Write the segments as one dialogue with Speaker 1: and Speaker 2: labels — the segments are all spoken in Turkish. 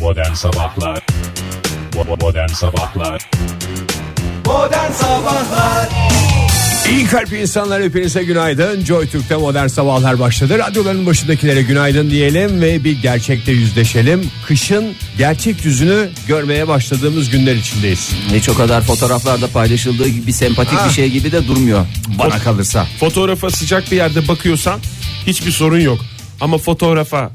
Speaker 1: Modern Sabahlar Bo- Modern Sabahlar
Speaker 2: Modern Sabahlar
Speaker 3: İyi kalp insanlar hepinize günaydın. Joy Türk'te modern sabahlar başladı. Radyoların başındakilere günaydın diyelim ve bir gerçekte yüzleşelim. Kışın gerçek yüzünü görmeye başladığımız günler içindeyiz.
Speaker 4: Hiç o kadar fotoğraflarda paylaşıldığı gibi sempatik bir şey gibi de durmuyor bana kalırsa.
Speaker 5: Fotoğrafa sıcak bir yerde bakıyorsan hiçbir sorun yok. Ama fotoğrafa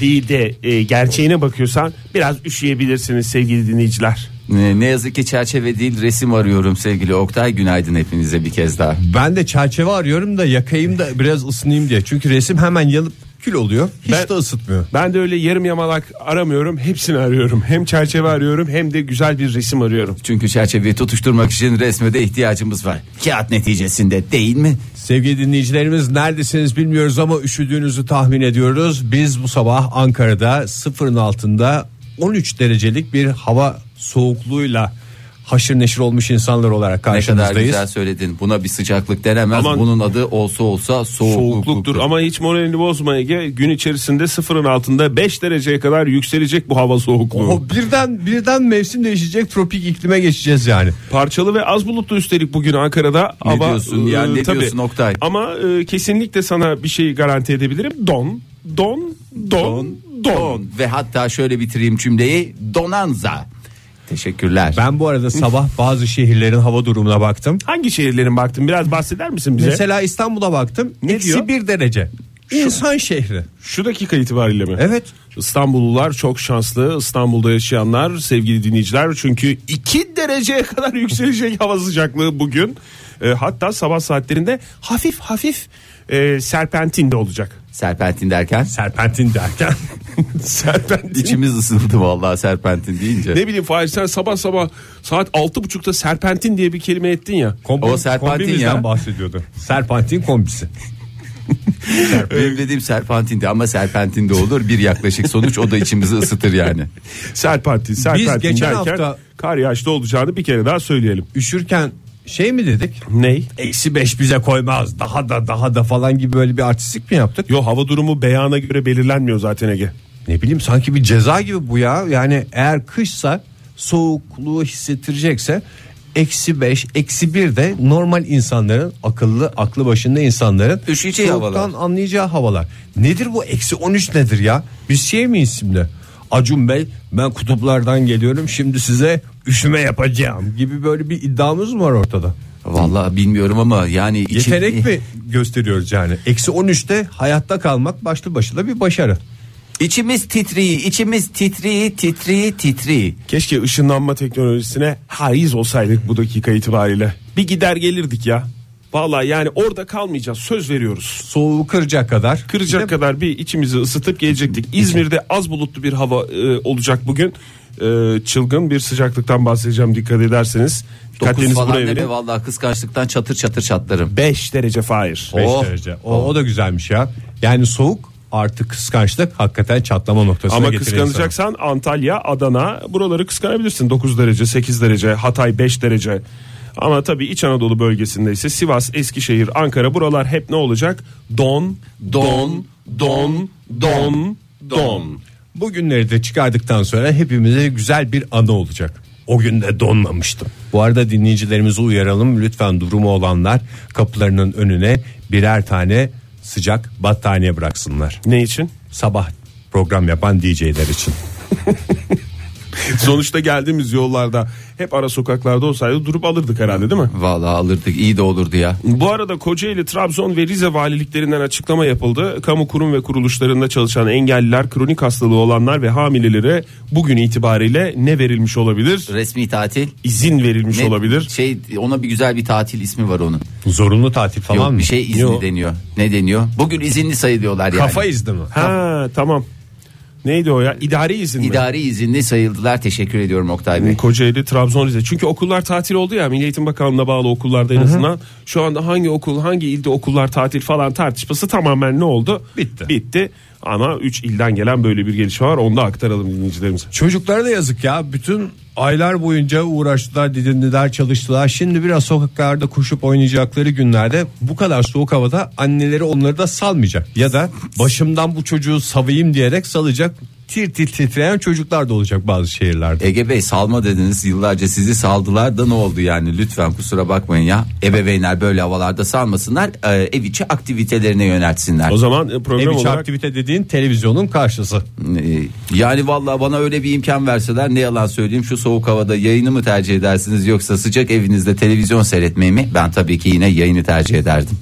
Speaker 5: değil de e, gerçeğine bakıyorsan biraz üşüyebilirsiniz sevgili dinleyiciler.
Speaker 4: Ee, Ne ne yazık ki çerçeve değil resim arıyorum sevgili Oktay. Günaydın hepinize bir kez daha.
Speaker 3: Ben de çerçeve arıyorum da yakayım da biraz ısınayım diye. Çünkü resim hemen yanıp kül oluyor. Hiç
Speaker 5: Ben-
Speaker 3: de ısıtmıyor.
Speaker 5: Ben de öyle yarım yamalak aramıyorum. Hepsini arıyorum. Hem çerçeve arıyorum hem de güzel bir resim arıyorum.
Speaker 4: Çünkü çerçeveyi tutuşturmak için resme de ihtiyacımız var. Kağıt neticesinde değil mi?
Speaker 3: Sevgili dinleyicilerimiz neredesiniz bilmiyoruz ama üşüdüğünüzü tahmin ediyoruz. Biz bu sabah Ankara'da sıfırın altında 13 derecelik bir hava soğukluğuyla haşır neşir olmuş insanlar olarak
Speaker 4: Ne kadar
Speaker 3: karşınızdayız.
Speaker 4: güzel söyledin. Buna bir sıcaklık denemez.
Speaker 5: Aman.
Speaker 4: Bunun adı olsa olsa soğukluktur.
Speaker 5: Soğukluktur ama hiç moralini bozma Ege. Gün içerisinde sıfırın altında 5 dereceye kadar yükselecek bu hava soğukluğu.
Speaker 3: Oho, birden birden mevsim değişecek tropik iklime geçeceğiz yani.
Speaker 5: Parçalı ve az bulutlu üstelik bugün Ankara'da. e,
Speaker 4: Ne diyorsun ya, ne diyorsun Oktay?
Speaker 5: Ama e, kesinlikle sana bir şeyi garanti edebilirim. Don, don, don, don.
Speaker 4: Don ve hatta şöyle bitireyim cümleyi. Donanza. Teşekkürler.
Speaker 3: Ben bu arada sabah bazı şehirlerin hava durumuna baktım.
Speaker 5: Hangi şehirlerin baktın? Biraz bahseder misin bize?
Speaker 3: Mesela İstanbul'a baktım.
Speaker 5: Ne
Speaker 3: eksi
Speaker 5: diyor?
Speaker 3: bir derece. İnsan şehri.
Speaker 5: Şu dakika itibariyle mi?
Speaker 3: Evet.
Speaker 5: İstanbullular çok şanslı. İstanbul'da yaşayanlar sevgili dinleyiciler. Çünkü 2 dereceye kadar yükselecek hava sıcaklığı bugün. E, hatta sabah saatlerinde hafif hafif e, serpentin de olacak.
Speaker 4: Serpentin derken
Speaker 3: Serpentin derken.
Speaker 5: serpentin.
Speaker 4: içimiz ısındı vallahi serpentin deyince.
Speaker 5: Ne bileyim Fahir sen sabah sabah saat 6.30'da serpentin diye bir kelime ettin ya.
Speaker 3: Kombi,
Speaker 4: O serpentin
Speaker 3: kombimizden
Speaker 4: ya.
Speaker 3: bahsediyordu. Serpentin kombisi.
Speaker 4: Benim dediğim serpantinde ama serpentinde olur bir yaklaşık sonuç o da içimizi ısıtır yani.
Speaker 5: Serpentin, serpentin
Speaker 3: geçen
Speaker 5: derken
Speaker 3: hafta-
Speaker 5: kar yağışlı olacağını bir kere daha söyleyelim.
Speaker 3: Üşürken şey mi dedik?
Speaker 5: Ney?
Speaker 3: Eksi beş bize koymaz. Daha da daha da falan gibi böyle bir artistik mi yaptık?
Speaker 5: Yo hava durumu beyana göre belirlenmiyor zaten Ege.
Speaker 3: Ne bileyim sanki bir ceza gibi bu ya. Yani eğer kışsa soğukluğu hissettirecekse eksi beş eksi bir de normal insanların akıllı aklı başında insanların
Speaker 4: Üşüyeceği
Speaker 3: soğuktan
Speaker 4: havalar.
Speaker 3: anlayacağı havalar. Nedir bu eksi 13 nedir ya? Biz şey miyiz şimdi? Acun Bey ben kutuplardan geliyorum şimdi size üşüme yapacağım gibi böyle bir iddiamız mı var ortada?
Speaker 4: Vallahi bilmiyorum ama yani içi-
Speaker 3: Yetenek mi gösteriyoruz yani? Eksi 13'te hayatta kalmak başlı başına bir başarı.
Speaker 4: İçimiz titriyi, içimiz titriyi, titriyi, titriyi.
Speaker 5: Keşke ışınlanma teknolojisine haiz olsaydık bu dakika itibariyle. Bir gider gelirdik ya. Vallahi yani orada kalmayacağız söz veriyoruz.
Speaker 3: Soğuğu kıracak kadar.
Speaker 5: Kıracak kadar bir içimizi ısıtıp gelecektik. İzmir'de az bulutlu bir hava e, olacak bugün. E, çılgın bir sıcaklıktan bahsedeceğim dikkat ederseniz.
Speaker 4: Dokuz
Speaker 5: Dikkatlerinizi
Speaker 4: falan
Speaker 5: buraya
Speaker 4: deme
Speaker 5: verin.
Speaker 4: vallahi kıskançlıktan çatır çatır çatlarım.
Speaker 5: 5 derece faiz.
Speaker 3: Beş
Speaker 4: Oh.
Speaker 3: derece. O, o da güzelmiş ya. Yani soğuk artı kıskançlık hakikaten çatlama noktasına
Speaker 5: Ama
Speaker 3: getirir
Speaker 5: kıskanacaksan Antalya, Adana buraları kıskanabilirsin. 9 derece, 8 derece, Hatay 5 derece. Ama tabii İç Anadolu bölgesinde ise Sivas, Eskişehir, Ankara buralar hep ne olacak? Don, don, don, don, don.
Speaker 3: insanı. Bu günleri de çıkardıktan sonra hepimize güzel bir anı olacak. O gün de donmamıştım. Bu arada dinleyicilerimizi uyaralım. Lütfen durumu olanlar kapılarının önüne birer tane sıcak battaniye bıraksınlar.
Speaker 5: Ne için?
Speaker 3: Sabah program yapan DJ'ler için.
Speaker 5: Sonuçta geldiğimiz yollarda hep ara sokaklarda olsaydı durup alırdık herhalde değil mi?
Speaker 4: Vallahi alırdık iyi de olurdu ya.
Speaker 5: Bu arada Kocaeli, Trabzon ve Rize valiliklerinden açıklama yapıldı. Kamu kurum ve kuruluşlarında çalışan engelliler, kronik hastalığı olanlar ve hamilelere bugün itibariyle ne verilmiş olabilir?
Speaker 4: Resmi tatil.
Speaker 5: İzin verilmiş
Speaker 4: Ne-
Speaker 5: olabilir.
Speaker 4: Şey ona bir güzel bir tatil ismi var onun.
Speaker 3: Zorunlu tatil falan
Speaker 4: Yok
Speaker 3: mı?
Speaker 4: bir şey izni
Speaker 5: Yok.
Speaker 4: deniyor. Ne deniyor? Bugün izinli sayılıyorlar yani.
Speaker 3: Kafa izni mi?
Speaker 5: Ha tamam. Neydi o ya? İdari izin mi?
Speaker 4: İdari izinli sayıldılar. Teşekkür ediyorum Oktay Bey.
Speaker 5: Kocaeli, Trabzon, Rize. Çünkü okullar tatil oldu ya. Milli Eğitim Bakanlığı'na bağlı okullarda en azından. Şu anda hangi okul, hangi ilde okullar tatil falan tartışması tamamen ne oldu?
Speaker 3: Bitti.
Speaker 5: Bitti. Ama 3 ilden gelen böyle bir gelişme var. Onu da aktaralım dinleyicilerimize.
Speaker 3: Çocuklara da yazık ya. Bütün aylar boyunca uğraştılar, didindiler, çalıştılar. Şimdi biraz sokaklarda koşup oynayacakları günlerde bu kadar soğuk havada anneleri onları da salmayacak. Ya da başımdan bu çocuğu savayım diyerek salacak. tir tir titreyen çocuklar da olacak bazı şehirlerde.
Speaker 4: Ege Bey salma dediniz yıllarca sizi saldılar da ne oldu yani lütfen kusura bakmayın ya. Ebeveynler böyle havalarda salmasınlar e, ev içi aktivitelerine yöneltsinler.
Speaker 5: O zaman e,
Speaker 3: Ev
Speaker 5: program
Speaker 3: içi
Speaker 5: olarak
Speaker 3: aktivite dediğin televizyonun karşısı.
Speaker 4: E, Yani vallahi bana öyle bir imkan verseler ne yalan söyleyeyim şu soğuk havada yayını mı tercih edersiniz yoksa sıcak evinizde televizyon seyretmeyi mi? Ben tabii ki yine yayını tercih ederdim.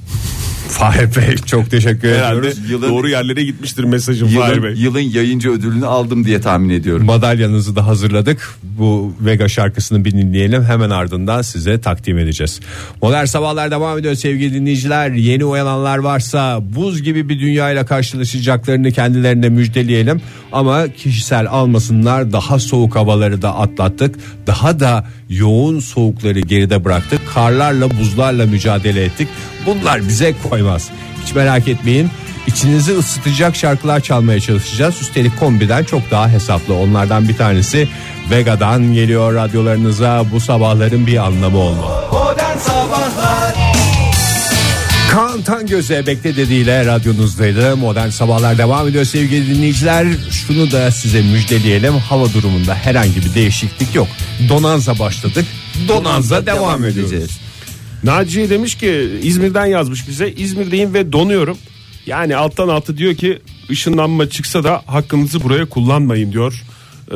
Speaker 3: Fahir Bey çok teşekkür
Speaker 5: herhalde
Speaker 3: ediyoruz.
Speaker 4: Yılın-
Speaker 5: doğru yerlere gitmiştir mesajım Fahir
Speaker 4: Yılın,
Speaker 5: Bey.
Speaker 4: yılın yayıncı ödülünü aldım diye tahmin ediyorum.
Speaker 3: Ee, Madalyanızı da hazırladık. Bu Vega şarkısını bir dinleyelim. Hemen ardından size takdim edeceğiz. Modern Sabahlar devam ediyor sevgili dinleyiciler. Yeni uyananlar varsa buz gibi bir dünyayla karşılaşacaklarını kendilerine müjdeleyelim. Ama kişisel almasınlar. Daha soğuk havaları da atlattık. Daha da yoğun soğukları geride bıraktık. Karlarla buzlarla mücadele ettik. Bunlar bize koymaz. Hiç merak etmeyin. İçinizi ısıtacak şarkılar çalmaya çalışacağız. Üstelik kombiden çok daha hesaplı. Onlardan bir tanesi Vega'dan geliyor radyolarınıza. Bu sabahların bir anlamı olma.
Speaker 2: Modern Sabahlar
Speaker 3: Kaan Tangöze bekle dediğiyle radyonuzdaydı. Modern Sabahlar devam ediyor sevgili dinleyiciler. Şunu da size müjdeleyelim. Hava durumunda herhangi bir değişiklik yok. Donanza başladık. Donanza devam, ediyoruz.
Speaker 5: Naciye demiş ki İzmir'den yazmış bize İzmir'deyim ve donuyorum. Yani alttan altı diyor ki ışınlanma çıksa da hakkınızı buraya kullanmayın diyor. Ee,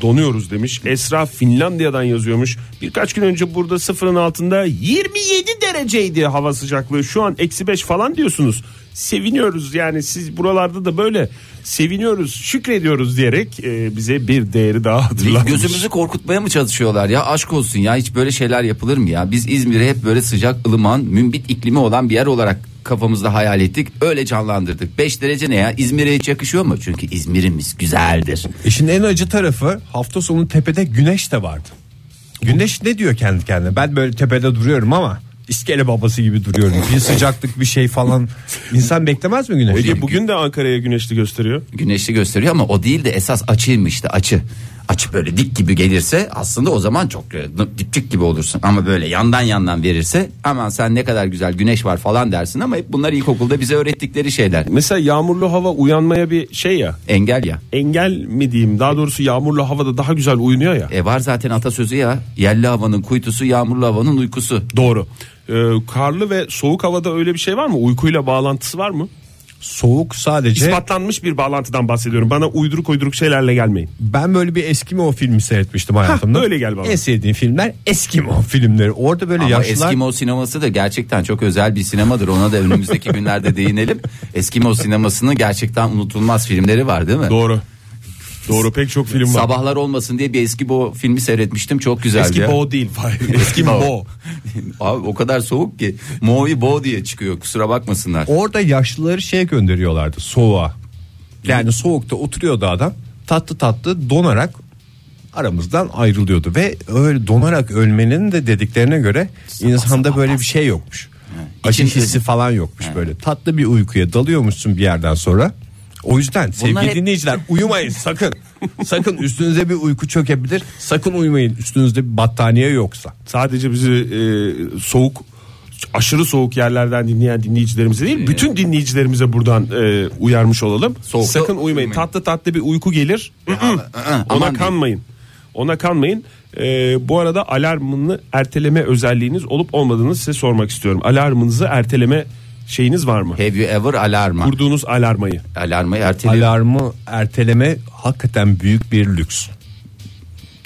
Speaker 5: donuyoruz demiş. Esra Finlandiya'dan yazıyormuş. Birkaç gün önce burada sıfırın altında 27 dereceydi hava sıcaklığı. Şu an eksi 5 falan diyorsunuz. Seviniyoruz yani siz buralarda da böyle seviniyoruz şükrediyoruz diyerek e, bize bir değeri daha hatırlatmış.
Speaker 4: Gözümüzü korkutmaya mı çalışıyorlar ya aşk olsun ya hiç böyle şeyler yapılır mı ya biz İzmir'i hep böyle sıcak ılıman mümbit iklimi olan bir yer olarak kafamızda hayal ettik öyle canlandırdık 5 derece ne ya İzmir'e hiç yakışıyor mu çünkü İzmir'imiz güzeldir
Speaker 3: İşin E en acı tarafı hafta sonu tepede güneş de vardı. Güneş ne diyor kendi kendine? Ben böyle tepede duruyorum ama iskele babası gibi duruyorum. Bir sıcaklık bir şey falan. İnsan beklemez mi güneş?
Speaker 5: Ege bugün de Ankara'ya güneşli gösteriyor.
Speaker 4: güneşli gösteriyor ama o değil de esas açıymış işte açı açı böyle dik gibi gelirse aslında o zaman çok e, dipçik gibi olursun ama böyle yandan yandan verirse aman sen ne kadar güzel güneş var falan dersin ama hep bunlar ilkokulda bize öğrettikleri şeyler
Speaker 5: Mesela yağmurlu hava uyanmaya bir şey ya.
Speaker 4: engel ya
Speaker 5: engel mi diyeyim daha doğrusu yağmurlu havada daha güzel uyunuyor ya.
Speaker 4: E var zaten atasözü ya. Yerli havanın kuytusu, yağmurlu havanın uykusu.
Speaker 5: Doğru. Ee, karlı ve soğuk havada öyle bir şey var mı? Uykuyla bağlantısı var mı?
Speaker 3: Soğuk sadece.
Speaker 5: İspatlanmış bir bağlantıdan bahsediyorum. Bana uyduruk uyduruk şeylerle gelmeyin.
Speaker 3: Ben böyle bir Eskimo filmi seyretmiştim hayatımda.
Speaker 5: öyle gel bana.
Speaker 3: En sevdiğim filmler Eskimo filmleri. Orada böyle
Speaker 4: Ama
Speaker 3: yaşlılar.
Speaker 4: Eskimo sineması da gerçekten çok özel bir sinemadır. Ona da önümüzdeki günlerde değinelim. Eskimo sinemasının gerçekten unutulmaz filmleri var değil mi?
Speaker 5: Doğru. Doğru pek çok film var.
Speaker 4: Sabahlar olmasın diye bir Eskimo filmi seyretmiştim. Çok güzeldi.
Speaker 5: Eski
Speaker 4: ya.
Speaker 5: bo değil. Eski bo.
Speaker 4: Abi o kadar soğuk ki Movi Bo diye çıkıyor. Kusura bakmasınlar.
Speaker 3: Orada yaşlıları şeye gönderiyorlardı soğuğa. Yani soğukta oturuyordu adam tatlı tatlı donarak aramızdan ayrılıyordu ve öyle donarak ölmenin de dediklerine göre insanda böyle bir şey yokmuş. Acı
Speaker 4: İçin-
Speaker 3: hissi falan yokmuş böyle. Tatlı bir uykuya dalıyormuşsun bir yerden sonra. O yüzden sevgili
Speaker 4: hep-
Speaker 3: dinleyiciler uyumayın sakın. sakın üstünüze bir uyku çökebilir. Sakın uyumayın üstünüzde bir battaniye yoksa.
Speaker 5: Sadece bizi e, soğuk aşırı soğuk yerlerden dinleyen dinleyicilerimize değil bütün dinleyicilerimize buradan e, uyarmış olalım.
Speaker 4: Soğukta
Speaker 5: Sakın uyumayın.
Speaker 4: uyumayın.
Speaker 5: Tatlı tatlı bir uyku gelir.
Speaker 3: E,
Speaker 4: aman
Speaker 5: Ona
Speaker 4: diyeyim.
Speaker 5: kanmayın. Ona kanmayın. E, bu arada alarmını erteleme özelliğiniz olup olmadığını size sormak istiyorum. Alarmınızı erteleme şeyiniz var mı?
Speaker 4: Have you ever alarma?
Speaker 5: Kurduğunuz alarmayı.
Speaker 4: Alarmayı erteliyor.
Speaker 3: Alarmı erteleme hakikaten büyük bir lüks.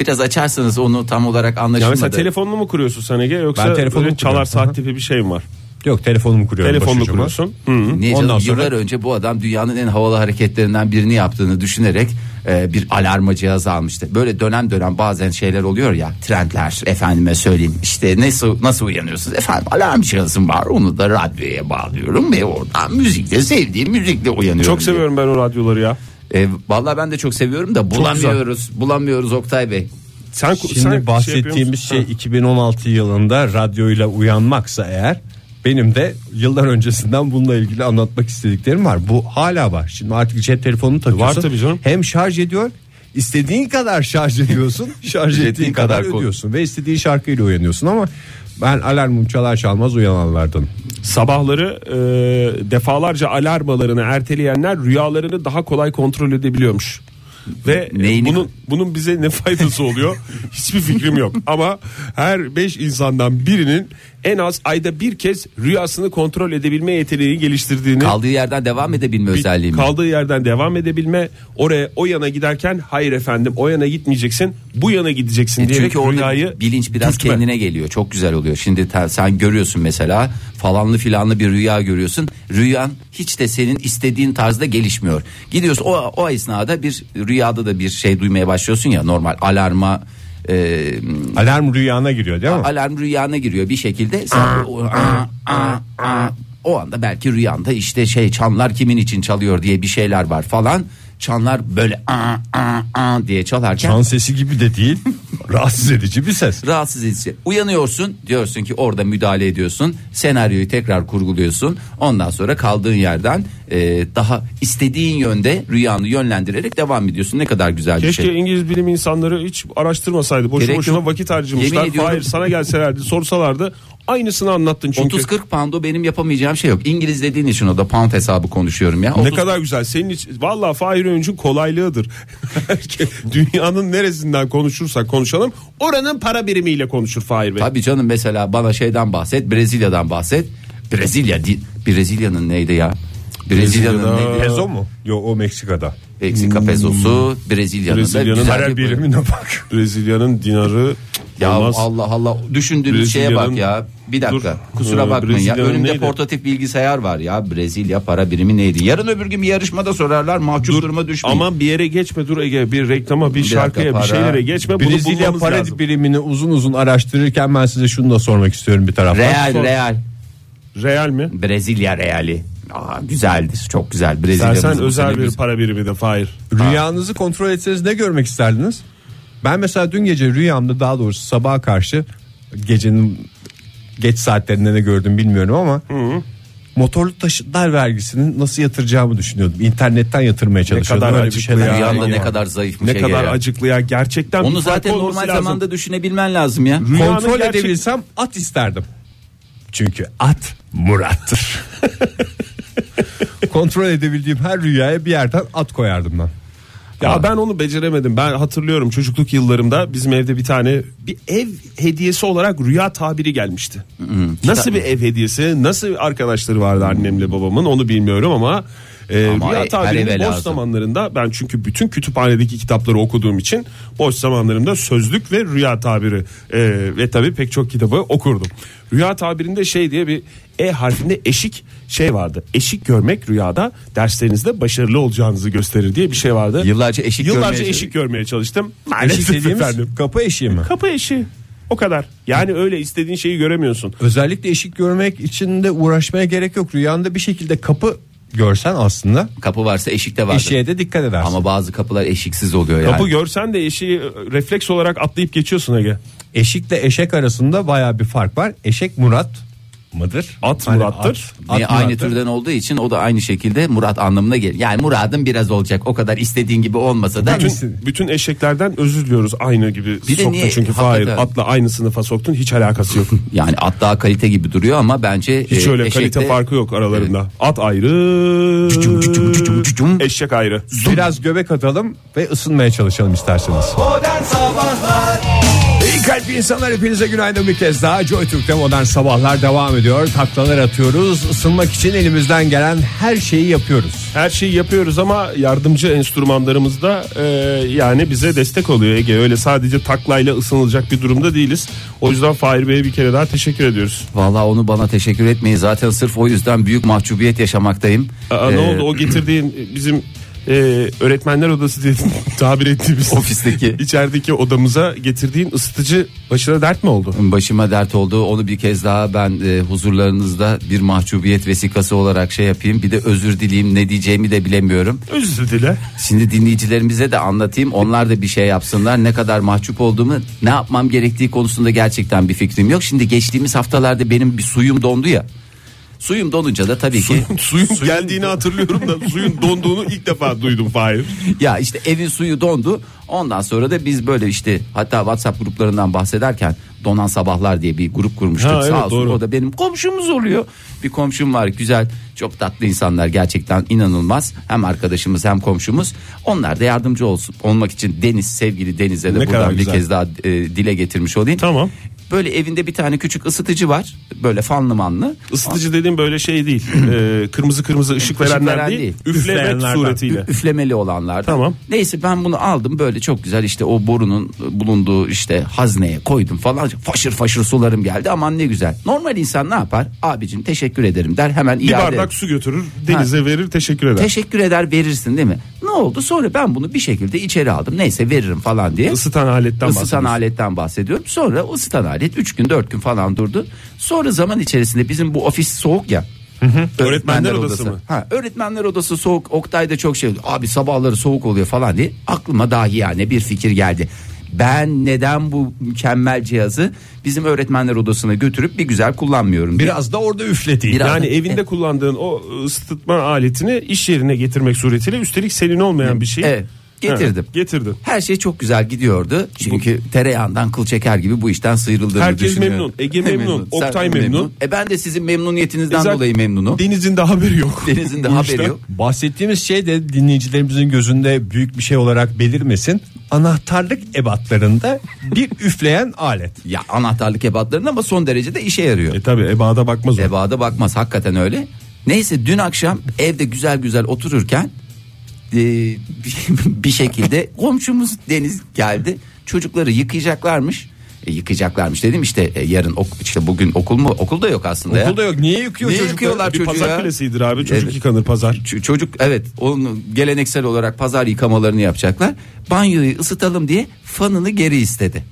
Speaker 4: Biraz açarsanız onu tam olarak
Speaker 5: Ya
Speaker 4: anlaşılmadı.
Speaker 5: mesela telefonunu mu kuruyorsun sen Ege yoksa
Speaker 3: Ben telefonumu
Speaker 5: böyle çalar
Speaker 3: kuruyorum.
Speaker 5: saat
Speaker 3: Aha.
Speaker 5: tipi bir şey mi var?
Speaker 3: Yok telefonumu kuruyorum
Speaker 5: Telefonunu
Speaker 3: başucuma.
Speaker 5: kuruyorsun. Hı.
Speaker 4: Niye
Speaker 3: Ondan
Speaker 4: canım?
Speaker 3: sonra-
Speaker 4: Yıllar önce bu adam dünyanın en havalı hareketlerinden birini yaptığını düşünerek e, bir alarma cihazı almıştı. Böyle dönem dönem bazen şeyler oluyor ya trendler efendime söyleyeyim işte nasıl nasıl uyanıyorsunuz efendim alarm cihazım var onu da radyoya bağlıyorum ve oradan müzikle sevdiğim müzikle uyanıyorum.
Speaker 5: Çok
Speaker 4: diye.
Speaker 5: seviyorum ben o radyoları ya.
Speaker 4: E, vallahi ben de çok seviyorum da bulamıyoruz bulamıyoruz Oktay Bey.
Speaker 5: Sen
Speaker 3: Şimdi
Speaker 5: sen şey yapıyor
Speaker 3: bahsettiğimiz
Speaker 5: musun?
Speaker 3: şey, 2016 yılında radyoyla uyanmaksa eğer benim de yıllar öncesinden bununla ilgili anlatmak istediklerim var. Bu hala var. Şimdi artık cep telefonunu takıyorsun.
Speaker 5: Var tabii canım.
Speaker 3: Hem şarj ediyor istediğin kadar şarj ediyorsun. şarj ettiğin
Speaker 4: Ettiğin
Speaker 3: kadar,
Speaker 4: kadar
Speaker 3: kadar
Speaker 4: kol-
Speaker 3: ödüyorsun. Ve istediğin şarkıyla uyanıyorsun ama ben alarmım çalar çalmaz uyananlardan.
Speaker 5: Sabahları e, defalarca alarmalarını erteleyenler rüyalarını daha kolay kontrol edebiliyormuş. Ve
Speaker 4: Neyini-
Speaker 5: bunun bunun bize ne faydası oluyor? Hiçbir fikrim yok. Ama her 5 insandan birinin en az ayda bir kez rüyasını kontrol edebilme yeteneğini geliştirdiğini
Speaker 4: Kaldığı yerden devam edebilme
Speaker 5: bir-
Speaker 4: özelliği mi?
Speaker 5: kaldığı yerden devam edebilme oraya o yana giderken hayır efendim o yana gitmeyeceksin bu yana gideceksin
Speaker 4: E
Speaker 5: diyerek
Speaker 4: Çünkü orada
Speaker 5: rüyayı
Speaker 4: bilinç biraz
Speaker 5: dürtme.
Speaker 4: kendine geliyor. Çok güzel oluyor. Şimdi ta- sen görüyorsun mesela falanlı filanlı bir rüya görüyorsun. Rüyan hiç de senin istediğin tarzda gelişmiyor. Gidiyorsun o, o esnada bir rüyada da bir şey duymaya başlıyorsun ya normal alarma e,
Speaker 3: Alarm rüyana giriyor değil mi?
Speaker 4: alarm rüyana giriyor bir şekilde. Sen o, o anda belki rüyanda işte şey çanlar kimin için çalıyor diye bir şeyler var falan. Çanlar böyle aa, aa, aa diye çalarken
Speaker 3: Çan sesi gibi de değil. rahatsız edici bir ses.
Speaker 4: rahatsız edici. Uyanıyorsun diyorsun ki orada müdahale ediyorsun. Senaryoyu tekrar kurguluyorsun. Ondan sonra kaldığın yerden e, daha istediğin yönde rüyanı yönlendirerek devam ediyorsun. Ne kadar güzel bir
Speaker 5: Keşke
Speaker 4: şey.
Speaker 5: İngiliz bilim insanları hiç araştırmasaydı. Boşu
Speaker 4: Gerek
Speaker 5: boşuna
Speaker 4: yok.
Speaker 5: vakit
Speaker 4: Yemin
Speaker 5: harcamışlar.
Speaker 4: ediyorum.
Speaker 5: Hayır sana gelselerdi sorsalardı aynısını anlattın çünkü.
Speaker 4: 30-40 pound o benim yapamayacağım şey yok. İngiliz dediğin için o da pound hesabı konuşuyorum ya.
Speaker 5: Ne
Speaker 4: 30
Speaker 5: kadar güzel. Senin için valla Fahir Öğüncü'nün kolaylığıdır. Dünyanın neresinden konuşursak konuşalım oranın para birimiyle konuşur Fahir Bey.
Speaker 4: Tabii canım mesela bana şeyden bahset Brezilya'dan bahset. Brezilya di- Brezilya'nın neydi ya? Brezilya'nın
Speaker 5: Brezilya'da-
Speaker 4: neydi?
Speaker 3: Pezo mu? Yo o Meksika'da.
Speaker 4: Meksika pezosu Brezilya'nın,
Speaker 5: Brezilya'nın
Speaker 4: da güzel
Speaker 3: Para
Speaker 4: bir-
Speaker 3: birimine bak.
Speaker 5: Brezilya'nın dinarı
Speaker 4: Ya
Speaker 5: olmaz.
Speaker 4: Allah Allah düşündüğünüz şeye
Speaker 5: Brezilya'nın-
Speaker 4: bak ya. Bir dakika.
Speaker 5: Dur.
Speaker 4: Kusura
Speaker 5: Ee,
Speaker 4: bakmayın ya.
Speaker 5: Brezilya'nın
Speaker 4: Önümde
Speaker 5: neydi?
Speaker 4: portatif bilgisayar var ya. Brezilya para birimi neydi? Yarın öbür gün bir yarışmada sorarlar. Mahcup duruma düşmeyin.
Speaker 5: Aman bir yere geçme dur Ege bir reklama bir,
Speaker 4: dakika,
Speaker 5: şarkıya
Speaker 4: para.
Speaker 5: bir şeylere geçme bunu
Speaker 3: Brezilya
Speaker 5: bulmamız
Speaker 3: para
Speaker 5: lazım.
Speaker 3: birimini uzun uzun araştırırken ben size şunu da sormak istiyorum bir taraftan.
Speaker 4: Real
Speaker 5: Sor.
Speaker 4: Real.
Speaker 5: Real mi?
Speaker 4: Brezilya Reali. Aa, güzeldir. Çok güzel.
Speaker 5: Dersen
Speaker 4: Brezilya'mızın
Speaker 5: özel
Speaker 4: sene
Speaker 5: bir
Speaker 4: biz-
Speaker 5: para birimi de Fahir.
Speaker 3: Rüyanızı kontrol etseniz ne görmek isterdiniz? Ben mesela dün gece rüyamda daha doğrusu sabaha karşı gecenin geç saatlerinde ne gördüm bilmiyorum ama motorlu taşıtlar vergisinin nasıl yatıracağımı düşünüyordum. İnternetten yatırmaya çalışıyordum.
Speaker 5: kadar
Speaker 3: Öyle bir şey
Speaker 5: acıklı
Speaker 3: şeyler
Speaker 5: ya.
Speaker 4: Rüyanda
Speaker 3: yani.
Speaker 4: ne kadar zayıf bir
Speaker 5: Ne
Speaker 4: şey
Speaker 5: kadar
Speaker 4: ya.
Speaker 5: acıklı ya gerçekten. bir
Speaker 4: Onu
Speaker 5: fark
Speaker 4: zaten
Speaker 5: olması
Speaker 4: normal
Speaker 5: lazım.
Speaker 4: zamanda düşünebilmen lazım ya.
Speaker 5: Rüyanın
Speaker 3: Kontrol
Speaker 5: gerçek-
Speaker 3: edebilsem at isterdim. Çünkü at Murat'tır. kontrol edebildiğim her rüyaya bir yerden at koyardım ben.
Speaker 5: Ya ben onu beceremedim. Ben hatırlıyorum çocukluk yıllarımda bizim evde bir tane bir ev hediyesi olarak rüya tabiri gelmişti. Nasıl bir ev hediyesi, nasıl bir arkadaşları vardı annemle babamın onu bilmiyorum ama e,
Speaker 4: Hmm. Ama
Speaker 5: rüya
Speaker 4: her eve
Speaker 5: tabirinin boş
Speaker 4: lazım.
Speaker 5: zamanlarında ben çünkü bütün kütüphanedeki kitapları okuduğum için boş zamanlarımda sözlük ve rüya tabiri e, ve tabii pek çok kitabı okurdum. Rüya tabirinde şey diye bir E harfinde eşik şey vardı. Eşik görmek rüyada derslerinizde başarılı olacağınızı gösterir diye bir şey vardı.
Speaker 4: Yıllarca eşik
Speaker 5: Yıllarca
Speaker 4: görmeye-
Speaker 5: eşik görmeye çalıştım.
Speaker 3: Eşik
Speaker 5: Maalesef
Speaker 3: dediğimiz
Speaker 5: efendim.
Speaker 3: kapı eşiği mi?
Speaker 5: Kapı eşi. O kadar. Yani öyle istediğin şeyi göremiyorsun.
Speaker 3: Özellikle eşik görmek için de uğraşmaya gerek yok. Rüyanda bir şekilde kapı görsen aslında
Speaker 4: Kapı varsa eşik de vardır.
Speaker 3: eşiğe de dikkat edersin.
Speaker 4: Ama bazı kapılar eşiksiz oluyor yani.
Speaker 5: Kapı görsen de eşiği e, refleks olarak atlayıp geçiyorsun Ege.
Speaker 3: Eşikle eşek arasında baya bir fark var. Eşek Murat mıdır? Hani
Speaker 5: At Murat'tır.
Speaker 3: at
Speaker 4: Niye? aynı
Speaker 3: Murat'tır.
Speaker 4: türden olduğu için o da aynı şekilde Murat anlamına gelir. Yani Murad'ın biraz olacak. O kadar istediğin gibi olmasa da
Speaker 5: Bütün, bütün eşeklerden özür diliyoruz aynı gibi
Speaker 4: de
Speaker 5: soktun
Speaker 4: niye-
Speaker 5: çünkü hayır
Speaker 4: Hakikaten.
Speaker 5: atla aynı sınıfa soktun hiç alakası yok.
Speaker 4: yani at daha kalite gibi duruyor ama bence
Speaker 5: Hiç
Speaker 4: e,
Speaker 5: öyle
Speaker 4: eşekte-
Speaker 5: kalite farkı yok aralarında. At
Speaker 4: Cücüm, cücüm, cücüm, cücüm.
Speaker 5: ayrı. Eşek ayrı.
Speaker 3: Biraz göbek atalım ve ısınmaya çalışalım isterseniz.
Speaker 2: Modern Sabahlar
Speaker 3: İyi kalp insanlar hepinize günaydın bir kez daha Joy Türk'te modern sabahlar devam ediyor Taklalar atıyoruz ısınmak için elimizden gelen her şeyi yapıyoruz
Speaker 5: Her şeyi yapıyoruz ama yardımcı enstrümanlarımız da e, yani bize destek oluyor Ege. Öyle sadece taklayla ısınılacak bir durumda değiliz. O yüzden Fahir Bey'e bir kere daha teşekkür ediyoruz.
Speaker 4: Vallahi onu bana teşekkür etmeyin. Zaten sırf o yüzden büyük mahcubiyet yaşamaktayım.
Speaker 5: Aa,
Speaker 4: Ee,
Speaker 5: ne oldu o getirdiğin bizim e, öğretmenler odası diye tabir ettiğimiz
Speaker 4: Ofisteki.
Speaker 5: içerideki odamıza getirdiğin ısıtıcı başına dert mi oldu?
Speaker 4: Başıma dert oldu. Onu bir kez daha ben e, huzurlarınızda bir mahcubiyet vesikası olarak şey yapayım. Bir de özür dileyim. Ne diyeceğimi de bilemiyorum.
Speaker 5: Özür dile.
Speaker 4: Şimdi dinleyicilerimize de anlatayım. Onlar da bir şey yapsınlar. Ne kadar mahcup olduğumu, ne yapmam gerektiği konusunda gerçekten bir fikrim yok. Şimdi geçtiğimiz haftalarda benim bir suyum dondu ya. Suyum donunca da tabii ki
Speaker 5: suyun, geldiğini hatırlıyorum da suyun donduğunu ilk defa duydum Fahir.
Speaker 4: ya işte evin suyu dondu. Ondan sonra da biz böyle işte hatta WhatsApp gruplarından bahsederken Donan Sabahlar diye bir grup kurmuştuk.
Speaker 5: Ha, evet,
Speaker 4: Sağ olsun
Speaker 5: doğru.
Speaker 4: o da benim komşumuz oluyor. Bir komşum var güzel çok tatlı insanlar gerçekten inanılmaz. Hem arkadaşımız hem komşumuz. Onlar da yardımcı olsun olmak için Deniz sevgili Deniz'e de
Speaker 5: Ne kadar
Speaker 4: buradan bir
Speaker 5: güzel.
Speaker 4: kez daha e, dile getirmiş olayım.
Speaker 5: Tamam.
Speaker 4: Böyle evinde bir tane küçük ısıtıcı var. Böyle fanlı manlı.
Speaker 5: Isıtıcı dediğim böyle şey değil. Ee, kırmızı kırmızı ışık verenler
Speaker 4: veren
Speaker 5: değil.
Speaker 4: değil.
Speaker 5: Üflemek
Speaker 3: Üfleyenlerden.
Speaker 5: suretiyle.
Speaker 4: Ü- üflemeli olanlar.
Speaker 5: Tamam.
Speaker 4: Neyse ben bunu aldım böyle çok güzel işte o borunun bulunduğu işte hazneye koydum falan. Faşır faşır sularım geldi aman ne güzel. Normal insan ne yapar? Abicim teşekkür ederim der hemen
Speaker 5: Bir
Speaker 4: iade.
Speaker 5: bardak su götürür, denize verir, teşekkür eder.
Speaker 4: Teşekkür eder verirsin değil mi? Ne oldu? Sonra ben bunu bir şekilde içeri aldım. Neyse veririm falan diye.
Speaker 5: Isıtan aletten
Speaker 4: Isıtan
Speaker 5: bahsediyorsun.
Speaker 4: aletten bahsediyorum. Sonra ısıtan alet 3 gün 4 gün falan durdu. Sonra zaman içerisinde bizim bu ofis soğuk ya.
Speaker 5: Öğretmenler odası mı?
Speaker 4: Ha, öğretmenler odası soğuk. Oktay da çok şey oluyor. Abi sabahları soğuk oluyor falan diye. Aklıma dahi yani bir fikir geldi. Ben neden bu mükemmel cihazı bizim öğretmenler odasına götürüp bir güzel kullanmıyorum diye.
Speaker 3: Biraz da orada üfleteyim.
Speaker 4: Biraz-
Speaker 5: Yani evinde kullandığın o ısıtma aletini iş yerine getirmek suretiyle üstelik senin olmayan bir şey.
Speaker 4: Evet, getirdim.
Speaker 5: Ha, getirdin.
Speaker 4: Her şey çok güzel gidiyordu. Çünkü tereyağından kıl çeker gibi bu işten sıyrıldığını
Speaker 5: Herkes
Speaker 4: düşünüyorum.
Speaker 5: memnun. Ege memnun.
Speaker 4: Sen
Speaker 5: Oktay memnun.
Speaker 4: E ben de sizin memnuniyetinizden
Speaker 5: Zaten
Speaker 4: dolayı memnunum. E,
Speaker 5: Deniz'in de haberi yok.
Speaker 4: Deniz'in de
Speaker 5: Bu
Speaker 4: haberi
Speaker 5: işten.
Speaker 4: yok.
Speaker 3: Bahsettiğimiz şey de dinleyicilerimizin gözünde büyük bir şey olarak belirmesin. Anahtarlık ebatlarında bir üfleyen alet.
Speaker 4: Ya anahtarlık ebatlarının ama son derecede işe yarıyor.
Speaker 5: E tabi ebada bakmaz o.
Speaker 4: Ebada bakmaz hakikaten öyle. Neyse dün akşam evde güzel güzel otururken e, bir şekilde komşumuz Deniz geldi. Çocukları yıkayacaklarmış. E, yıkayacaklarmış dedim işte e, yarın ok- işte bugün okul mu? Okulda yok aslında ya.
Speaker 3: Okulda yok. Niye yıkıyor
Speaker 4: Niye
Speaker 3: çocuklar?
Speaker 4: yıkıyorlar
Speaker 5: Bir
Speaker 4: çocuğu
Speaker 5: pazar
Speaker 4: ya?
Speaker 5: kalesidir abi. Çocuk
Speaker 4: Evet.
Speaker 5: yıkanır pazar.
Speaker 4: Ç- çocuk evet onun geleneksel olarak pazar yıkamalarını yapacaklar. Banyoyu ısıtalım diye fanını geri istedi.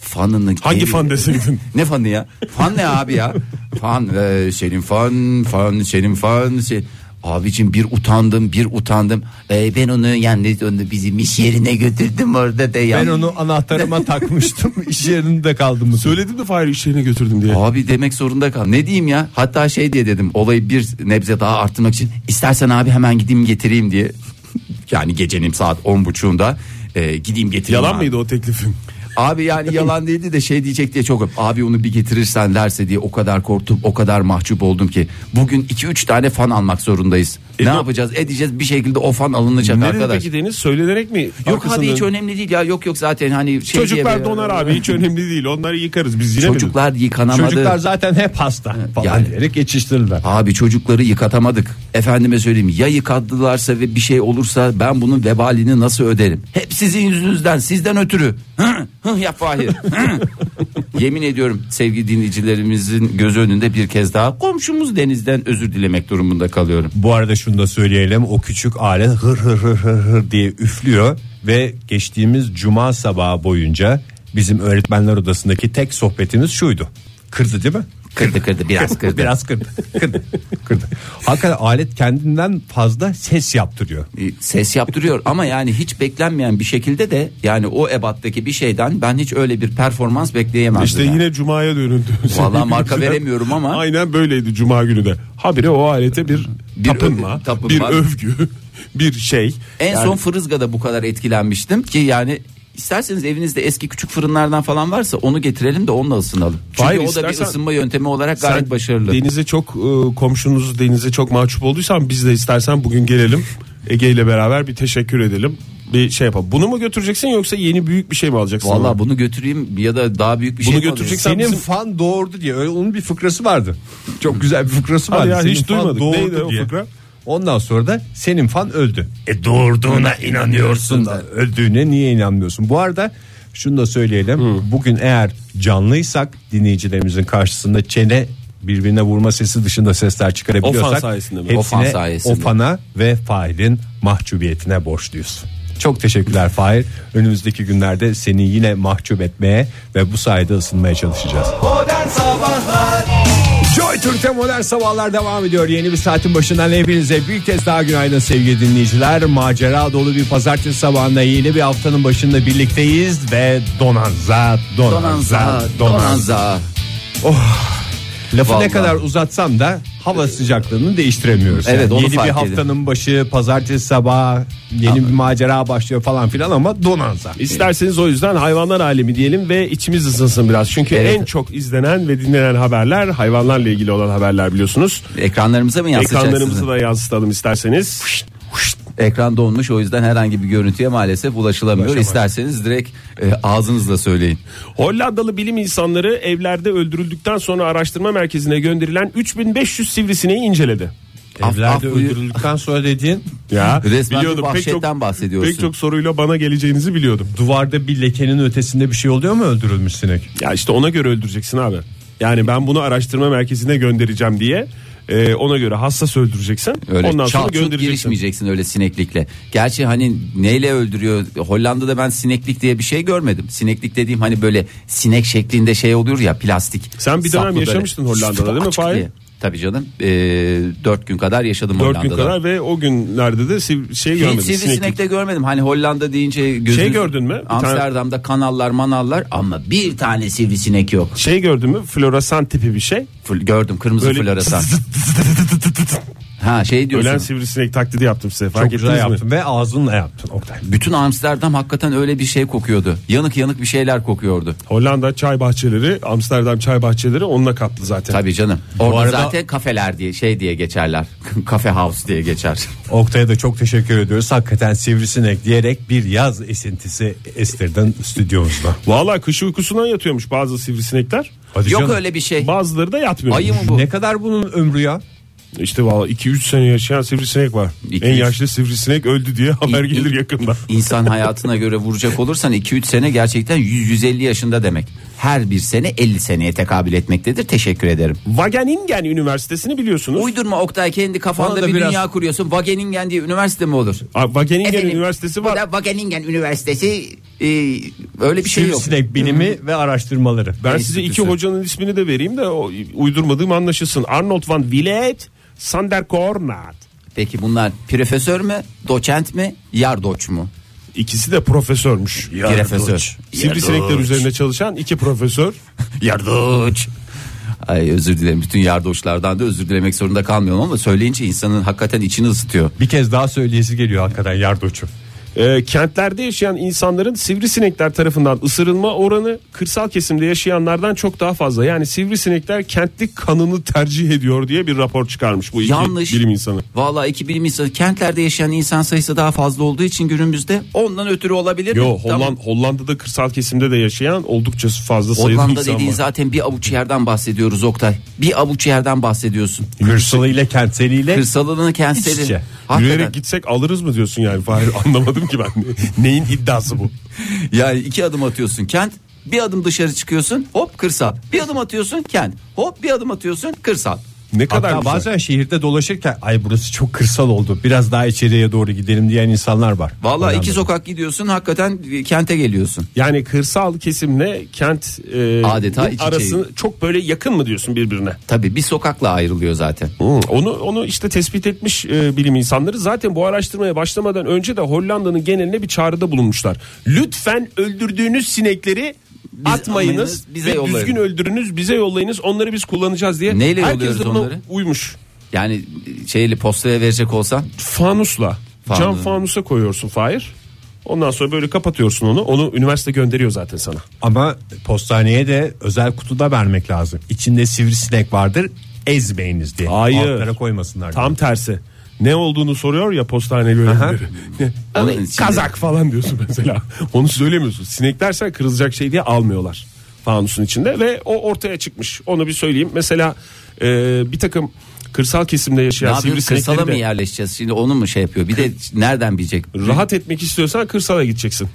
Speaker 4: Fanını
Speaker 5: Hangi
Speaker 4: geri-
Speaker 5: fan deseydin?
Speaker 4: ne fanı ya? Fan ne abi ya? Fan e, senin fan fan senin fan şey. Abicim bir utandım bir utandım. E, ben onu yani onu bizim iş yerine götürdüm orada da
Speaker 3: Ben
Speaker 4: yani.
Speaker 3: onu anahtarıma takmıştım. İş yerinde kaldım bu.
Speaker 5: Söyledim de Fahir iş yerine götürdüm diye.
Speaker 4: Abi demek zorunda kal. Ne diyeyim ya? Hatta şey diye dedim. Olayı bir nebze daha arttırmak için istersen abi hemen gideyim getireyim diye. yani gecenin saat on buçuğunda e, gideyim getireyim.
Speaker 5: Yalan
Speaker 4: abi.
Speaker 5: mıydı o teklifin?
Speaker 4: Abi yani yalan değildi de şey diyecek diye çok abi onu bir getirirsen derse diye o kadar korktum o kadar mahcup oldum ki bugün 2-3 tane fan almak zorundayız. ne
Speaker 5: no-
Speaker 4: yapacağız edeceğiz bir şekilde o fan alınacak
Speaker 5: E, Nerede
Speaker 4: arkadaş.
Speaker 5: peki Deniz söylenerek mi?
Speaker 4: Yok
Speaker 5: Arkasından-
Speaker 4: abi hiç şey önemli değil ya yok yok zaten hani şey
Speaker 5: Çocuklar
Speaker 4: diye-
Speaker 5: donar abi hiç önemli değil. Onları yıkarız biz yine mi?
Speaker 4: Çocuklar yıkanamadı.
Speaker 3: Çocuklar zaten hep hasta falan
Speaker 4: Yani.
Speaker 3: diyerek geçiştirirler.
Speaker 4: Abi çocukları yıkatamadık. Efendime söyleyeyim ya yıkadılarsa ve bir şey olursa ben bunun vebalini nasıl öderim? Hep sizin yüzünüzden sizden ötürü. Hı, hı yap Fahir. hı. Yemin ediyorum sevgili dinleyicilerimizin gözü önünde bir kez daha komşumuz Deniz'den özür dilemek durumunda kalıyorum.
Speaker 3: Bu arada şunu da söyleyelim. O küçük alet hır hır hır hır hır diye üflüyor ve geçtiğimiz cuma sabahı boyunca bizim öğretmenler odasındaki tek sohbetimiz şuydu. Kırdı değil mi?
Speaker 4: Kırdı kırdı biraz kırdı.
Speaker 3: Biraz kırdı. Kırdı. kırdı. Hakikaten alet kendinden fazla ses yaptırıyor.
Speaker 4: E, ses yaptırıyor ama yani hiç beklenmeyen bir şekilde de yani o ebattaki bir şeyden ben hiç öyle bir performans bekleyemezdim.
Speaker 5: İşte
Speaker 4: yani.
Speaker 5: yine Cuma'ya dönüldü.
Speaker 4: Vallahi marka veremiyorum ama.
Speaker 5: Aynen böyleydi Cuma günü de. Habire o alete bir,
Speaker 4: Bir
Speaker 5: tapınma,
Speaker 4: övgü, tapınma.
Speaker 5: bir övgü, bir şey.
Speaker 4: En son Fırızga'da bu kadar etkilenmiştim ki yani isterseniz evinizde eski küçük fırınlardan falan varsa onu getirelim de onunla ısınalım. Çünkü
Speaker 5: Hayır,
Speaker 4: o da bir
Speaker 5: istersen-
Speaker 4: ısınma yöntemi olarak
Speaker 5: Sen
Speaker 4: gayet başarılı.
Speaker 5: Denize çok e, komşunuz denize çok mahcup olduysan biz de istersen bugün gelelim. Ege ile beraber bir teşekkür edelim. Bir şey yapalım. Bunu mu götüreceksin yoksa yeni büyük bir şey mi alacaksın?
Speaker 4: Vallahi bunu götüreyim ya da daha büyük bir
Speaker 5: Bunu
Speaker 4: şey mi
Speaker 5: götürecek-
Speaker 4: alayım?
Speaker 3: Senin
Speaker 5: bizim-
Speaker 3: fan doğurdu diye öyle onun bir fıkrası vardı. Çok güzel bir fıkrası
Speaker 5: Hadi
Speaker 3: vardı.
Speaker 5: ya,
Speaker 3: Senin
Speaker 5: hiç
Speaker 3: fan
Speaker 5: duymadık.
Speaker 3: doğurdu
Speaker 5: Neydi o
Speaker 3: diye.
Speaker 5: fıkra?
Speaker 3: Ondan sonra da senin fan öldü. E doğurduğuna inanıyorsun da öldüğüne niye inanmıyorsun? Bu arada şunu da söyleyelim. Bugün eğer canlıysak dinleyicilerimizin karşısında çene birbirine vurma sesi dışında sesler çıkarabiliyorsak
Speaker 5: O fan sayesinde mi?
Speaker 3: hepsine
Speaker 4: O fan sayesinde.
Speaker 3: o fana ve failin mahcubiyetine borçluyuz. Çok teşekkürler Fahir. Önümüzdeki günlerde seni yine mahcup etmeye ve bu sayede ısınmaya çalışacağız.
Speaker 2: Modern Sabahlar
Speaker 3: Joy Türk'te modern sabahlar devam ediyor. Yeni bir saatin başından hepinize bir kez daha günaydın sevgili dinleyiciler. Macera dolu bir pazartesi sabahında yeni bir haftanın başında birlikteyiz ve donanza, donanza,
Speaker 4: Donanza,
Speaker 3: donanza.
Speaker 4: donanza.
Speaker 3: Lafı
Speaker 4: Vallahi.
Speaker 3: ne kadar uzatsam da hava sıcaklığını değiştiremiyoruz.
Speaker 4: Evet, onu
Speaker 3: yeni bir
Speaker 4: fark edin.
Speaker 3: haftanın başı pazartesi sabahı yeni bir macera başlıyor falan filan ama donanza.
Speaker 5: İsterseniz o yüzden hayvanlar alemi diyelim ve içimiz ısınsın biraz. Çünkü
Speaker 4: Evet.
Speaker 5: en çok izlenen ve dinlenen haberler hayvanlarla ilgili olan haberler biliyorsunuz.
Speaker 4: Ekranlarımıza mı yansıtacaksınız?
Speaker 5: Ekranlarımızı da yansıtalım isterseniz.
Speaker 4: Ekran donmuş o yüzden herhangi bir görüntüye maalesef ulaşılamıyor. İsterseniz direkt e, ağzınızla söyleyin.
Speaker 5: Hollandalı bilim insanları evlerde öldürüldükten sonra araştırma merkezine gönderilen 3500 sivrisineği inceledi.
Speaker 4: Af-
Speaker 3: Evlerde
Speaker 4: af buyur.
Speaker 3: öldürüldükten sonra dediğin
Speaker 5: Ya
Speaker 4: Resmen bir vahşetten bahsediyorsun.
Speaker 5: Pek çok soruyla bana geleceğinizi biliyordum.
Speaker 3: duvarda bir lekenin ötesinde bir şey oluyor mu öldürülmüş sinek?
Speaker 5: Ya işte ona göre öldüreceksin abi. Yani ben bunu araştırma merkezine göndereceğim diye e, ona göre hassas öldüreceksin.
Speaker 4: Öyle
Speaker 5: Ondan sonra
Speaker 4: çal- çut
Speaker 5: göndereceksin.
Speaker 4: girişmeyeceksin öyle sineklikle. Gerçi hani neyle öldürüyor? Hollanda'da ben sineklik diye bir şey görmedim. Sineklik dediğim hani böyle sinek şeklinde şey oluyor ya plastik.
Speaker 5: Sen bir dönem
Speaker 4: Saplı böyle.
Speaker 5: yaşamıştın Hollanda'da değil mi
Speaker 4: Açık
Speaker 5: Fahir?
Speaker 4: diye. Tabii canım. 4 gün kadar yaşadım
Speaker 5: 4 gün
Speaker 4: Hollanda'da.
Speaker 5: kadar ve o günlerde de siv- şey görmedim.
Speaker 4: Hiç
Speaker 5: sineklik.
Speaker 4: sivrisinek de görmedim. Hani Hollanda deyince gözünüz...
Speaker 5: Şey gördün mü? Bir tane-
Speaker 4: Amsterdam'da kanallar manallar ama bir tane sivrisinek yok.
Speaker 5: Şey gördün mü? Floresan tipi bir şey.
Speaker 4: Fl- Gördüm kırmızı
Speaker 5: Böyle
Speaker 4: floresan. ha şey diyorsun.
Speaker 5: Ölen sivrisinek taklidi yaptım size. Fark
Speaker 3: Çok güzel
Speaker 5: ettiniz mi?
Speaker 3: yaptın ve ağzınla yaptın Oktay.
Speaker 4: Bütün Amsterdam hakikaten öyle bir şey kokuyordu. Yanık yanık bir şeyler kokuyordu.
Speaker 5: Hollanda çay bahçeleri, Amsterdam çay bahçeleri onunla kaplı zaten.
Speaker 4: Tabii canım. Orada
Speaker 3: arada-
Speaker 4: zaten kafeler diye şey diye geçerler. Kafe house diye geçer.
Speaker 3: Oktay'a da çok teşekkür ediyoruz. Hakikaten sivrisinek diyerek bir yaz esintisi estirdin stüdyomuzda.
Speaker 5: Valla kış uykusundan yatıyormuş bazı sivrisinekler.
Speaker 3: Hadi
Speaker 4: Yok
Speaker 3: canım.
Speaker 4: öyle bir şey.
Speaker 5: Bazıları da yatmıyor.
Speaker 4: Ayı mı bu?
Speaker 3: Ne kadar bunun ömrü ya?
Speaker 5: İşte valla 2-3 sene yaşayan sivrisinek var.
Speaker 4: İki,
Speaker 5: en
Speaker 4: üç.
Speaker 5: yaşlı sivrisinek öldü diye haber
Speaker 4: İ-
Speaker 5: gelir yakında.
Speaker 4: İnsan hayatına göre vuracak olursan 2-3 sene gerçekten 100-150 yaşında demek. Her bir sene 50 seneye tekabül etmektedir. Teşekkür ederim.
Speaker 5: Wageningen Üniversitesi'ni biliyorsunuz.
Speaker 4: Uydurma Oktay kendi
Speaker 3: Bana
Speaker 4: kafanda
Speaker 3: da
Speaker 4: bir
Speaker 3: biraz-
Speaker 4: dünya kuruyorsun. Wageningen diye üniversite mi olur?
Speaker 5: Aa, Wageningen
Speaker 4: Efendim,
Speaker 5: Üniversitesi
Speaker 4: Bu
Speaker 5: var.
Speaker 4: da Wageningen Üniversitesi e, öyle bir şey yok.
Speaker 3: Sivrisinek bilimi ve araştırmaları.
Speaker 5: Ben
Speaker 4: Neyse,
Speaker 5: size iki
Speaker 4: güzel.
Speaker 5: hocanın ismini de vereyim de o, uydurmadığım anlaşılsın. Arnold van Willet, Sander Kornat.
Speaker 4: Peki bunlar profesör mü, doçent mi, yardoç mu?
Speaker 5: İkisi de profesörmüş.
Speaker 4: Profesör.
Speaker 5: Sivrisinekler üzerine çalışan iki profesör.
Speaker 4: Yardoç. Ay özür dilerim bütün yardoçlardan da özür dilemek zorunda kalmıyorum ama söyleyince insanın hakikaten içini ısıtıyor.
Speaker 3: Bir kez daha söyleyesi geliyor hakikaten yardoçu.
Speaker 5: Ee, kentlerde yaşayan insanların sivrisinekler tarafından ısırılma oranı kırsal kesimde yaşayanlardan çok daha fazla. Yani sivrisinekler kentli kanını tercih ediyor diye bir rapor çıkarmış bu iki
Speaker 4: Yanlış.
Speaker 5: bilim insanı.
Speaker 4: Vallahi iki bilim insanı kentlerde yaşayan insan sayısı daha fazla olduğu için günümüzde ondan ötürü olabilir. mi?
Speaker 5: Yo Holland,
Speaker 4: Tamam.
Speaker 5: Hollanda'da kırsal kesimde de yaşayan oldukça fazla sayıda
Speaker 4: Hollanda
Speaker 5: insan
Speaker 4: dediğin
Speaker 5: var.
Speaker 4: zaten bir avuç yerden bahsediyoruz Oktay. Bir avuç yerden bahsediyorsun.
Speaker 3: Hırsalı ile kentseliyle
Speaker 4: Kırsalını
Speaker 3: İç
Speaker 4: kentseli.
Speaker 3: içe.
Speaker 4: Hakikaten.
Speaker 5: Yürüyerek gitsek alırız mı diyorsun yani Fahir anlamadım ki ben. Neyin iddiası bu?
Speaker 4: Yani iki adım atıyorsun kent. Bir adım dışarı çıkıyorsun hop kırsal. Bir adım atıyorsun kent. Hop bir adım atıyorsun kırsal.
Speaker 5: Ne kadar
Speaker 3: Hatta
Speaker 5: güzel.
Speaker 3: bazen şehirde dolaşırken ay burası çok kırsal oldu biraz daha içeriye doğru gidelim diyen insanlar var.
Speaker 4: Vallahi
Speaker 3: Hollanda'da.
Speaker 4: iki sokak gidiyorsun hakikaten e, kente geliyorsun.
Speaker 5: Yani kırsal kesimle kent e,
Speaker 4: Adeta iç içe.
Speaker 5: arasını çok böyle yakın mı diyorsun birbirine?
Speaker 4: Tabii bir sokakla ayrılıyor zaten.
Speaker 5: Hmm, Onu onu işte tespit etmiş e, bilim insanları. Zaten bu araştırmaya başlamadan önce de Hollanda'nın geneline bir çağrıda bulunmuşlar. Lütfen öldürdüğünüz sinekleri atmayınız.
Speaker 4: almayınız, bize
Speaker 5: ve
Speaker 4: yollayın.
Speaker 5: düzgün öldürünüz, bize yollayınız. Onları biz kullanacağız diye.
Speaker 4: Neyle
Speaker 5: Herkes
Speaker 4: yolluyoruz
Speaker 5: de buna
Speaker 4: onları?
Speaker 5: Uymuş.
Speaker 4: Yani e, şeyli postaya verecek olsan
Speaker 5: Fanusla.
Speaker 4: Fanus.
Speaker 5: Cam fanusa koyuyorsun Fahir. Ondan sonra böyle kapatıyorsun onu. Onu üniversite gönderiyor zaten sana.
Speaker 3: Ama postaneye de özel kutuda vermek lazım. İçinde sivrisinek vardır ezmeyiniz diye.
Speaker 5: Hayır.
Speaker 3: Altlara koymasınlar.
Speaker 5: Tam tersi. Ne olduğunu soruyor ya postane görevlileri.
Speaker 4: Onun
Speaker 5: Hani
Speaker 4: içinde-
Speaker 5: Kazak falan diyorsun mesela. Onu söylemiyorsun. Sinek dersen kırılacak şey diye almıyorlar fanusun içinde ve o ortaya çıkmış. Onu bir söyleyeyim. Mesela e, bir takım kırsal kesimde
Speaker 4: ne
Speaker 5: yaşayan
Speaker 4: yapıyoruz kırsala
Speaker 5: sivrisinekleri
Speaker 4: mı
Speaker 5: de
Speaker 4: yerleşeceğiz? Şimdi onu mu şey yapıyor? Bir de nereden bilecek?
Speaker 5: rahat etmek istiyorsan kırsala gideceksin.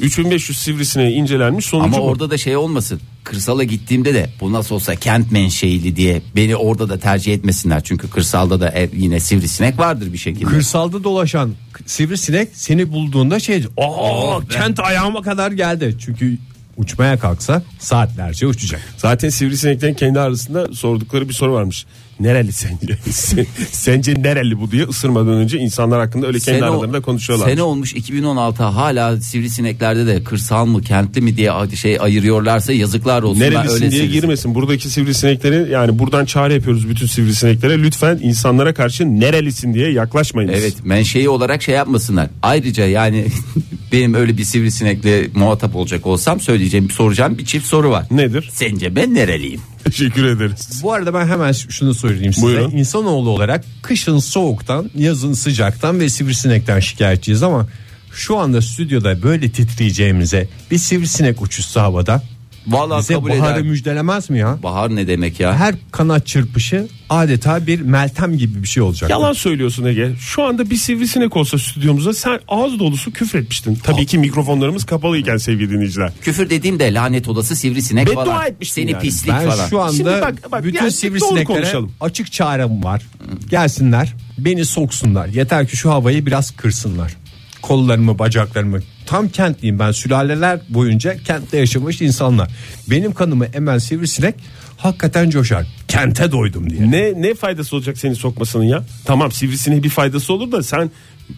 Speaker 5: 3500 sivrisineği incelenmiş sonucu
Speaker 4: Ama
Speaker 5: bu.
Speaker 4: orada da şey olmasın. Kırsala gittiğimde de bu nasıl olsa kent menşeili diye beni orada da tercih etmesinler. Çünkü kırsalda da e- yine sivrisinek vardır bir şekilde.
Speaker 3: Kırsalda dolaşan sivrisinek seni bulduğunda şey aa kent ayağıma kadar geldi. Çünkü uçmaya kalksa saatlerce uçacak.
Speaker 5: Zaten sivrisineklerin kendi arasında sordukları bir soru varmış. Nereli sence? sence nereli bu diye ısırmadan önce insanlar hakkında öyle
Speaker 4: o-
Speaker 5: kendi aralarında konuşuyorlar.
Speaker 4: Sene olmuş 2016 hala sivrisineklerde de kırsal mı kentli mi diye şey ayırıyorlarsa yazıklar olsun. Ben
Speaker 5: Nerelisin
Speaker 4: öyle
Speaker 5: diye
Speaker 4: sivrisinek-
Speaker 5: girmesin. Buradaki sivrisinekleri yani buradan çağrı yapıyoruz bütün sivrisineklere. Lütfen insanlara karşı nerelisin diye yaklaşmayınız.
Speaker 4: Evet menşei olarak şey yapmasınlar. Ayrıca yani benim öyle bir sivrisinekle muhatap olacak olsam söyleyeceğim soracağım bir çift soru var.
Speaker 5: Nedir?
Speaker 4: Sence ben nereliyim?
Speaker 5: Teşekkür ederiz.
Speaker 3: Bu arada ben hemen şunu söyleyeyim size.
Speaker 5: Buyurun.
Speaker 3: İnsanoğlu olarak kışın soğuktan, yazın sıcaktan ve sivrisinekten şikayetçiyiz ama şu anda stüdyoda böyle titreyeceğimize bir sivrisinek uçuşsa havada
Speaker 4: Vallahi
Speaker 3: bize
Speaker 4: kabul
Speaker 3: baharı
Speaker 4: eder.
Speaker 3: müjdelemez mi ya?
Speaker 4: Bahar ne demek ya?
Speaker 3: Her kanat çırpışı adeta bir meltem gibi bir şey olacak.
Speaker 5: Yalan söylüyorsun Ege. Şu anda bir sivrisinek olsa stüdyomuza sen ağız dolusu küfretmiştin. Tabii ki mikrofonlarımız kapalıyken sevgili dinleyiciler.
Speaker 4: Küfür dediğim de lanet olası sivrisinek
Speaker 5: Beddua
Speaker 4: falan.
Speaker 5: etmişsin
Speaker 4: Seni
Speaker 5: yani.
Speaker 4: pislik
Speaker 3: Ben
Speaker 4: falan.
Speaker 3: şu
Speaker 5: Şimdi
Speaker 3: anda
Speaker 5: bak- bak,
Speaker 3: bütün
Speaker 5: yani doğru
Speaker 3: sivrisineklere
Speaker 5: konuşalım.
Speaker 3: açık çağrım var. Gelsinler beni soksunlar. Yeter ki şu havayı biraz kırsınlar. Kollarımı bacaklarımı tam kentliyim ben sülaleler boyunca kentte yaşamış insanlar. Benim kanımı emen sivrisinek hakikaten coşar. Kente doydum diye.
Speaker 5: Ne ne faydası olacak seni sokmasının ya? Tamam sivrisineğe bir faydası olur da sen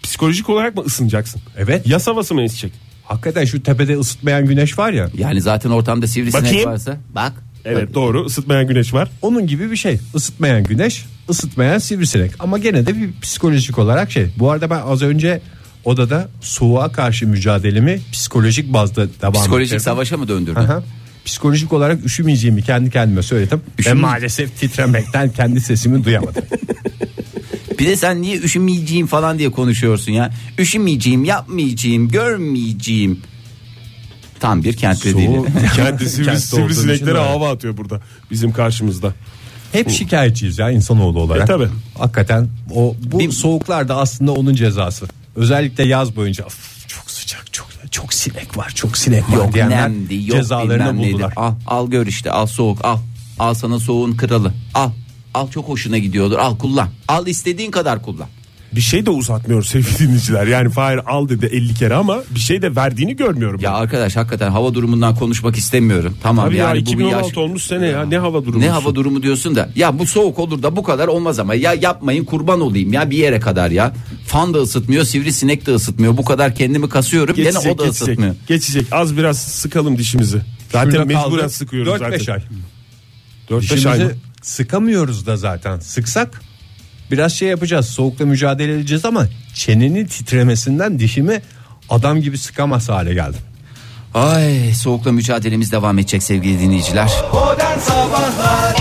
Speaker 5: psikolojik olarak mı ısınacaksın?
Speaker 3: Evet.
Speaker 5: Yas havası mı esecek?
Speaker 3: Hakikaten şu tepede ısıtmayan güneş var ya
Speaker 4: Yani zaten ortamda sivrisinek
Speaker 5: Bakayım.
Speaker 4: varsa bak.
Speaker 5: Evet doğru ısıtmayan güneş var.
Speaker 3: onun gibi bir şey. Isıtmayan güneş, ısıtmayan sivrisinek. Ama gene de bir psikolojik olarak şey. Bu arada ben az önce odada soğuğa karşı mücadelemi psikolojik bazda devam
Speaker 4: Psikolojik
Speaker 3: ettirdim.
Speaker 4: savaşa mı döndürdün?
Speaker 3: Aha. Psikolojik olarak üşümeyeceğimi kendi kendime söyledim. Ve
Speaker 4: Üşüme-
Speaker 3: maalesef titremekten kendi sesimi duyamadım.
Speaker 4: Bir de sen niye üşümeyeceğim falan diye konuşuyorsun ya. Üşümeyeceğim, yapmayacağım, görmeyeceğim. Tam bir kentli değil.
Speaker 3: Soğuk.
Speaker 5: Kendi sivri,
Speaker 3: Kentte olduğum için öyle.
Speaker 5: sivrisineklere hava atıyor burada bizim karşımızda.
Speaker 3: Hep şikayetçiyiz ya insanoğlu olarak.
Speaker 5: E, tabii.
Speaker 3: Hakikaten o bu
Speaker 4: Bir-
Speaker 3: soğuklar da aslında onun cezası. Özellikle yaz boyunca "Of, çok sıcak çok çok sinek var çok sinek var
Speaker 4: Yok
Speaker 3: diyenler
Speaker 4: nemdi, yok
Speaker 3: cezalarını
Speaker 4: bilmem neydi.
Speaker 3: buldular.
Speaker 4: Al, al gör işte al soğuk al. Al sana soğuğun kralı al. Al çok hoşuna gidiyordur al kullan. Al istediğin kadar kullan.
Speaker 5: Bir şey de uzatmıyor sevgili dinleyiciler. Yani Fahir al dedi 50 kere ama bir şey de verdiğini görmüyorum.
Speaker 4: Ya arkadaş hakikaten hava durumundan konuşmak istemiyorum. Tamam
Speaker 5: Abi ya,
Speaker 4: yani bu bir
Speaker 5: 2016
Speaker 4: yaş-
Speaker 5: olmuş sene ya ne hava durumu.
Speaker 4: Ne hava durumu diyorsun da ya bu soğuk olur da bu kadar olmaz ama ya yapmayın kurban olayım ya bir yere kadar ya. Fan da ısıtmıyor sivrisinek de ısıtmıyor bu kadar kendimi kasıyorum gene o da
Speaker 5: geçecek,
Speaker 4: ısıtmıyor.
Speaker 5: geçecek. Az biraz sıkalım dişimizi. Zaten
Speaker 3: Şurada
Speaker 5: mecburen
Speaker 3: kaldı.
Speaker 5: sıkıyoruz
Speaker 3: 4-5
Speaker 5: zaten.
Speaker 3: ay.
Speaker 5: 4-5 ay. mı?
Speaker 3: Dişimizi sıkamıyoruz da zaten. Sıksak biraz şey yapacağız. Soğukla mücadele edeceğiz ama çenenin titremesinden dişimi adam gibi sıkamaz hale geldim.
Speaker 4: Ay soğukla mücadelemiz devam edecek sevgili dinleyiciler.
Speaker 2: Modern Sabahlar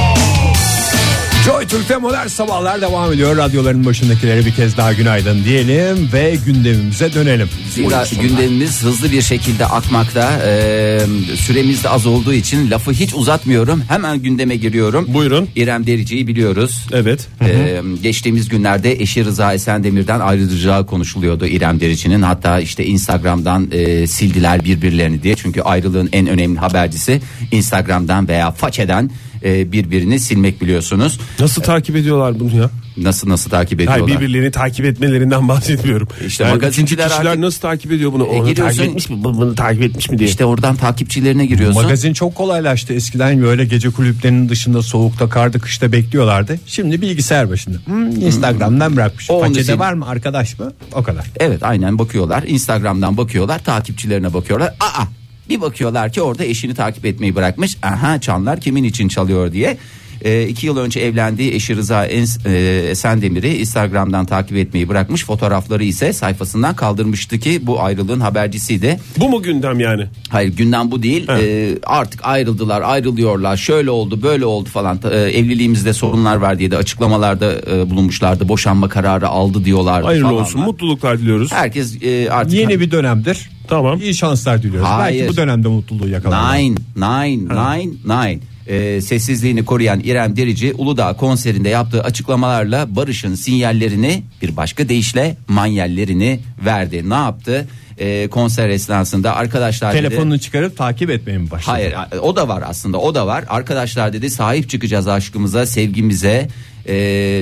Speaker 3: Joy Türk'te modern sabahlar devam ediyor. Radyoların başındakilere bir kez daha günaydın diyelim ve gündemimize dönelim.
Speaker 4: Zira gündemimiz hızlı bir şekilde akmakta. Ee, süremiz de az olduğu için lafı hiç uzatmıyorum. Hemen gündeme giriyorum.
Speaker 5: Buyurun.
Speaker 4: İrem Derici'yi biliyoruz.
Speaker 5: Evet.
Speaker 4: Ee, geçtiğimiz günlerde eşi Rıza Esendemir'den ayrılacağı konuşuluyordu İrem Derici'nin. Hatta işte Instagram'dan e, sildiler birbirlerini diye. Çünkü ayrılığın en önemli habercisi Instagram'dan veya façeden e, birbirini silmek biliyorsunuz.
Speaker 5: Nasıl takip ediyorlar bunu ya?
Speaker 4: Nasıl nasıl takip
Speaker 5: Hayır
Speaker 4: ediyorlar?
Speaker 5: birbirlerini takip etmelerinden bahsetmiyorum.
Speaker 4: İşte
Speaker 5: Yani
Speaker 4: magazinciler
Speaker 5: üçüncü kişiler
Speaker 4: artık-
Speaker 5: nasıl takip ediyor bunu?
Speaker 4: E,
Speaker 5: Onu
Speaker 4: giriyorsun-
Speaker 5: takip etmiş mi? Bu- Bunu takip etmiş mi diye.
Speaker 4: İşte oradan takipçilerine giriyorsun.
Speaker 3: Magazin çok kolaylaştı. Eskiden böyle gece kulüplerinin dışında soğukta, karda, kışta bekliyorlardı. Şimdi bilgisayar başında. Hmm, Instagram'dan bırakmış.
Speaker 4: O onu sil-
Speaker 3: Paçede var mı arkadaş mı? O kadar.
Speaker 4: Evet aynen bakıyorlar. Instagram'dan bakıyorlar. Takipçilerine bakıyorlar. Aa bir bakıyorlar ki orada eşini takip etmeyi bırakmış. Aha çanlar kimin için çalıyor diye. Ee, iki yıl önce evlendiği eşi Rıza En- e, Esendemir'i Instagram'dan takip etmeyi bırakmış. Fotoğrafları ise sayfasından kaldırmıştı ki bu ayrılığın habercisiydi.
Speaker 5: Bu mu gündem yani?
Speaker 4: Hayır gündem bu değil. Ee, artık ayrıldılar, ayrılıyorlar. Şöyle oldu, böyle oldu falan. Ee, evliliğimizde sorunlar var diye de açıklamalarda e, bulunmuşlardı. Boşanma kararı aldı diyorlardı
Speaker 5: Hayırlı
Speaker 4: falan.
Speaker 5: olsun. Mutluluklar diliyoruz.
Speaker 4: Herkes e, artık
Speaker 3: Yeni bir dönemdir.
Speaker 5: Tamam.
Speaker 3: İyi şanslar diliyoruz.
Speaker 4: Hayır.
Speaker 3: Belki bu dönemde mutluluğu yakalarlar.
Speaker 4: Nine, nine, nine, nine. Ee, sessizliğini koruyan İrem Derici Uludağ konserinde yaptığı açıklamalarla Barış'ın sinyallerini bir başka deyişle manyellerini verdi. Ne yaptı? Ee, konser esnasında arkadaşlar dedi-
Speaker 3: Telefonunu çıkarıp takip etmeye mi başladı?
Speaker 4: Hayır o da var aslında o da var. Arkadaşlar dedi sahip çıkacağız aşkımıza sevgimize. Ee,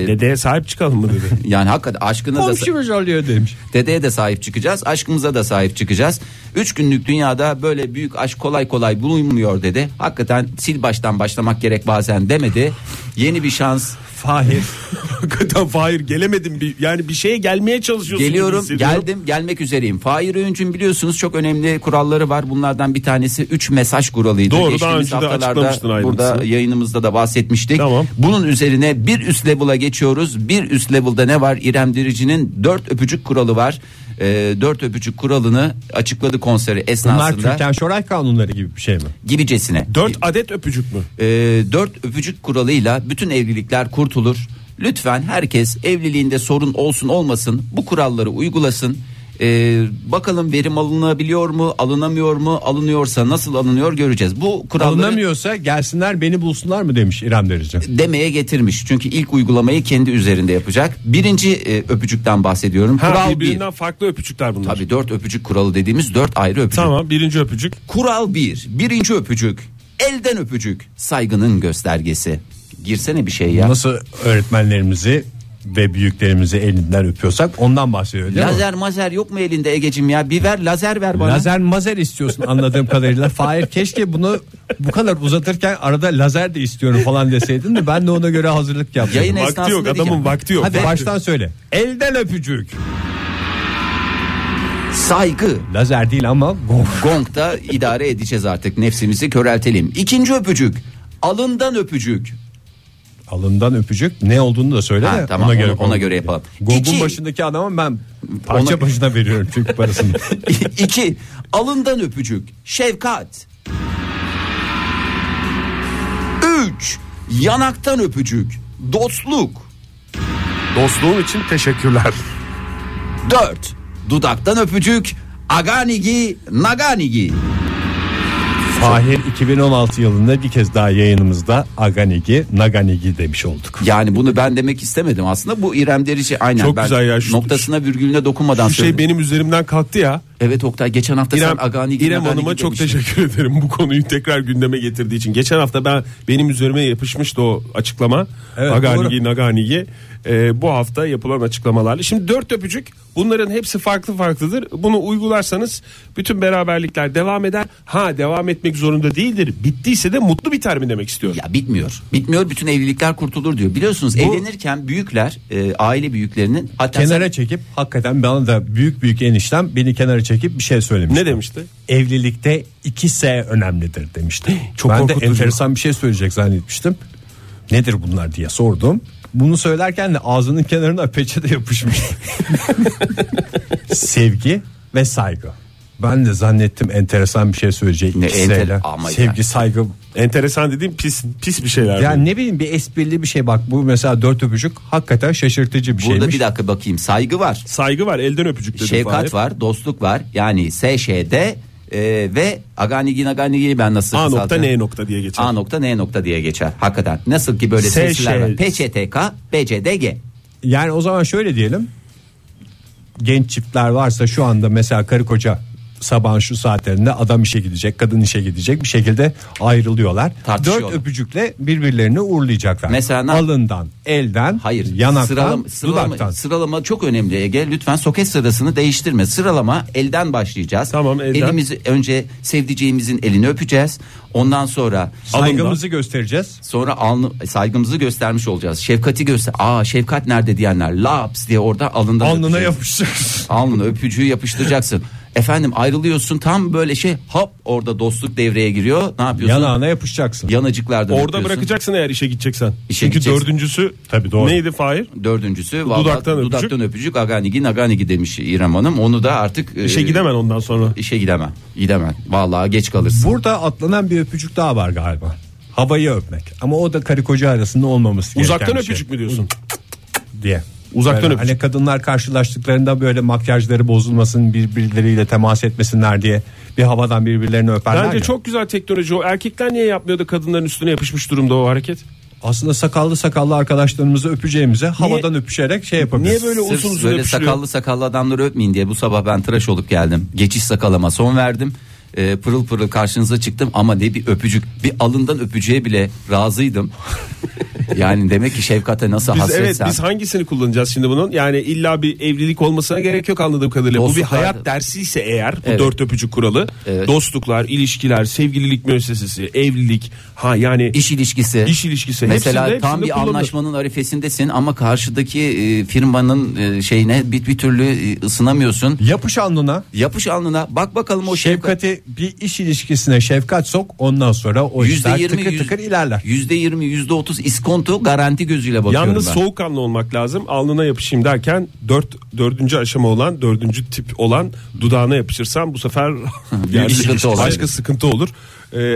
Speaker 5: Dedeye sahip çıkalım mı dedi.
Speaker 4: yani hakikaten aşkına da...
Speaker 3: Komşumuz oluyor demiş.
Speaker 4: Dedeye de sahip çıkacağız, aşkımıza da sahip çıkacağız. Üç günlük dünyada böyle büyük aşk kolay kolay bulunmuyor dedi. Hakikaten sil baştan başlamak gerek bazen demedi. Yeni bir şans,
Speaker 3: Fahir.
Speaker 5: Hakikaten Fahir gelemedim. Bir, yani bir şeye gelmeye çalışıyorsun. gibi
Speaker 4: Geliyorum,
Speaker 5: hissediyorum.
Speaker 4: geldim, gelmek üzereyim. Fahir Öğüncü'nün biliyorsunuz çok önemli kuralları var. Bunlardan bir tanesi 3 mesaj kuralıydı.
Speaker 5: Doğru, daha
Speaker 4: Geçtiğimiz
Speaker 5: önce de
Speaker 4: haftalarda
Speaker 5: açıklamıştın ayrıntısını.
Speaker 4: Burada yayınımızda da bahsetmiştik.
Speaker 5: Tamam.
Speaker 4: Bunun üzerine bir üst level'a geçiyoruz. Bir üst level'da ne var? İrem Dirici'nin 4 öpücük kuralı var. 4 öpücük kuralını açıkladı konseri
Speaker 3: Bunlar
Speaker 4: esnasında
Speaker 3: Türkan Şoray kanunları gibi bir şey mi?
Speaker 4: gibicesine.
Speaker 5: Dört adet öpücük mü?
Speaker 4: E, dört öpücük kuralıyla bütün evlilikler kurtulur. Lütfen herkes evliliğinde sorun olsun olmasın bu kuralları uygulasın. E, bakalım verim alınabiliyor mu, alınamıyor mu, alınıyorsa nasıl alınıyor göreceğiz. Bu kuralları
Speaker 3: Alınamıyorsa gelsinler beni bulsunlar mı demiş İrem Derici.
Speaker 4: demeye getirmiş. Çünkü ilk uygulamayı kendi üzerinde yapacak. Birinci e, öpücükten bahsediyorum.
Speaker 5: Ha,
Speaker 4: Kural bir.
Speaker 5: birbirinden farklı öpücükler bunlar.
Speaker 4: Tabii dört öpücük kuralı dediğimiz dört ayrı öpücük.
Speaker 5: Tamam birinci öpücük.
Speaker 4: Kural bir. Birinci öpücük. Elden öpücük. Saygının göstergesi. Girsene bir şey ya.
Speaker 3: Nasıl öğretmenlerimizi ve büyüklerimizi elinden öpüyorsak ondan bahsediyor değil mi?
Speaker 4: Lazer mazer yok mu elinde Egecim ya? Bir ver lazer ver bana.
Speaker 3: Lazer mazer istiyorsun anladığım kadarıyla. Fahir keşke bunu bu kadar uzatırken arada lazer de istiyorum falan deseydin de ben de ona göre hazırlık yaptım.
Speaker 4: Yayın esnasında
Speaker 5: Vakti yok
Speaker 4: diyeceğim.
Speaker 5: adamın vakti yok.
Speaker 3: Hadi
Speaker 5: Vakti-
Speaker 3: baştan söyle. Elden öpücük.
Speaker 4: Saygı.
Speaker 3: Lazer değil ama gong.
Speaker 4: Gong'da idare edeceğiz artık nefsimizi köreltelim. İkinci öpücük. Alından öpücük.
Speaker 3: Alından öpücük ne olduğunu da söyle
Speaker 4: Ha,
Speaker 3: de
Speaker 4: tamam,
Speaker 3: ona göre,
Speaker 4: onu- ona göre yapalım.
Speaker 3: Gong'un
Speaker 4: İki.
Speaker 3: başındaki adama ben parça
Speaker 4: Ona-
Speaker 3: başına veriyorum çünkü parasını.
Speaker 4: İki. Alından öpücük. Şefkat. Üç. Yanaktan öpücük. Dostluk.
Speaker 6: Dostluğun için teşekkürler.
Speaker 4: Dört. Dudaktan öpücük. Aganigi, naganigi.
Speaker 3: Fahir 2016 yılında bir kez daha yayınımızda Aganigi Naganigi demiş olduk.
Speaker 4: Yani bunu ben demek istemedim aslında. Bu İrem Derici aynen
Speaker 5: Çok
Speaker 4: ben
Speaker 5: güzel ya. Şu-
Speaker 4: noktasına virgülüne dokunmadan
Speaker 5: Şu şey
Speaker 4: söyledim.
Speaker 5: benim üzerimden kalktı ya.
Speaker 4: Evet Oktay geçen hafta
Speaker 5: İrem,
Speaker 4: sen Agani gibi
Speaker 5: İrem
Speaker 4: Nagani
Speaker 5: Hanım'a
Speaker 4: gibi
Speaker 5: çok
Speaker 4: demiştin.
Speaker 5: teşekkür ederim bu konuyu tekrar gündeme getirdiği için. Geçen hafta ben benim üzerime yapışmıştı o açıklama.
Speaker 3: Evet,
Speaker 5: Aganigi Naganigi. Ee, bu hafta yapılan açıklamalarla. Şimdi dört öpücük bunların hepsi farklı farklıdır. Bunu uygularsanız bütün beraberlikler devam eder. Ha devam etmek zorunda değildir. Bittiyse de mutlu biter mi demek istiyorum.
Speaker 4: Ya bitmiyor. Bitmiyor bütün evlilikler kurtulur diyor. Biliyorsunuz evlenirken büyükler e, aile büyüklerinin hatta sen-
Speaker 3: Kenara çekip hakikaten bana da büyük büyük eniştem beni kenara çekip bir şey söylemiş.
Speaker 5: Ne demişti?
Speaker 3: Evlilikte 2S önemlidir demişti.
Speaker 5: Çok
Speaker 3: ben de
Speaker 5: korkutucu.
Speaker 3: enteresan bir şey söyleyecek zannetmiştim. Nedir bunlar diye sordum. Bunu söylerken de ağzının kenarına peçete yapışmış. Sevgi ve saygı. Ben de zannettim enteresan bir şey söyleyecek.
Speaker 4: Ne
Speaker 3: ikisiyle.
Speaker 4: enter- ama
Speaker 3: Sevgi,
Speaker 4: yani.
Speaker 3: saygı.
Speaker 5: Enteresan dediğim pis pis bir şeyler.
Speaker 3: Yani ne bileyim bir esprili bir şey bak bu mesela dört öpücük hakikaten şaşırtıcı bir
Speaker 4: burada
Speaker 3: şeymiş.
Speaker 4: bir dakika bakayım saygı var.
Speaker 5: Saygı var elden öpücük dedim. Fahir.
Speaker 4: Şefkat var, dostluk var. Yani SŞ'de e, ve Aganigi Naganigi'yi ben nasıl
Speaker 5: A nokta
Speaker 4: kısaltacağım?
Speaker 5: N nokta diye geçer.
Speaker 4: A nokta N nokta diye geçer. Hakikaten. Nasıl ki böyle
Speaker 5: SŞ.
Speaker 4: sesler var. PÇTK, BCDG.
Speaker 3: Yani o zaman şöyle diyelim. Genç çiftler varsa şu anda mesela karı koca sabahın şu saatlerinde adam işe gidecek, kadın işe gidecek bir şekilde ayrılıyorlar.
Speaker 4: Tartışıyorlar.
Speaker 3: Dört öpücükle birbirlerini uğurlayacaklar.
Speaker 4: Mesela ne-
Speaker 3: alından, elden,
Speaker 4: Hayır.
Speaker 3: yanaktan,
Speaker 4: sıralam- sıralama,
Speaker 3: dudaktan.
Speaker 4: Sıralama çok önemli Ege. Lütfen soket sırasını değiştirme. Sıralama elden başlayacağız.
Speaker 5: Tamam, elden.
Speaker 4: Elimizi önce sevdiceğimizin elini öpeceğiz. Ondan sonra
Speaker 3: Saygımızı göstereceğiz.
Speaker 4: sonra alnı, e, saygımızı göstermiş olacağız. Şefkati göster. Aa şefkat nerede diyenler laps diye orada alnından
Speaker 3: Alnına
Speaker 4: öpeceksin.
Speaker 3: yapışacağız.
Speaker 4: Alnına öpücüğü yapıştıracaksın. Efendim ayrılıyorsun tam böyle şey hop orada dostluk devreye giriyor. Ne yapıyorsun?
Speaker 3: Yanağına yapışacaksın.
Speaker 4: Yanacıklardan
Speaker 5: Orada
Speaker 4: öpüyorsun.
Speaker 5: bırakacaksın eğer işe gideceksen.
Speaker 4: İşe
Speaker 5: Çünkü
Speaker 4: gideceksin.
Speaker 5: dördüncüsü
Speaker 3: Tabii doğru.
Speaker 5: neydi Fahir?
Speaker 4: Dördüncüsü vallahi
Speaker 5: Dudaktan
Speaker 4: dudaktan
Speaker 5: öpücük.
Speaker 4: öpücük. aganigi naganigi demiş İrem Hanım. Onu da artık e,
Speaker 5: İşe gidemem ondan sonra.
Speaker 4: işe gidemem. Gidemem. Vallahi geç kalırsın.
Speaker 3: Burada atlanan bir öpücük daha var galiba. Havayı öpmek. Ama o da karı koca arasında olmaması gereken
Speaker 5: Uzaktan
Speaker 3: bir şey.
Speaker 5: öpücük mü diyorsun?
Speaker 3: diye.
Speaker 5: Uzaktan
Speaker 3: Böyle
Speaker 5: öpücük.
Speaker 3: Hani kadınlar karşılaştıklarında böyle makyajları bozulmasın birbirleriyle temas etmesinler diye bir havadan birbirlerini öperler
Speaker 5: Bence
Speaker 3: ya.
Speaker 5: çok güzel teknoloji o. Erkekler niye yapmıyor da kadınların üstüne yapışmış durumda o hareket?
Speaker 3: Aslında sakallı sakallı arkadaşlarımızı öpeceğimize havadan öpüşerek şey yapabiliriz.
Speaker 5: Niye böyle
Speaker 4: Sırf
Speaker 5: uzun uzun
Speaker 4: böyle
Speaker 5: öpüşülüyor?
Speaker 4: sakallı sakallı adamları öpmeyin diye bu sabah ben tıraş olup geldim. Geçiş sakalama son verdim. e, pırıl pırıl karşınıza çıktım ama ne bir öpücük bir alından öpücüğe bile razıydım. yani demek ki şefkate nasıl
Speaker 5: Biz
Speaker 4: hasretsem.
Speaker 5: evet biz hangisini kullanacağız şimdi bunun? Yani illa bir evlilik olmasına gerek yok anladığım kadarıyla. Bu bir
Speaker 4: Dostluklar-
Speaker 5: hayat dersi ise eğer bu
Speaker 4: Evet.
Speaker 5: dört öpücük kuralı.
Speaker 4: Evet.
Speaker 5: Dostluklar, ilişkiler, sevgililik müessesesi, evlilik, ha yani
Speaker 4: İş ilişkisi.
Speaker 5: İş ilişkisi.
Speaker 4: Mesela
Speaker 5: Hepsinde-
Speaker 4: tam
Speaker 5: hepsinde
Speaker 4: bir
Speaker 5: kullanılır.
Speaker 4: anlaşmanın arifesindesin ama karşıdaki e, firmanın e, şeyine bir, bir türlü e, ısınamıyorsun.
Speaker 3: Yapış alnına
Speaker 4: Yapış alnına bak bakalım o şefkat.
Speaker 3: şefkati bir iş ilişkisine şefkat sok ondan sonra o
Speaker 4: Yüzde
Speaker 3: işler
Speaker 4: yirmi,
Speaker 3: tıkır
Speaker 4: yüz-
Speaker 3: tıkır ilerler.
Speaker 4: Yüzde yirmi, yüzde otuz iskonto garanti gözüyle bakıyorum
Speaker 5: Yalnız
Speaker 4: ben.
Speaker 5: soğukkanlı olmak lazım. Alnına yapışayım derken dört, dördüncü aşama olan dördüncü tip olan dudağına yapışırsan bu sefer
Speaker 4: bir sıkıntı olur. E, şey
Speaker 5: başka sıkıntı olur.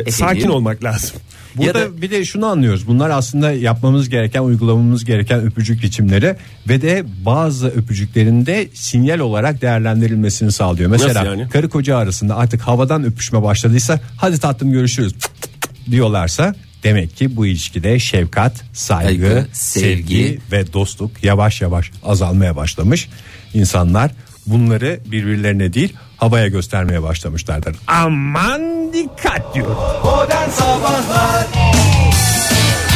Speaker 5: Ee, sakin olmak lazım.
Speaker 3: Burada
Speaker 4: Ya da-
Speaker 3: bir de şunu anlıyoruz. Bunlar aslında yapmamız gereken, uygulamamız gereken öpücük biçimleri ve de bazı öpücüklerin de sinyal olarak değerlendirilmesini sağlıyor. Mesela
Speaker 5: Nasıl yani?
Speaker 3: karı koca arasında artık havadan öpüşme başladıysa hadi tatlım görüşürüz cık cık cık diyorlarsa demek ki bu ilişkide şefkat, saygı,
Speaker 4: Saygı, sevgi
Speaker 3: sevgi, ve dostluk yavaş yavaş azalmaya başlamış. İnsanlar bunları birbirlerine değil havaya göstermeye başlamışlardır. Aman dikkat diyor.
Speaker 2: Modern Sabahlar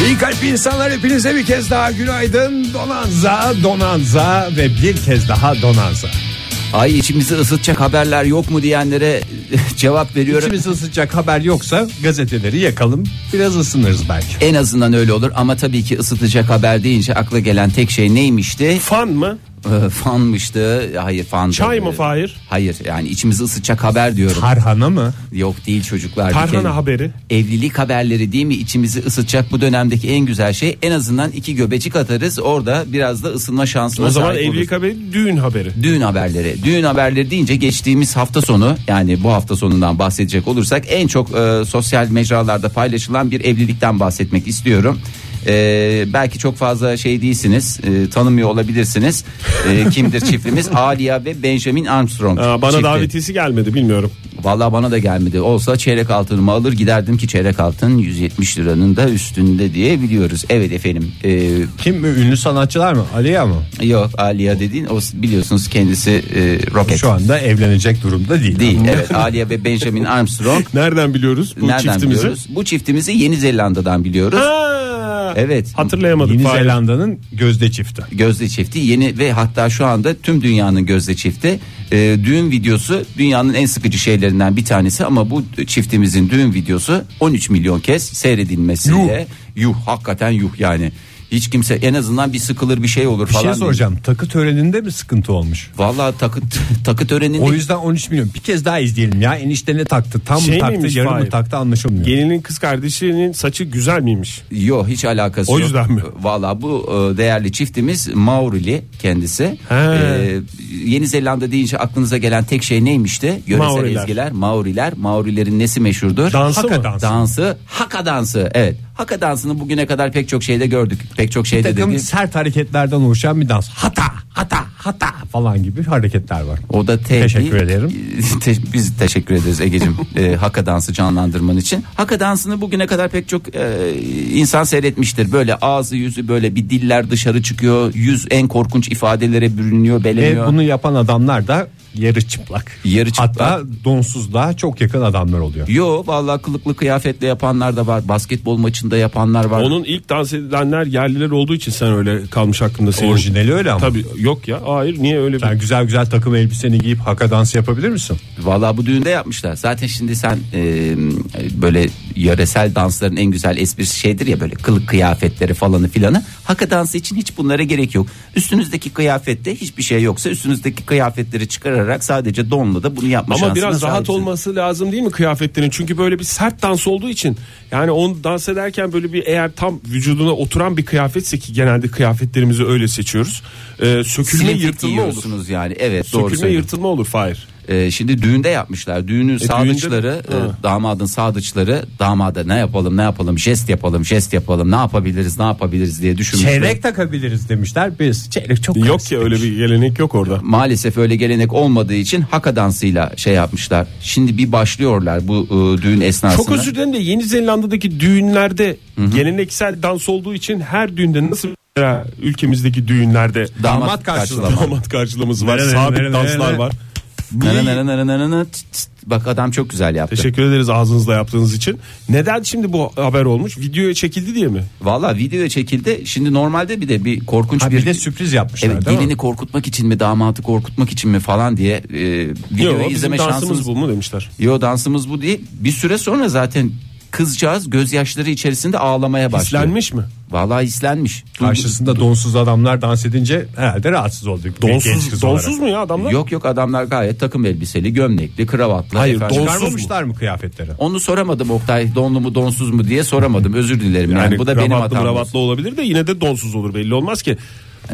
Speaker 3: İyi kalp insanlar hepinize bir kez daha günaydın. Donanza, donanza ve bir kez daha donanza.
Speaker 4: Ay içimizi ısıtacak haberler yok mu diyenlere cevap veriyorum.
Speaker 3: İçimizi ısıtacak haber yoksa gazeteleri yakalım. Biraz ısınırız belki.
Speaker 4: En azından öyle olur ama tabii ki ısıtacak haber deyince akla gelen tek şey neymişti?
Speaker 5: Fan mı?
Speaker 4: Ee, fanmıştı. Hayır fan.
Speaker 5: Çay
Speaker 4: değil.
Speaker 5: mı Fahir?
Speaker 4: Hayır yani içimizi ısıtacak haber diyorum.
Speaker 3: Tarhana mı?
Speaker 4: Yok değil çocuklar.
Speaker 5: Tarhana
Speaker 4: Bir kere-
Speaker 5: haberi.
Speaker 4: Evlilik haberleri değil mi? İçimizi ısıtacak bu dönemdeki en güzel şey. En azından iki göbecik atarız. Orada biraz da ısınma şansına
Speaker 5: O zaman
Speaker 4: sahip oluruz.
Speaker 5: evlilik haberi düğün haberi.
Speaker 4: Düğün haberleri. Düğün haberleri deyince geçtiğimiz hafta sonu yani bu hafta sonundan bahsedecek olursak en çok e, sosyal mecralarda paylaşılan bir evlilikten bahsetmek istiyorum. E, belki çok fazla şey değilsiniz, e, tanımıyor olabilirsiniz. E, kimdir çiftimiz? Alia ve Benjamin Armstrong.
Speaker 5: Aa, bana
Speaker 4: çifti.
Speaker 5: davetiyesi gelmedi bilmiyorum.
Speaker 4: Vallahi bana da gelmedi. Olsa çeyrek altınımı alır giderdim ki çeyrek altın 170 liranın da üstünde diye biliyoruz. Evet efendim. E,
Speaker 3: Kim mi? Ünlü sanatçılar mı? Aliya mı?
Speaker 4: yok Alia dediğin o biliyorsunuz kendisi e, roket.
Speaker 3: Şu anda evlenecek durumda değil.
Speaker 4: Değil evet Alia ve Benjamin Armstrong
Speaker 5: Nereden biliyoruz bu
Speaker 4: nereden
Speaker 5: çiftimizi?
Speaker 4: biliyoruz? Bu çiftimizi Yeni Zelanda'dan biliyoruz.
Speaker 5: Ha!
Speaker 4: Evet.
Speaker 5: Hatırlayamadık.
Speaker 3: Yeni
Speaker 5: Fahir.
Speaker 3: Zelanda'nın gözde çifti.
Speaker 4: Gözde çifti yeni ve hatta şu anda tüm dünyanın gözde çifti. Ee, düğün videosu dünyanın en sıkıcı şeylerinden bir tanesi ama bu çiftimizin düğün videosu 13 milyon kez seyredilmesiyle yuh, hakikaten yuh yani. Hiç kimse en azından bir sıkılır bir şey olur
Speaker 3: Bir
Speaker 4: falan.
Speaker 3: şey
Speaker 4: diye.
Speaker 3: soracağım. Takı töreninde mi sıkıntı olmuş?
Speaker 4: Vallahi takı takı töreninde
Speaker 3: O yüzden 13 milyon. Bir kez daha izleyelim ya. Enişte ne taktı? Tam
Speaker 5: Şey
Speaker 3: mı taktı?
Speaker 5: miymiş
Speaker 3: Yarım mı
Speaker 5: Fahir?
Speaker 3: taktı? Anlaşılmıyor.
Speaker 5: Gelinin kız kardeşinin saçı güzel miymiş?
Speaker 4: Yok hiç alakası
Speaker 5: O
Speaker 4: yok.
Speaker 5: yüzden mi?
Speaker 4: Valla bu e, değerli çiftimiz Maurili kendisi.
Speaker 5: He.
Speaker 4: E, Yeni Zelanda deyince aklınıza gelen tek şey neymişti? Yöresel
Speaker 5: Maoriler.
Speaker 4: ezgiler, Maoriler. Maorilerin nesi meşhurdur?
Speaker 5: Dansı
Speaker 3: Haka
Speaker 5: mı?
Speaker 3: dansı.
Speaker 4: Dansı, Haka dansı. Evet. Haka dansını bugüne kadar pek çok şeyde gördük. Pek çok şey şeyde
Speaker 3: takım
Speaker 4: dedi.
Speaker 3: sert hareketlerden oluşan bir dans. Hata, hata, hata falan gibi hareketler var.
Speaker 4: O da te-
Speaker 3: Teşekkür ederim.
Speaker 4: Te- biz teşekkür ederiz Ege'cim e, Haka dansı canlandırman için. Haka dansını bugüne kadar pek çok e, insan seyretmiştir. Böyle ağzı yüzü böyle bir diller dışarı çıkıyor. Yüz en korkunç ifadelere bürünüyor, beleniyor.
Speaker 3: Ve E, bunu yapan adamlar da yarı çıplak.
Speaker 4: Yarı çıplak.
Speaker 3: Hatta donsuzluğa çok yakın adamlar oluyor.
Speaker 4: Yo vallahi kılıklı kıyafetle yapanlar da var. Basketbol maçında yapanlar var.
Speaker 5: Onun ilk dans edilenler yerliler olduğu için sen öyle kalmış aklında senin.
Speaker 3: Orijinali öyle ama.
Speaker 5: Tabii yok ya. Hayır niye öyle bir
Speaker 3: Sen güzel güzel takım elbiseni giyip haka dansı yapabilir misin?
Speaker 4: Vallahi bu düğünde yapmışlar. Zaten şimdi sen e, böyle yöresel dansların en güzel esprisi şeydir ya böyle kılık kıyafetleri falanı filanı. Haka dansı için hiç bunlara gerek yok. Üstünüzdeki kıyafette hiçbir şey yoksa üstünüzdeki kıyafetleri çıkararak sadece donla da bunu yapma
Speaker 5: Ama
Speaker 4: şansına
Speaker 5: biraz rahat
Speaker 4: sahipsin.
Speaker 5: olması lazım değil mi kıyafetlerin? Çünkü böyle bir sert dans olduğu için yani onu dans ederken böyle bir eğer tam vücuduna oturan bir kıyafetse ki genelde kıyafetlerimizi öyle seçiyoruz. Ee, sökülme
Speaker 4: Silintik
Speaker 5: yırtılma olur.
Speaker 4: giyiyorsunuz yani. Evet doğru
Speaker 5: Sökülme
Speaker 4: söylüyorsun.
Speaker 5: yırtılma olur Fahir.
Speaker 4: Ee, şimdi düğünde yapmışlar. Düğünün
Speaker 5: E,
Speaker 4: sadıçları,
Speaker 5: düğünde mi?
Speaker 4: e, damadın sadıçları, damada ne yapalım ne yapalım jest yapalım jest yapalım ne yapabiliriz ne yapabiliriz diye düşünmüşler.
Speaker 3: Çeyrek takabiliriz demişler. Biz çeyrek çok
Speaker 5: Yok
Speaker 3: klasik
Speaker 5: ki öyle
Speaker 3: demiş.
Speaker 5: bir gelenek yok orada.
Speaker 4: Maalesef öyle gelenek olmadığı için haka dansıyla şey yapmışlar. Şimdi bir başlıyorlar bu e, düğün esnasında.
Speaker 5: Çok özür dilerim de Yeni Zelanda'daki düğünlerde geleneksel dans olduğu için her düğünde nasıl mesela ülkemizdeki düğünlerde
Speaker 3: Damat karşılama.
Speaker 5: damat karşılaması var,
Speaker 3: Nerelere,
Speaker 5: sabit
Speaker 3: nerelere,
Speaker 5: danslar
Speaker 3: nerelere.
Speaker 5: var.
Speaker 4: Nana nana nana nana nana tıt tıt. Bak adam çok güzel yaptı.
Speaker 5: Teşekkür ederiz ağzınızla yaptığınız için. Neden şimdi bu haber olmuş? Videoya çekildi diye mi?
Speaker 4: Valla videoya çekildi. Şimdi normalde bir de bir korkunç
Speaker 3: Ha,
Speaker 4: bir,
Speaker 3: bir de sürpriz yapmışlar
Speaker 4: Evet,
Speaker 3: değil mi?
Speaker 4: gelini korkutmak için mi damatı korkutmak için mi falan diye e, videoyu
Speaker 5: Yok bizim
Speaker 4: izleme
Speaker 5: dansımız
Speaker 4: şansımız
Speaker 5: bu mu demişler.
Speaker 4: Yo dansımız bu değil. Bir süre sonra zaten kızcağız gözyaşları içerisinde ağlamaya başlıyor.
Speaker 5: İslenmiş mi?
Speaker 4: Vallahi islenmiş.
Speaker 3: Karşısında donsuz adamlar dans edince herhalde rahatsız olduk. Bir genç
Speaker 5: Donsuz,
Speaker 3: kız olarak.
Speaker 5: donsuz mu ya adamlar?
Speaker 4: Yok yok adamlar gayet takım elbiseli, gömlekli, kravatlı.
Speaker 5: Hayır,
Speaker 4: efendim.
Speaker 5: donsuz
Speaker 3: Çıkarmamışlar mı kıyafetleri?
Speaker 4: Onu soramadım Oktay. Donlu mu donsuz mu diye soramadım. Özür dilerim. Yani, bu da benim
Speaker 5: kravatlı
Speaker 4: hatam.
Speaker 5: mravatlı olabilir de yine de donsuz olur belli olmaz ki.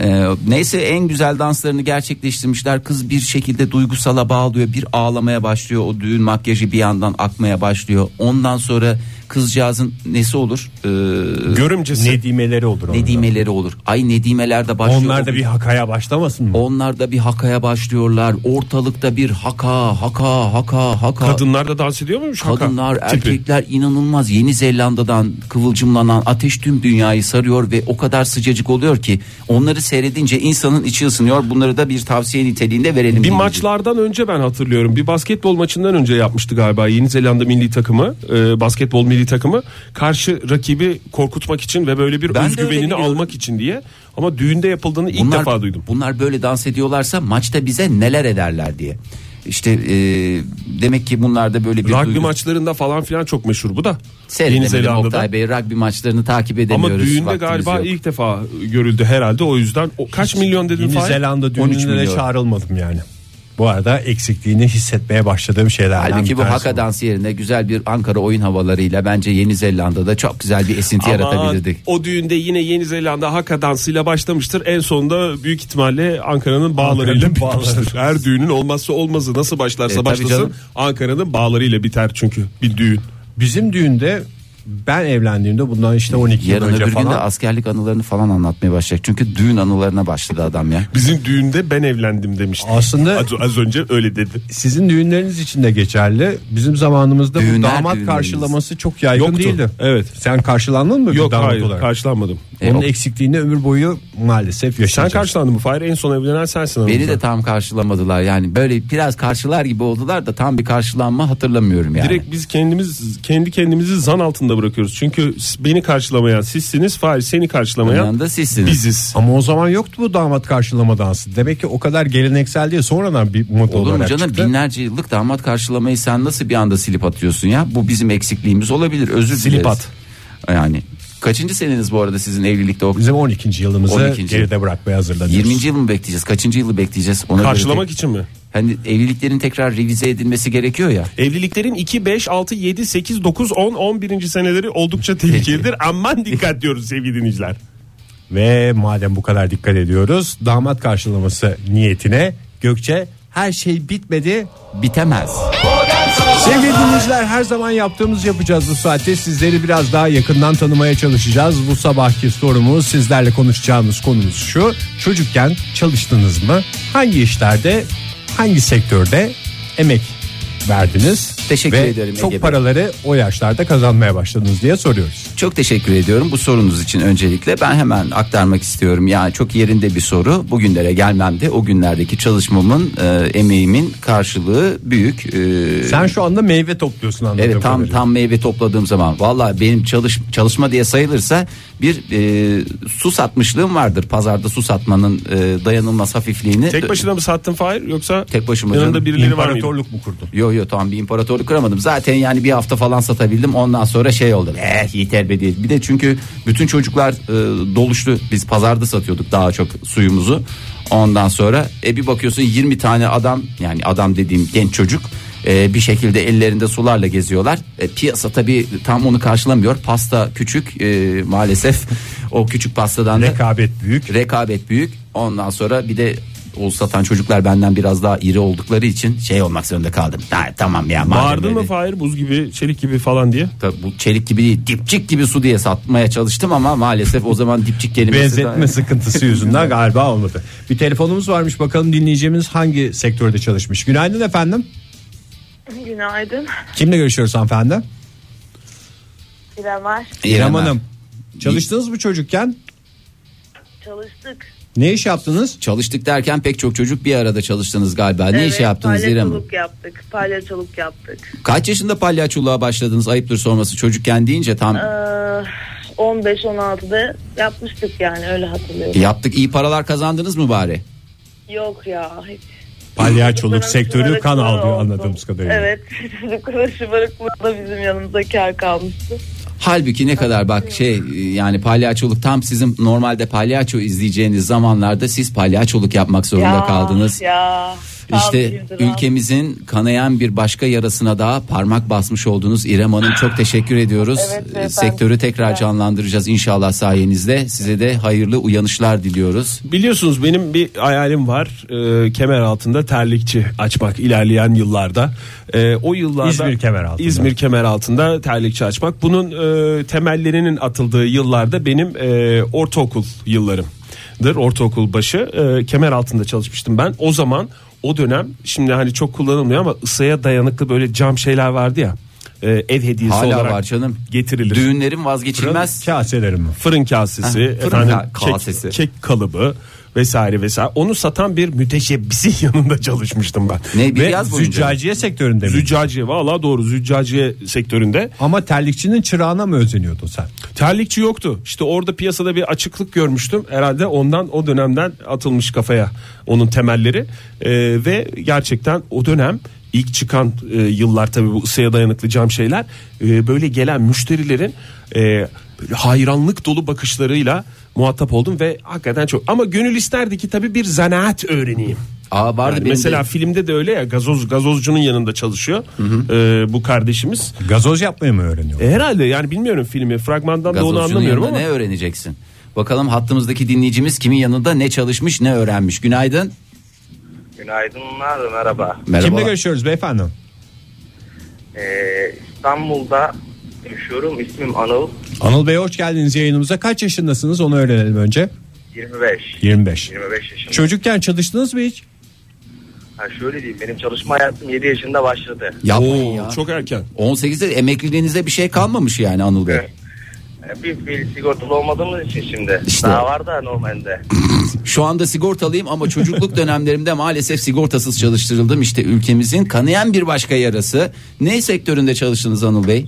Speaker 4: Ee, neyse en güzel danslarını gerçekleştirmişler. Kız bir şekilde duygusala bağlıyor. Bir ağlamaya başlıyor. O düğün makyajı bir yandan akmaya başlıyor. Ondan sonra kızcağızın nesi olur? Ee,
Speaker 5: Görümcesi.
Speaker 3: Nedimeleri olur onların.
Speaker 4: nedimeleri olur. Ay nedimeler de başlıyor.
Speaker 3: Onlar da bir hakaya başlamasın mı?
Speaker 4: Onlar da bir hakaya başlıyorlar. Ortalıkta bir haka, haka, haka, haka.
Speaker 5: Kadınlar da dans ediyor muymuş? Haka
Speaker 4: Kadınlar,
Speaker 5: tipi.
Speaker 4: erkekler inanılmaz Yeni Zelanda'dan kıvılcımlanan ateş tüm dünyayı sarıyor ve o kadar sıcacık oluyor ki onları seyredince insanın içi ısınıyor. Bunları da bir tavsiye niteliğinde verelim.
Speaker 5: Bir
Speaker 4: dinleyici.
Speaker 5: maçlardan önce ben hatırlıyorum. Bir basketbol maçından önce yapmıştı galiba Yeni Zelanda milli takımı, e, basketbol milli takımı karşı rakibi korkutmak için ve böyle bir
Speaker 4: Ben de öyle
Speaker 5: özgüvenini
Speaker 4: biliyorum.
Speaker 5: almak için diye. Ama düğünde yapıldığını ilk
Speaker 4: bunlar,
Speaker 5: defa duydum.
Speaker 4: Bunlar böyle dans ediyorlarsa maçta bize neler ederler diye. İşte e, demek ki bunlarda böyle bir
Speaker 5: Rugby
Speaker 4: duygu-
Speaker 5: maçlarında falan filan çok meşhur bu da. Yeni
Speaker 4: Seyredemedim
Speaker 5: Zelanda'da.
Speaker 4: Oktay Bey rugby maçlarını takip edemiyoruz.
Speaker 5: Ama düğünde
Speaker 4: vaktimiz
Speaker 5: galiba
Speaker 4: yok.
Speaker 5: ilk defa görüldü herhalde o yüzden. O, kaç milyon dedin
Speaker 3: Yeni
Speaker 5: Fahir?
Speaker 3: Zelanda
Speaker 4: 13
Speaker 3: düğününe de
Speaker 4: milyon.
Speaker 3: çağrılmadım yani. Bu arada eksikliğini hissetmeye başladığım şeylerden
Speaker 4: Halbuki
Speaker 3: bir
Speaker 4: bu
Speaker 3: tanesi
Speaker 4: haka dansı yerine güzel bir Ankara oyun havalarıyla bence Yeni Zelanda'da çok güzel bir esinti
Speaker 5: Aman,
Speaker 4: yaratabilirdik.
Speaker 5: O düğünde yine Yeni Zelanda haka dansıyla başlamıştır. En sonunda büyük ihtimalle Ankara'nın bağlarıyla
Speaker 3: Ankara'nın bağları.
Speaker 5: bitmiştir. Her düğünün olmazsa olmazı nasıl başlarsa
Speaker 4: E, tabii
Speaker 5: başlasın
Speaker 4: canım.
Speaker 5: Ankara'nın bağlarıyla biter çünkü bir düğün.
Speaker 3: Bizim düğünde ben evlendiğimde bundan işte 12 yıl
Speaker 4: Yarın
Speaker 3: önce
Speaker 4: öbür gün de
Speaker 3: falan
Speaker 4: askerlik anılarını falan anlatmaya başlayacak. Çünkü düğün anılarına başladı adam ya.
Speaker 5: Bizim düğünde ben evlendim demişti.
Speaker 3: Aslında-
Speaker 5: az, az önce öyle dedi.
Speaker 3: sizin düğünleriniz için de geçerli. Bizim zamanımızda bu
Speaker 4: Düğünler,
Speaker 3: damat
Speaker 4: düğünleriniz.
Speaker 3: karşılaması çok yaygın
Speaker 5: Yoktu.
Speaker 3: değildi.
Speaker 5: Evet.
Speaker 3: Sen karşılandın mı bir
Speaker 5: Yok
Speaker 3: damat
Speaker 5: hayır
Speaker 3: olarak?
Speaker 5: karşılanmadım.
Speaker 3: Onun
Speaker 4: E,
Speaker 3: eksikliğini ömür boyu maalesef
Speaker 5: Sen
Speaker 3: yaşayacağız.
Speaker 5: karşılandın mı Fahir? En son evlenen sensin.
Speaker 4: Beni
Speaker 5: aramızda.
Speaker 4: de tam karşılamadılar yani böyle biraz karşılar gibi oldular da tam bir karşılanma hatırlamıyorum yani.
Speaker 5: Direkt biz kendimiz kendi kendimizi zan altında bırakıyoruz. Çünkü beni karşılamayan sizsiniz, Fahir seni karşılamayan
Speaker 4: yanında sizsiniz.
Speaker 5: biziz.
Speaker 3: Ama o zaman yoktu bu damat karşılama dansı. Demek ki o kadar geleneksel diye sonradan bir moda
Speaker 4: Olur mu
Speaker 3: olarak
Speaker 4: canım
Speaker 3: çıktı.
Speaker 4: binlerce yıllık damat karşılamayı sen nasıl bir anda silip atıyorsun ya? Bu bizim eksikliğimiz olabilir özür
Speaker 5: Silip
Speaker 4: dileriz.
Speaker 5: at.
Speaker 4: Yani kaçıncı seneniz bu arada sizin evlilikte o?
Speaker 3: Bizim 12. yılımızı
Speaker 4: 12.
Speaker 3: geride bırakmaya hazırlanıyoruz.
Speaker 4: 20. yıl mı bekleyeceğiz? Kaçıncı yılı bekleyeceğiz? Ona göre
Speaker 5: Karşılamak
Speaker 4: tek-
Speaker 5: için mi?
Speaker 4: Hani evliliklerin tekrar revize edilmesi gerekiyor ya.
Speaker 5: Evliliklerin 2, 5, 6, 7, 8, 9, 10, 11. seneleri oldukça tehlikelidir. Aman dikkat diyoruz sevgili dinleyiciler.
Speaker 3: Ve madem bu kadar dikkat ediyoruz damat karşılaması niyetine Gökçe her şey bitmedi.
Speaker 4: Bitemez.
Speaker 3: Sevgili dinleyiciler her zaman yaptığımız yapacağız bu saatte. Sizleri biraz daha yakından tanımaya çalışacağız. Bu sabahki sorumuz sizlerle konuşacağımız konumuz şu. Çocukken çalıştınız mı? Hangi işlerde, hangi sektörde emek verdiniz?
Speaker 4: Teşekkür
Speaker 3: Ve
Speaker 4: ederim
Speaker 3: Çok
Speaker 4: Ege Bey.
Speaker 3: paraları o yaşlarda kazanmaya başladınız diye soruyoruz.
Speaker 4: Çok teşekkür ediyorum bu sorunuz için öncelikle. Ben hemen aktarmak istiyorum. Yani çok yerinde bir soru. Bugünlere gelmemde o günlerdeki çalışmamın, e, emeğimin karşılığı büyük. E,
Speaker 3: Sen şu anda meyve topluyorsun anladığım
Speaker 4: Evet tam
Speaker 3: kadarıyla.
Speaker 4: tam meyve topladığım zaman vallahi benim çalış çalışma diye sayılırsa bir e, su satmışlığım vardır. Pazarda su satmanın e, dayanılmaz hafifliğini.
Speaker 5: Tek başına mı sattın Fahir yoksa
Speaker 4: Tek başıma
Speaker 5: yanında
Speaker 4: canım.
Speaker 5: birileri var mıydı?
Speaker 3: İmparatorluk mu kurdun?
Speaker 4: Yo yo tam bir imparatorluk kuramadım. Zaten yani bir hafta falan satabildim. Ondan sonra şey oldu. Eh yeter be değil. Bir de çünkü bütün çocuklar e, doluştu. Biz pazarda satıyorduk daha çok suyumuzu. Ondan sonra e, bir bakıyorsun 20 tane adam yani adam dediğim genç çocuk e, bir şekilde ellerinde sularla geziyorlar. E, piyasa tabii tam onu karşılamıyor. Pasta küçük e, maalesef. O küçük pastadan da
Speaker 3: Rekabet büyük.
Speaker 4: rekabet büyük. Ondan sonra bir de o satan çocuklar benden biraz daha iri oldukları için şey olmak zorunda kaldım. Ha, tamam ya. madem
Speaker 5: Bağırdın mı
Speaker 4: öyle.
Speaker 5: Fahir buz gibi, çelik gibi falan diye?
Speaker 4: Tabii bu çelik gibi değil dipçik gibi su diye satmaya çalıştım ama maalesef o zaman dipçik kelimesi daha-
Speaker 3: Benzetme sıkıntısı yüzünden galiba olmadı. Bir telefonumuz varmış bakalım dinleyeceğimiz hangi sektörde çalışmış. Günaydın efendim.
Speaker 7: Günaydın.
Speaker 3: Kimle görüşüyoruz hanımefendi?
Speaker 7: İrem var.
Speaker 4: İrem
Speaker 3: İrem Hanım. Çalıştınız mı çocukken?
Speaker 7: Çalıştık.
Speaker 3: Ne iş yaptınız?
Speaker 4: Çalıştık derken pek çok çocuk bir arada çalıştınız galiba. ne iş yaptınız İrem Hanım?
Speaker 7: Palyaçoluk yaptık. Palyaçoluk yaptık.
Speaker 4: Kaç yaşında palyaçoluğa başladınız? Ayıptır sorması. Çocukken deyince tam
Speaker 7: Ee, 15-16'da yapmıştık yani öyle hatırlıyorum.
Speaker 4: yaptık. iyi paralar kazandınız mı bari?
Speaker 7: Yok ya. hiç.
Speaker 3: Palyaçoluk
Speaker 7: Çocukların
Speaker 3: sektörü kan
Speaker 7: şımarıklığı
Speaker 3: alıyor
Speaker 7: olsun.
Speaker 3: anladığımız kadarıyla.
Speaker 7: Evet. Çocukların şımarıklığı da bizim yanımıza kar kalmıştı.
Speaker 4: Halbuki ne kadar bak şey yani palyaçoluk tam sizin normalde palyaço izleyeceğiniz zamanlarda siz palyaçoluk yapmak zorunda kaldınız.
Speaker 7: Ya.
Speaker 4: İşte ülkemizin kanayan bir başka yarasına daha parmak basmış oldunuz. İrem Hanım çok teşekkür ediyoruz.
Speaker 7: Evet,
Speaker 4: Ee,
Speaker 7: beyefendi.
Speaker 4: Sektörü tekrar canlandıracağız inşallah sayenizde. Size de hayırlı uyanışlar diliyoruz.
Speaker 5: Biliyorsunuz benim bir hayalim var. Ee, kemer altında terlikçi açmak ilerleyen yıllarda. Ee, o yıllarda
Speaker 3: İzmir kemer altında.
Speaker 5: İzmir kemer altında terlikçi açmak. Bunun e, temellerinin atıldığı yıllarda benim e, ortaokul yıllarımdır. Ortaokul başı e, kemer altında çalışmıştım ben. O zaman o dönem şimdi hani çok kullanılmıyor ama ısıya dayanıklı böyle cam şeyler vardı ya. E, ev hediyesi
Speaker 4: Hala
Speaker 5: olarak
Speaker 4: var canım.
Speaker 5: getirilir
Speaker 4: Düğünlerin vazgeçilmez.
Speaker 3: Kaselerim.
Speaker 5: fırın kasesi,
Speaker 4: Heh, fırın
Speaker 5: efendim,
Speaker 4: ka-
Speaker 5: kek-
Speaker 4: kasesi.
Speaker 5: Kek, kalıbı vesaire vesaire. Onu satan bir müteşebbisin yanında çalışmıştım ben.
Speaker 4: Ne bir
Speaker 5: Ve
Speaker 4: yaz boyunca.
Speaker 3: Züccaciye sektöründe mi?
Speaker 5: Züccaciye valla doğru züccaciye sektöründe
Speaker 3: Ama terlikçinin çırağına mı özeniyordun sen?
Speaker 5: terlikçi yoktu. İşte orada piyasada bir açıklık görmüştüm. Herhalde ondan o dönemden atılmış kafaya onun temelleri. Ee, ve gerçekten o dönem ilk çıkan e, yıllar tabii bu ısıya dayanıklı cam şeyler e, böyle gelen müşterilerin e, böyle hayranlık dolu bakışlarıyla muhatap oldum ve hakikaten çok ama gönül isterdi ki tabii bir zanaat öğreneyim.
Speaker 4: Aa vardı
Speaker 5: Yani
Speaker 4: benim
Speaker 5: mesela
Speaker 4: de.
Speaker 5: filmde de öyle ya gazoz gazozcunun yanında çalışıyor e, bu kardeşimiz.
Speaker 3: Gazoz yapmayı mı öğreniyorsun?
Speaker 5: E, herhalde yani bilmiyorum filmi fragmandan da onu
Speaker 4: Gazozcunun
Speaker 5: anlamıyorum
Speaker 4: yanında
Speaker 5: ama
Speaker 4: ne öğreneceksin? Bakalım hattımızdaki dinleyicimiz kimin yanında ne çalışmış ne öğrenmiş. Günaydın.
Speaker 8: Günaydınlar merhaba.
Speaker 4: Merhaba.
Speaker 3: Kimle görüşüyoruz beyefendi?
Speaker 8: Ee, İstanbul'da yaşıyorum. İsmim Anıl.
Speaker 3: Anıl Bey hoş geldiniz yayınımıza. Kaç yaşındasınız onu öğrenelim önce.
Speaker 8: 25.
Speaker 3: 25.
Speaker 8: 25 yaşındayım.
Speaker 3: Çocukken çalıştınız mı hiç?
Speaker 8: Ha, şöyle diyeyim benim çalışma hayatım 7 yaşında başladı.
Speaker 4: Yapmayın
Speaker 5: Oo,
Speaker 4: ya.
Speaker 5: çok erken.
Speaker 4: 18'de emekliliğinize bir şey kalmamış yani Anıl Bey.
Speaker 8: Evet. Ee, Biz bir sigortalı olmadığımız için şimdi.
Speaker 4: İşte.
Speaker 8: Daha var da normalde.
Speaker 4: Şu anda sigortalıyım ama çocukluk dönemlerimde maalesef sigortasız çalıştırıldım. İşte ülkemizin kanayan bir başka yarası. Ne sektöründe çalıştınız Anıl Bey?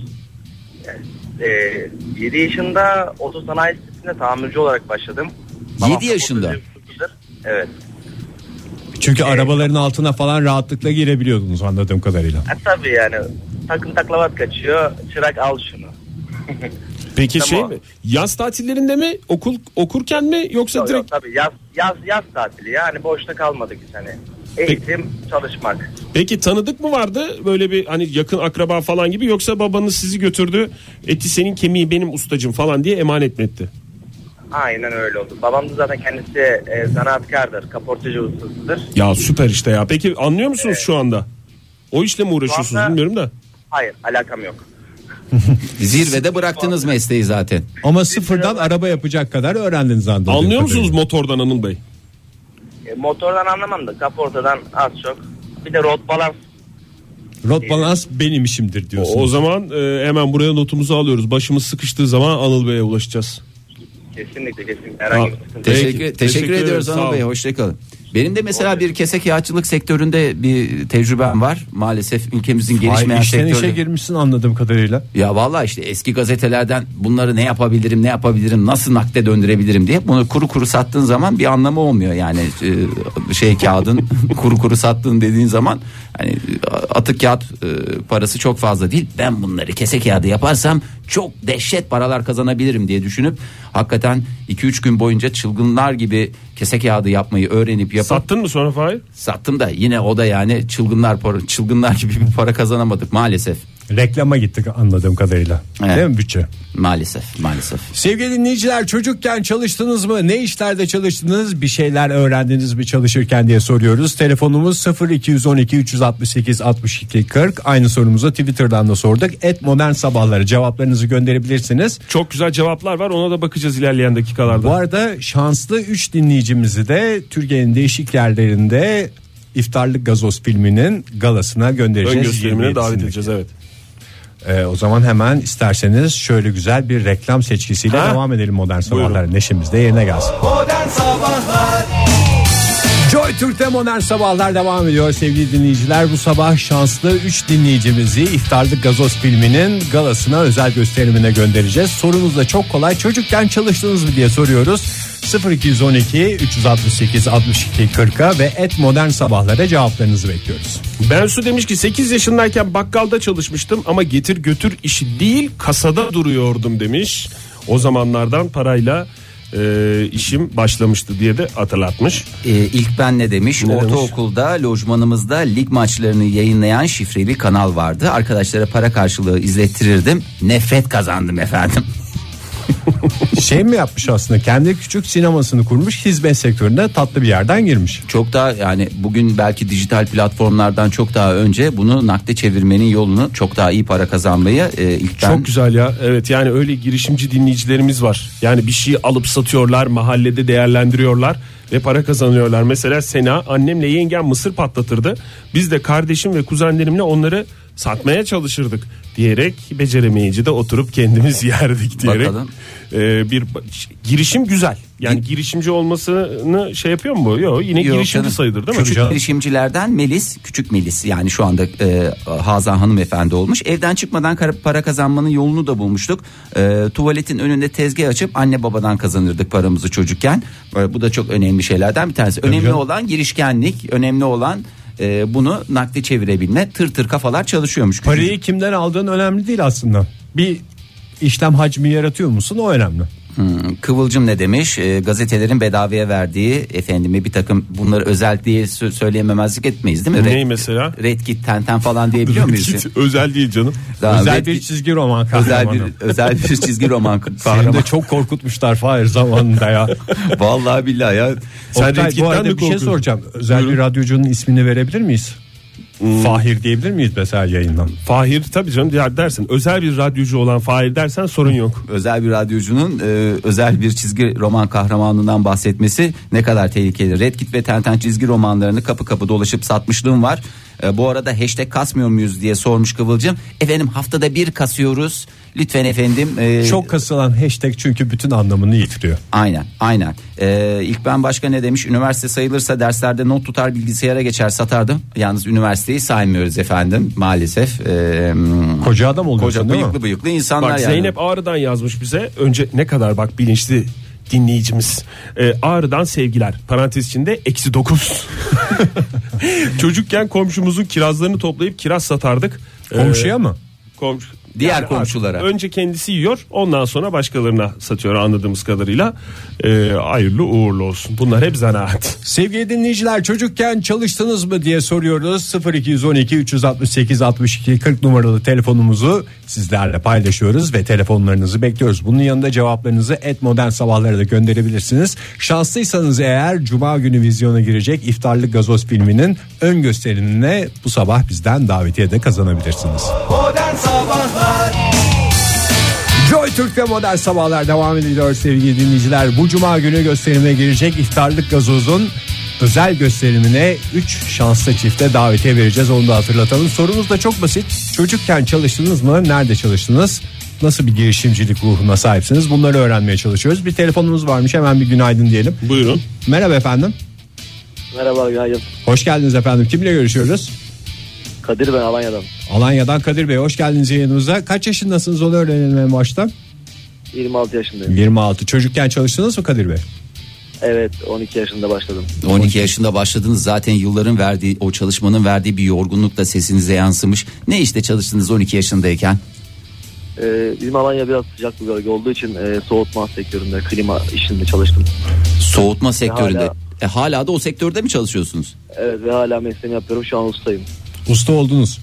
Speaker 8: Ee, 7 yaşında oto sanayi sitesinde tamirci olarak başladım. Babam da
Speaker 4: yaşında?
Speaker 8: otomotivcidir. Evet.
Speaker 3: Çünkü arabaların altına falan rahatlıkla girebiliyordunuz anladığım kadarıyla.
Speaker 8: Ha, tabii yani takım taklavat kaçıyor. Çırak al şunu.
Speaker 5: Peki
Speaker 8: Tamam.
Speaker 5: şey mi? Yaz tatillerinde mi? Okul okurken mi yoksa
Speaker 8: Yok, yok,
Speaker 5: direkt
Speaker 8: tabii yaz, yaz, yaz tatili yani boşta kalmadık hiç hani. Eğitim, çalışmak.
Speaker 5: Peki tanıdık mı vardı? Böyle bir hani yakın akraba falan gibi yoksa babanız sizi götürdü. Eti senin kemiği benim ustacım falan diye emanet mi etti?
Speaker 8: Aynen öyle oldu. Babam da zaten kendisi e, zanaatkardır, kaportacı ustasıdır.
Speaker 5: Ya süper işte ya. Peki anlıyor musunuz şu anda? O işle mi uğraşıyorsunuz
Speaker 8: anda-
Speaker 5: bilmiyorum da.
Speaker 8: Hayır, alakam yok.
Speaker 4: Zirvede bıraktınız mesleği zaten.
Speaker 3: Ama sıfırdan araba yapacak kadar öğrendiniz anladığım
Speaker 5: Anlıyor musunuz
Speaker 3: kadarıyla.
Speaker 5: motordan Anıl Bey?
Speaker 8: E, motordan anlamam da kaportadan az çok. Bir de rot balans.
Speaker 3: Rot balans benim işimdir diyorsunuz.
Speaker 5: O zaman e, hemen buraya notumuzu alıyoruz. Başımız sıkıştığı zaman Anıl Bey'e ulaşacağız.
Speaker 8: Kesinlikle kesinlikle herhangi bir
Speaker 5: Ha,
Speaker 8: sıkıntı.
Speaker 5: Peki,
Speaker 4: Teşekkür, teşekkür,
Speaker 5: teşekkür
Speaker 4: ediyoruz
Speaker 5: ederim, sağ
Speaker 4: Anıl Bey.
Speaker 5: olun.
Speaker 4: Hoşçakalın. Benim de mesela bir kese kağıtçılık sektöründe bir tecrübem var. Maalesef ülkemizin
Speaker 3: Ay,
Speaker 4: gelişmeyen
Speaker 3: işten işe
Speaker 4: sektörü.
Speaker 3: girmişsin anladığım kadarıyla.
Speaker 4: Ya vallahi işte eski gazetelerden bunları ne yapabilirim ne yapabilirim nasıl nakde döndürebilirim diye bunu kuru kuru sattığın zaman bir anlamı olmuyor yani e, şey kağıdın kuru kuru sattığın dediğin zaman hani e, atık kağıt e, parası çok fazla değil ben bunları kese kağıdı yaparsam çok dehşet paralar kazanabilirim diye düşünüp hakikaten 2-3 gün boyunca çılgınlar gibi kese kağıdı yapmayı öğrenip yapıp
Speaker 5: Sattın mı sonra Fahir?
Speaker 4: sattım da yine o da yani çılgınlar para, çılgınlar gibi bir para kazanamadık maalesef
Speaker 3: Reklama gittik anladığım kadarıyla.
Speaker 4: Evet.
Speaker 3: Değil mi bütçe?
Speaker 4: maalesef maalesef.
Speaker 3: Sevgili dinleyiciler çocukken çalıştınız mı? Ne işlerde çalıştınız? Bir şeyler öğrendiniz mi çalışırken diye soruyoruz. Telefonumuz 0212 368 62 40. Aynı sorumuzu Twitter'dan da sorduk. Et modern sabahları cevaplarınızı gönderebilirsiniz.
Speaker 5: Çok güzel cevaplar var. Ona da bakacağız ilerleyen dakikalarda.
Speaker 3: Bu arada şanslı 3 dinleyicimizi de Türkiye'nin değişik yerlerinde İftarlık Gazoz filminin galasına
Speaker 5: Ön
Speaker 3: göndereceğiz.
Speaker 5: gösterimine
Speaker 3: 27'sindeki.
Speaker 5: davet edeceğiz evet.
Speaker 3: Ee, o zaman hemen isterseniz şöyle güzel bir reklam seçkisiyle
Speaker 5: Ha?
Speaker 3: devam edelim modern sabahlar. Neşemiz de yerine gelsin.
Speaker 2: Modern Sabahlar
Speaker 3: Joy Türk'te modern sabahlar devam ediyor sevgili dinleyiciler. Bu sabah şanslı 3 dinleyicimizi İftarlık Gazoz filminin galasına özel gösterimine göndereceğiz. Sorumuz da çok kolay. Çocukken çalıştınız mı diye soruyoruz. 0212 368 62 40'a ve et modern sabahlara cevaplarınızı bekliyoruz.
Speaker 5: Bensu demiş ki 8 yaşındayken bakkalda çalışmıştım ama getir götür işi değil kasada duruyordum demiş. O zamanlardan parayla e, işim başlamıştı diye de hatırlatmış.
Speaker 4: Ee, ilk ben ne demiş?
Speaker 5: Ne
Speaker 4: Ortaokulda lojmanımızda lig maçlarını yayınlayan şifreli kanal vardı. Arkadaşlara para karşılığı izlettirirdim. Nefret kazandım efendim.
Speaker 3: Şey mi yapmış aslında kendi küçük sinemasını kurmuş hizmet sektörüne tatlı bir yerden girmiş.
Speaker 4: Çok daha yani bugün belki dijital platformlardan çok daha önce bunu nakde çevirmenin yolunu çok daha iyi para kazanmayı e, ilk ben
Speaker 5: Çok güzel ya. Evet yani öyle girişimci dinleyicilerimiz var. Yani bir şeyi alıp satıyorlar, mahallede değerlendiriyorlar ve para kazanıyorlar. Mesela Sena annemle yengem mısır patlatırdı. Biz de kardeşim ve kuzenlerimle onları satmaya çalışırdık diyerek beceremeyince de oturup kendimiz yerdik diyerek.
Speaker 4: Bakalım.
Speaker 5: e, bir ba- girişim güzel. Yani girişimci olmasını şey yapıyor mu? Yok yine
Speaker 4: Yok
Speaker 5: girişimci
Speaker 4: canım.
Speaker 5: sayılır değil mi?
Speaker 4: Küçük girişimcilerden Melis, küçük Melis yani şu anda e, Hazan hanımefendi olmuş. Evden çıkmadan kar- para kazanmanın yolunu da bulmuştuk. E, tuvaletin önünde tezgah açıp anne babadan kazanırdık paramızı çocukken. Böyle, bu da çok önemli şeylerden bir tanesi. Önemli
Speaker 3: canım.
Speaker 4: olan girişkenlik, önemli olan e, bunu nakde çevirebilme. Tır tır kafalar çalışıyormuş. Küçücük-
Speaker 3: Parayı kimden aldığın önemli değil aslında. Bir işlem hacmi yaratıyor musun o önemli.
Speaker 4: Hmm, Kıvılcım ne demiş? E, gazetelerin bedavaya verdiği efendime bir takım bunları özel diye sö- söyleyememezlik etmeyiz değil mi?
Speaker 5: Ney
Speaker 4: Red-
Speaker 5: mesela?
Speaker 4: Red Kit Tenten falan diyebiliyor muyuz?
Speaker 5: Özel değil canım.
Speaker 4: Daha
Speaker 3: özel
Speaker 4: Red
Speaker 3: bir
Speaker 4: Kit-
Speaker 3: çizgi roman
Speaker 4: özel
Speaker 3: kahramanı.
Speaker 4: bir özel bir çizgi roman
Speaker 3: Benim
Speaker 4: kahraman.
Speaker 3: de çok korkutmuşlar Fahir zamanında ya.
Speaker 4: Vallahi billahi ya.
Speaker 3: Sen
Speaker 5: Red Kit'ten
Speaker 3: bu arada
Speaker 5: mi
Speaker 3: bir şey
Speaker 5: korkuyorsun?
Speaker 3: soracağım. Özel bir radyocunun ismini verebilir miyiz? Fahir diyebilir miyiz mesela yayından?
Speaker 5: Fahir tabii canım diğer dersin. Özel bir radyocu olan Fahir dersen sorun yok.
Speaker 4: Özel bir radyocunun e, özel bir çizgi roman kahramanından bahsetmesi ne kadar tehlikeli. Red Kit ve Tenten çizgi romanlarını kapı kapı dolaşıp satmışlığım var. E, bu arada hashtag kasmıyor muyuz diye sormuş Kıvılcım. Efendim haftada bir kasıyoruz. Lütfen efendim. e,
Speaker 3: Çok kasılan hashtag çünkü bütün anlamını yitiriyor.
Speaker 4: Aynen aynen. Ee, ilk ben başka ne demiş? Üniversite sayılırsa derslerde not tutar bilgisayara geçer satardım. Yalnız üniversiteyi saymıyoruz efendim maalesef. Ee,
Speaker 3: Koca adam oluyorsun
Speaker 4: koca
Speaker 3: değil mi?
Speaker 4: bıyıklı bıyıklı insanlar
Speaker 5: Bak
Speaker 4: yani.
Speaker 5: Zeynep Ağrı'dan yazmış bize. Önce ne kadar bak bilinçli dinleyicimiz. Ee, Ağrı'dan sevgiler. Parantez içinde eksi dokuz. Çocukken komşumuzun kirazlarını toplayıp kiraz satardık. Ee,
Speaker 3: Komşuya mı?
Speaker 5: komşu-
Speaker 4: Diğer komşulara.
Speaker 5: Önce kendisi yiyor ondan sonra başkalarına satıyor anladığımız kadarıyla. Ee, hayırlı uğurlu olsun. Bunlar hep zanaat.
Speaker 3: Sevgili dinleyiciler çocukken çalıştınız mı diye soruyoruz. 0212 368 62 40 numaralı telefonumuzu sizlerle paylaşıyoruz ve telefonlarınızı bekliyoruz. Bunun yanında cevaplarınızı et modern sabahlara da gönderebilirsiniz. Şanslıysanız eğer cuma günü vizyona girecek iftarlık gazoz filminin ön gösterimine bu sabah bizden davetiye de kazanabilirsiniz.
Speaker 2: Modern Sabahlar
Speaker 3: Joy Türk'te modern sabahlar devam ediyor sevgili dinleyiciler. Bu cuma günü gösterime girecek iftarlık gazozun özel gösterimine 3 şanslı çifte davetiye vereceğiz. Onu da hatırlatalım. Sorumuz da çok basit. Çocukken çalıştınız mı? Nerede çalıştınız? Nasıl bir girişimcilik ruhuna sahipsiniz? Bunları öğrenmeye çalışıyoruz. Bir telefonumuz varmış. Hemen bir günaydın diyelim.
Speaker 5: Buyurun.
Speaker 3: Merhaba efendim.
Speaker 8: Merhaba Gayet.
Speaker 3: Hoş geldiniz efendim. Kimle görüşüyoruz?
Speaker 8: Kadir ben Alanya'dan.
Speaker 3: Alanya'dan Kadir Bey hoş geldiniz yayınımıza. Kaç yaşındasınız onu öğrenelim en başta.
Speaker 8: 26 yaşındayım.
Speaker 3: 26. Çocukken çalıştınız mı Kadir Bey?
Speaker 8: Evet 12 yaşında başladım.
Speaker 4: 12 yaşında başladınız zaten yılların verdiği o çalışmanın verdiği bir yorgunluk da sesinize yansımış. Ne işte çalıştınız 12 yaşındayken?
Speaker 8: Ee, bizim Alanya biraz sıcak bir bölge olduğu için e, soğutma sektöründe klima işinde çalıştım.
Speaker 4: Soğutma sektöründe.
Speaker 8: hala-
Speaker 4: E, hala da o sektörde mi çalışıyorsunuz?
Speaker 8: Evet ve hala mesleğimi yapıyorum şu an ustayım.
Speaker 3: Usta oldunuz.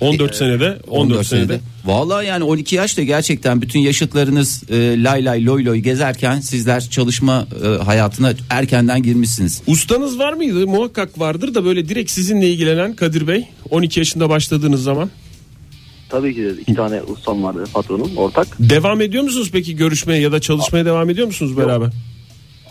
Speaker 5: 14 senede 14,
Speaker 4: 14
Speaker 5: Ee, senede.
Speaker 4: senede. Vallahi yani 12 yaşta gerçekten bütün yaşıtlarınız e, lay lay loy loy gezerken sizler çalışma e, hayatına erkenden girmişsiniz.
Speaker 5: Ustanız var mıydı? Muhakkak vardır da böyle direkt sizinle ilgilenen Kadir Bey 12 yaşında başladığınız zaman.
Speaker 8: Tabii ki de iki tane ustam vardı patronum ortak.
Speaker 5: Devam ediyor musunuz peki görüşmeye ya da çalışmaya devam ediyor musunuz beraber?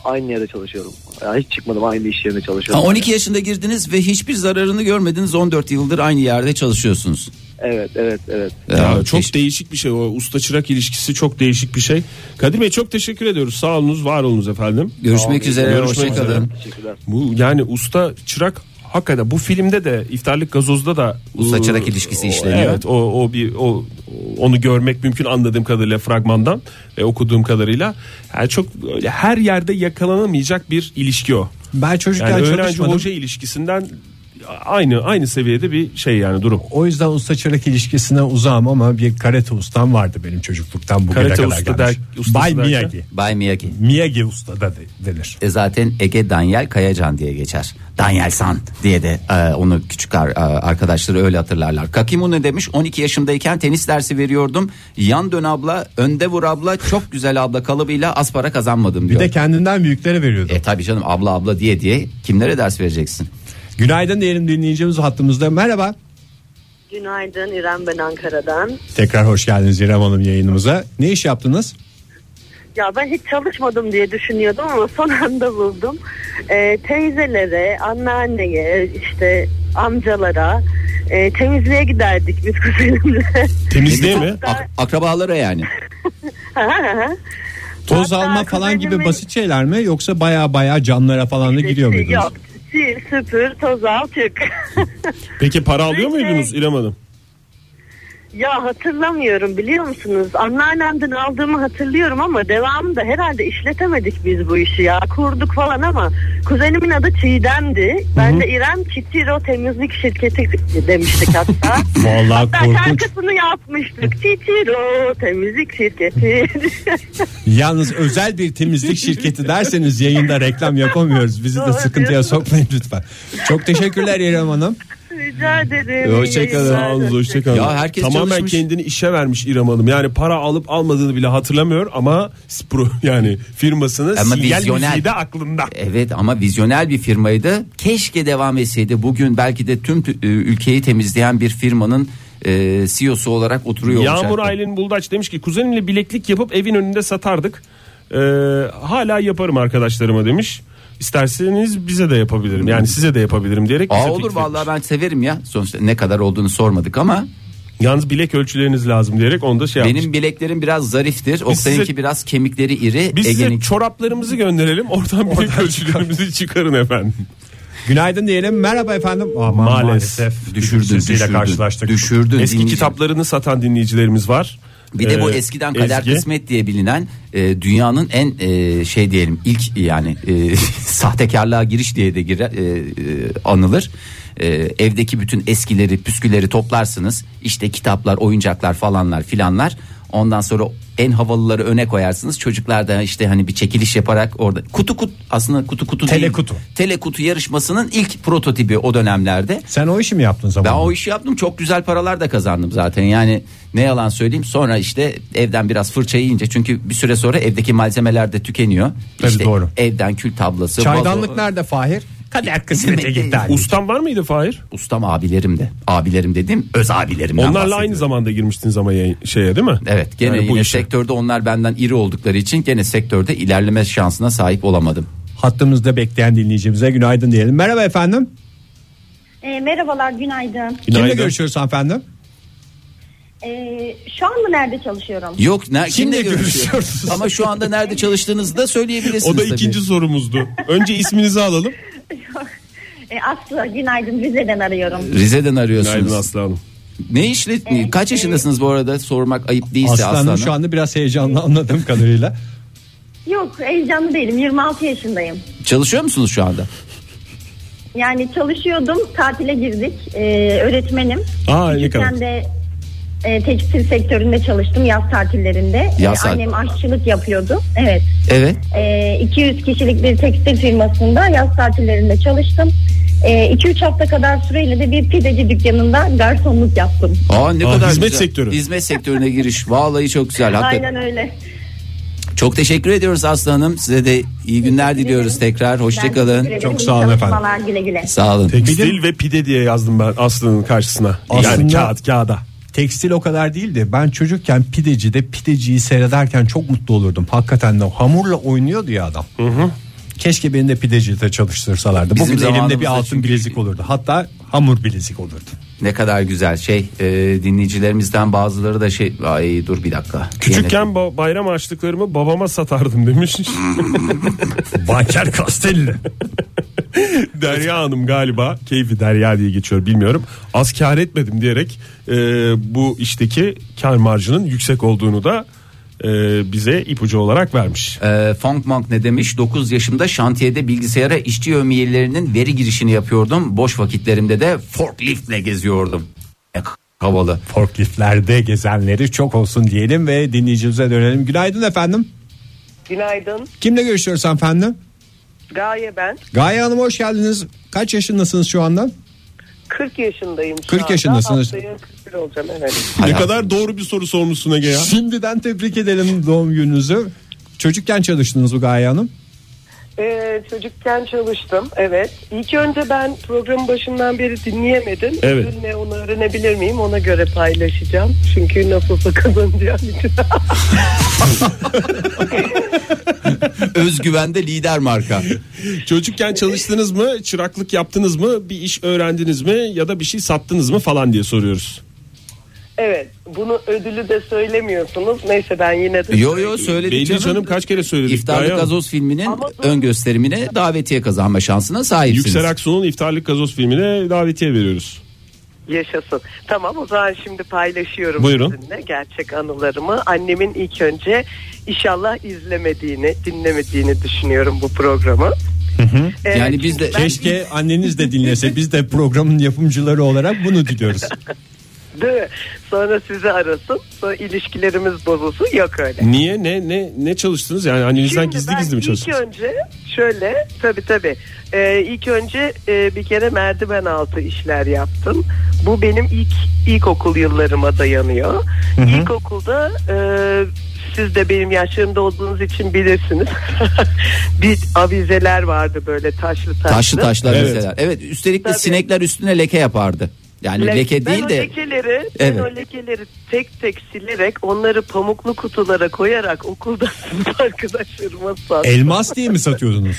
Speaker 8: Aynı yerde çalışıyorum. Yani hiç çıkmadım aynı iş yerinde
Speaker 4: Ha,
Speaker 8: çalışıyorum.
Speaker 4: 12 yaşında girdiniz ve hiçbir zararını görmediniz. 14 yıldır aynı yerde çalışıyorsunuz.
Speaker 8: Evet evet evet.
Speaker 5: Ya
Speaker 4: Ee,
Speaker 5: çok
Speaker 4: keşke-
Speaker 5: değişik bir şey o usta çırak ilişkisi çok değişik bir şey. Kadir Bey çok teşekkür ediyoruz. Sağ olunuz, var olunuz efendim.
Speaker 4: Görüşmek üzere.
Speaker 5: Görüşmek üzere.
Speaker 4: Hoşçakalın.
Speaker 8: Teşekkürler.
Speaker 5: Bu yani usta çırak hakikaten bu filmde de iftarlık gazozda da
Speaker 4: Usta
Speaker 5: ıı,
Speaker 4: çırak ilişkisi
Speaker 5: o-
Speaker 4: işleniyor.
Speaker 5: Evet o o bir o onu görmek mümkün anladığım kadarıyla fragmandan ve okuduğum kadarıyla. Yani çok öyle her yerde yakalanamayacak bir ilişki o.
Speaker 3: Ben çocukken
Speaker 5: Yani öğrenci
Speaker 3: çalışmadım.
Speaker 5: hoca ilişkisinden aynı aynı seviyede bir şey yani durum.
Speaker 3: O yüzden usta çırak ilişkisine uzağım ama bir karate ustam vardı benim çocukluktan bugüne
Speaker 5: Karate
Speaker 3: kadar
Speaker 5: usta
Speaker 3: gelmiş.
Speaker 5: der- ustası
Speaker 3: Bay
Speaker 5: derken?
Speaker 3: Miyagi.
Speaker 4: Bay Miyagi.
Speaker 3: Miyagi usta da de- denir.
Speaker 4: E zaten Ege Danyel Kayacan diye geçer. Danyel San diye de e, onu küçük ar- e, arkadaşları öyle hatırlarlar. Kakimu ne demiş? 12 yaşımdayken tenis dersi veriyordum. Yan dön abla, önde vur abla, çok güzel abla kalıbıyla az para kazanmadım
Speaker 3: Bir
Speaker 4: diyor.
Speaker 3: de kendinden büyüklere veriyordu.
Speaker 4: E tabii canım abla abla diye diye kimlere ders vereceksin?
Speaker 3: Günaydın diyelim dinleyicimiz hattımızda. Merhaba.
Speaker 7: Günaydın İrem ben Ankara'dan.
Speaker 3: Tekrar hoş geldiniz İrem Hanım yayınımıza. Ne iş yaptınız?
Speaker 7: Ya ben hiç çalışmadım diye düşünüyordum ama son anda buldum. Ee, teyzelere, anneanneye, işte amcalara e, temizliğe giderdik biz kuzenimle.
Speaker 5: Temizliğe mi?
Speaker 4: Ak- akrabalara yani.
Speaker 3: Toz
Speaker 7: Hatta
Speaker 3: alma falan gibi
Speaker 7: kuzenimin-
Speaker 3: basit şeyler mi yoksa baya baya camlara falan da gidiyor muydunuz?
Speaker 7: şey Yok, sil, süpür, toz al, çık.
Speaker 5: Peki para alıyor muydunuz İrem Hanım?
Speaker 7: ya hatırlamıyorum biliyor musunuz? Anneannemden aldığımı hatırlıyorum ama devamı da herhalde işletemedik biz bu işi ya. Kurduk falan ama kuzenimin adı Çiğdem'di. Ben de İrem Çitiro Temizlik Şirketi demiştik hatta.
Speaker 3: Vallahi
Speaker 7: Ben
Speaker 3: korkunç.
Speaker 7: şarkısını yapmıştık. Çitiro temizlik şirketi.
Speaker 3: Yalnız özel bir temizlik şirketi derseniz yayında reklam yapamıyoruz. Bizi de
Speaker 7: Doğru
Speaker 3: sıkıntıya
Speaker 7: diyorsunuz.
Speaker 3: sokmayın lütfen. Çok teşekkürler İrem Hanım.
Speaker 7: Rica ederim.
Speaker 5: Hoşçakalın. Ağzınıza hoşçakalın.
Speaker 4: Ya herkes
Speaker 5: Tamamen
Speaker 4: çalışmış.
Speaker 5: kendini işe vermiş İrem Hanım. Yani para alıp almadığını bile hatırlamıyor ama spro yani firmasının
Speaker 4: Ama
Speaker 5: sinyal
Speaker 4: vizyoner. E,
Speaker 5: müziği de aklında.
Speaker 4: Evet ama vizyonel bir firmaydı. Keşke devam etseydi. Bugün belki de tüm tü- e, ülkeyi temizleyen bir firmanın e, CEO'su olarak oturuyor
Speaker 5: Yağmur
Speaker 4: olacaktı.
Speaker 5: Aylin Buldaç demiş ki kuzenimle bileklik yapıp evin önünde satardık. Ee, hala yaparım arkadaşlarıma demiş. İsterseniz bize de yapabilirim. Yani size de yapabilirim diyerek. bize
Speaker 4: Aa olur
Speaker 5: fikir
Speaker 4: vallahi
Speaker 5: vermiş.
Speaker 4: ben severim ya. Sonuçta ne kadar olduğunu sormadık ama
Speaker 5: Yalnız bilek ölçüleriniz lazım diyerek onu da şey yapmış.
Speaker 4: benim bileklerim biraz zariftir.
Speaker 5: size-
Speaker 4: Oktay'ınki biraz kemikleri iri.
Speaker 5: Biz size
Speaker 4: Ege'nin
Speaker 5: çoraplarımızı gönderelim. Oradan bilek ölçülerimizi çıkarın efendim.
Speaker 3: Günaydın diyelim. Merhaba efendim. Aman
Speaker 5: Maalesef.
Speaker 3: bizim
Speaker 4: düşürdün,
Speaker 3: sesiyle
Speaker 4: düşürdün,
Speaker 3: karşılaştık.
Speaker 4: düşürdün.
Speaker 5: Eski
Speaker 4: dinleyici.
Speaker 5: kitaplarını satan dinleyicilerimiz var.
Speaker 4: Bir de bu
Speaker 5: Ee,
Speaker 4: eskiden kader
Speaker 5: Ezgi.
Speaker 4: kısmet diye bilinen e, dünyanın en e, şey diyelim ilk yani e, sahtekarlığa giriş diye de gire, e, e, anılır. E, evdeki bütün eskileri püsküleri toplarsınız. İşte kitaplar, oyuncaklar falanlar filanlar. Ondan sonra en havalıları öne koyarsınız. Çocuklar da işte hani bir çekiliş yaparak orada kutu kutu aslında kutu kutu değil.
Speaker 3: Telekutu.
Speaker 4: Telekutu yarışmasının ilk prototipi o dönemlerde.
Speaker 3: Sen o işi mi yaptın
Speaker 4: Ben
Speaker 3: zamanında?
Speaker 4: o işi yaptım çok güzel paralar da kazandım zaten yani ne yalan söyleyeyim sonra işte evden biraz fırça yiyince çünkü bir süre sonra evdeki malzemeler de tükeniyor.
Speaker 3: Tabii
Speaker 4: İşte
Speaker 3: doğru.
Speaker 4: Evden kül tablası.
Speaker 3: Çaydanlık
Speaker 4: vazo-
Speaker 3: nerede Fahir? Kader kısmete gitti. Ali.
Speaker 5: Ustam var mıydı Fahir?
Speaker 4: Ustam abilerim de abilerim dedim öz abilerimden
Speaker 5: Onlarla
Speaker 4: bahsediyorum.
Speaker 5: aynı zamanda girmiştiniz ama yayın- şeye değil mi?
Speaker 4: Evet gene
Speaker 5: Yani
Speaker 4: yine
Speaker 5: işe.
Speaker 4: sektörde onlar benden iri oldukları için gene sektörde ilerleme şansına sahip olamadım.
Speaker 3: Hattımızda bekleyen dinleyicimize günaydın diyelim. Merhaba efendim.
Speaker 9: E, merhabalar, günaydın.
Speaker 5: Günaydın.
Speaker 3: Kimle görüşüyoruz hanımefendi?
Speaker 9: E, şu an mı nerede çalışıyorum?
Speaker 4: Yok ne, kimle
Speaker 3: Kimle
Speaker 4: görüşüyoruz?
Speaker 3: görüşüyoruz?
Speaker 4: Ama şu anda nerede çalıştığınızı da söyleyebilirsiniz.
Speaker 5: O da
Speaker 4: tabii.
Speaker 5: ikinci sorumuzdu. Önce isminizi alalım.
Speaker 9: E, Aslı, günaydın. Rize'den arıyorum.
Speaker 4: Rize'den
Speaker 5: Günaydın
Speaker 4: arıyorsunuz.
Speaker 5: Aslı Hanım.
Speaker 4: Ne işle kaç yaşındasınız bu arada sormak ayıp değilse
Speaker 3: Aslanım
Speaker 4: Aslanım.
Speaker 3: şu anda biraz heyecanlı anladığım kadarıyla.
Speaker 9: Yok, heyecanlı değilim. 26 yaşındayım.
Speaker 4: Çalışıyor musunuz şu anda?
Speaker 9: Yani çalışıyordum, tatile girdik. E, öğretmenim.
Speaker 5: Aa, ne kadar.
Speaker 9: Ben de e, tekstil sektöründe çalıştım yaz tatillerinde. E,
Speaker 4: Yaz tatil-
Speaker 9: annem aşçılık yapıyordu. Evet.
Speaker 4: Evet.
Speaker 9: E, 200 kişilik bir tekstil firmasında yaz tatillerinde çalıştım. 2-3 hafta kadar süreyle de bir pideci dükkanında garsonluk yaptım.
Speaker 4: Aa ne
Speaker 5: Aa,
Speaker 4: kadar
Speaker 5: hizmet
Speaker 4: güzel.
Speaker 5: sektörü.
Speaker 4: Hizmet sektörüne giriş. Vallahi çok güzel. Hakikaten.
Speaker 9: Aynen öyle.
Speaker 4: Çok teşekkür ediyoruz Aslı Hanım. Size de iyi günler diliyoruz tekrar.
Speaker 9: Ben
Speaker 4: Hoşçakalın.
Speaker 9: teşekkür ederim.
Speaker 3: Çok sağ olun
Speaker 9: İyi
Speaker 3: efendim.
Speaker 9: çalışmalar, Güle güle.
Speaker 4: Sağ olun.
Speaker 5: Tekstil ve pide diye yazdım ben Aslı'nın karşısına. yani
Speaker 3: Aslında-
Speaker 5: kağıt kağıda.
Speaker 3: Tekstil o kadar değil de ben çocukken pidecide pideciyi seyrederken çok mutlu olurdum. Hakikaten de hamurla oynuyordu ya adam. Keşke beni de pidecide çalıştırsalardı.
Speaker 4: Bizim
Speaker 3: Bugün elimde bir
Speaker 4: zamanımızda
Speaker 3: altın
Speaker 4: çünkü-
Speaker 3: bilezik olurdu. Hatta hamur bilezik olurdu.
Speaker 4: Ne kadar güzel şey e, dinleyicilerimizden bazıları da şey ay dur bir dakika.
Speaker 5: Küçükken ba- bayram harçlıklarımı babama satardım demiş.
Speaker 3: Banker Castelli.
Speaker 5: Derya Hanım galiba keyfi Derya diye geçiyor bilmiyorum. Az kar etmedim diyerek e, bu işteki kar marjının yüksek olduğunu da e, bize ipucu olarak vermiş.
Speaker 4: Ee, Funk Monk ne demiş? 9 yaşımda şantiyede bilgisayara işçi ömiyelerinin veri girişini yapıyordum. Boş vakitlerimde de forkliftle geziyordum. E, havalı.
Speaker 3: Forkliftlerde gezenleri çok olsun diyelim ve dinleyicimize dönelim. Günaydın efendim.
Speaker 10: Günaydın.
Speaker 3: Kimle görüşüyoruz efendim?
Speaker 10: Gaye ben.
Speaker 3: Gaye Hanım hoş geldiniz. Kaç yaşındasınız şu anda?
Speaker 10: 40 yaşındayım şu
Speaker 3: 40
Speaker 10: anda.
Speaker 3: yaşındasınız.
Speaker 10: Haftaya 41 olacağım evet.
Speaker 5: Ne kadar doğru bir soru sormuşsun Ege ya.
Speaker 3: Şimdiden tebrik edelim doğum gününüzü. Çocukken çalıştınız bu Gaye Hanım.
Speaker 10: Ee, çocukken çalıştım evet. İlk önce ben programın başından beri dinleyemedim.
Speaker 5: Evet.
Speaker 10: Dün ne onu öğrenebilir miyim ona göre paylaşacağım. Çünkü nasılsa kazanacağım için.
Speaker 4: Özgüvende lider marka.
Speaker 5: Çocukken çalıştınız mı, çıraklık yaptınız mı, bir iş öğrendiniz mi ya da bir şey sattınız mı falan diye soruyoruz.
Speaker 10: evet bunu ödülü de söylemiyorsunuz. Neyse ben yine de
Speaker 4: Yo yo söyledik
Speaker 5: Belli
Speaker 4: canım.
Speaker 5: canım, kaç kere söyledik.
Speaker 4: İftarlık
Speaker 5: Gaye Hanım.
Speaker 4: gazoz filminin
Speaker 10: Ama-
Speaker 4: ön gösterimine davetiye kazanma şansına sahipsiniz.
Speaker 5: Yüksel Aksu'nun İftarlık Gazoz filmine davetiye veriyoruz.
Speaker 10: Yaşasın. Tamam o zaman şimdi paylaşıyorum
Speaker 5: Buyurun.
Speaker 10: sizinle gerçek anılarımı. Annemin ilk önce inşallah izlemediğini, dinlemediğini düşünüyorum bu programı. Ee,
Speaker 4: Yani biz de
Speaker 3: Keşke anneniz de dinlese biz de programın yapımcıları olarak bunu diliyoruz.
Speaker 10: Değil mi? Sonra sizi arasın. Sonra ilişkilerimiz bozulsun. Yok öyle.
Speaker 5: Niye ne ne ne çalıştınız yani annenizden
Speaker 10: Şimdi
Speaker 5: gizli
Speaker 10: ben
Speaker 5: gizli mi
Speaker 10: ilk
Speaker 5: çalıştınız?
Speaker 10: önce şöyle tabi tabi ilk önce e, bir kere merdiven altı işler yaptım. Bu benim ilk ilkokul yıllarıma dayanıyor. İlkokulda e, siz de benim yaşlarımda olduğunuz için bilirsiniz. bir avizeler vardı böyle taşlı taşlı.
Speaker 4: taşlı taşlar
Speaker 5: Evet.
Speaker 4: evet. Evet üstelik de
Speaker 10: Tabii.
Speaker 4: sinekler üstüne leke yapardı. Yani
Speaker 10: Leke-
Speaker 4: leke
Speaker 10: ben
Speaker 4: değil
Speaker 10: o
Speaker 4: de
Speaker 10: lekeleri, ben
Speaker 4: Evet.
Speaker 10: o lekeleri tek tek silerek onları pamuklu kutulara koyarak okulda sınıf arkadaşlarıma sattım.
Speaker 3: Elmas diye mi satıyordunuz?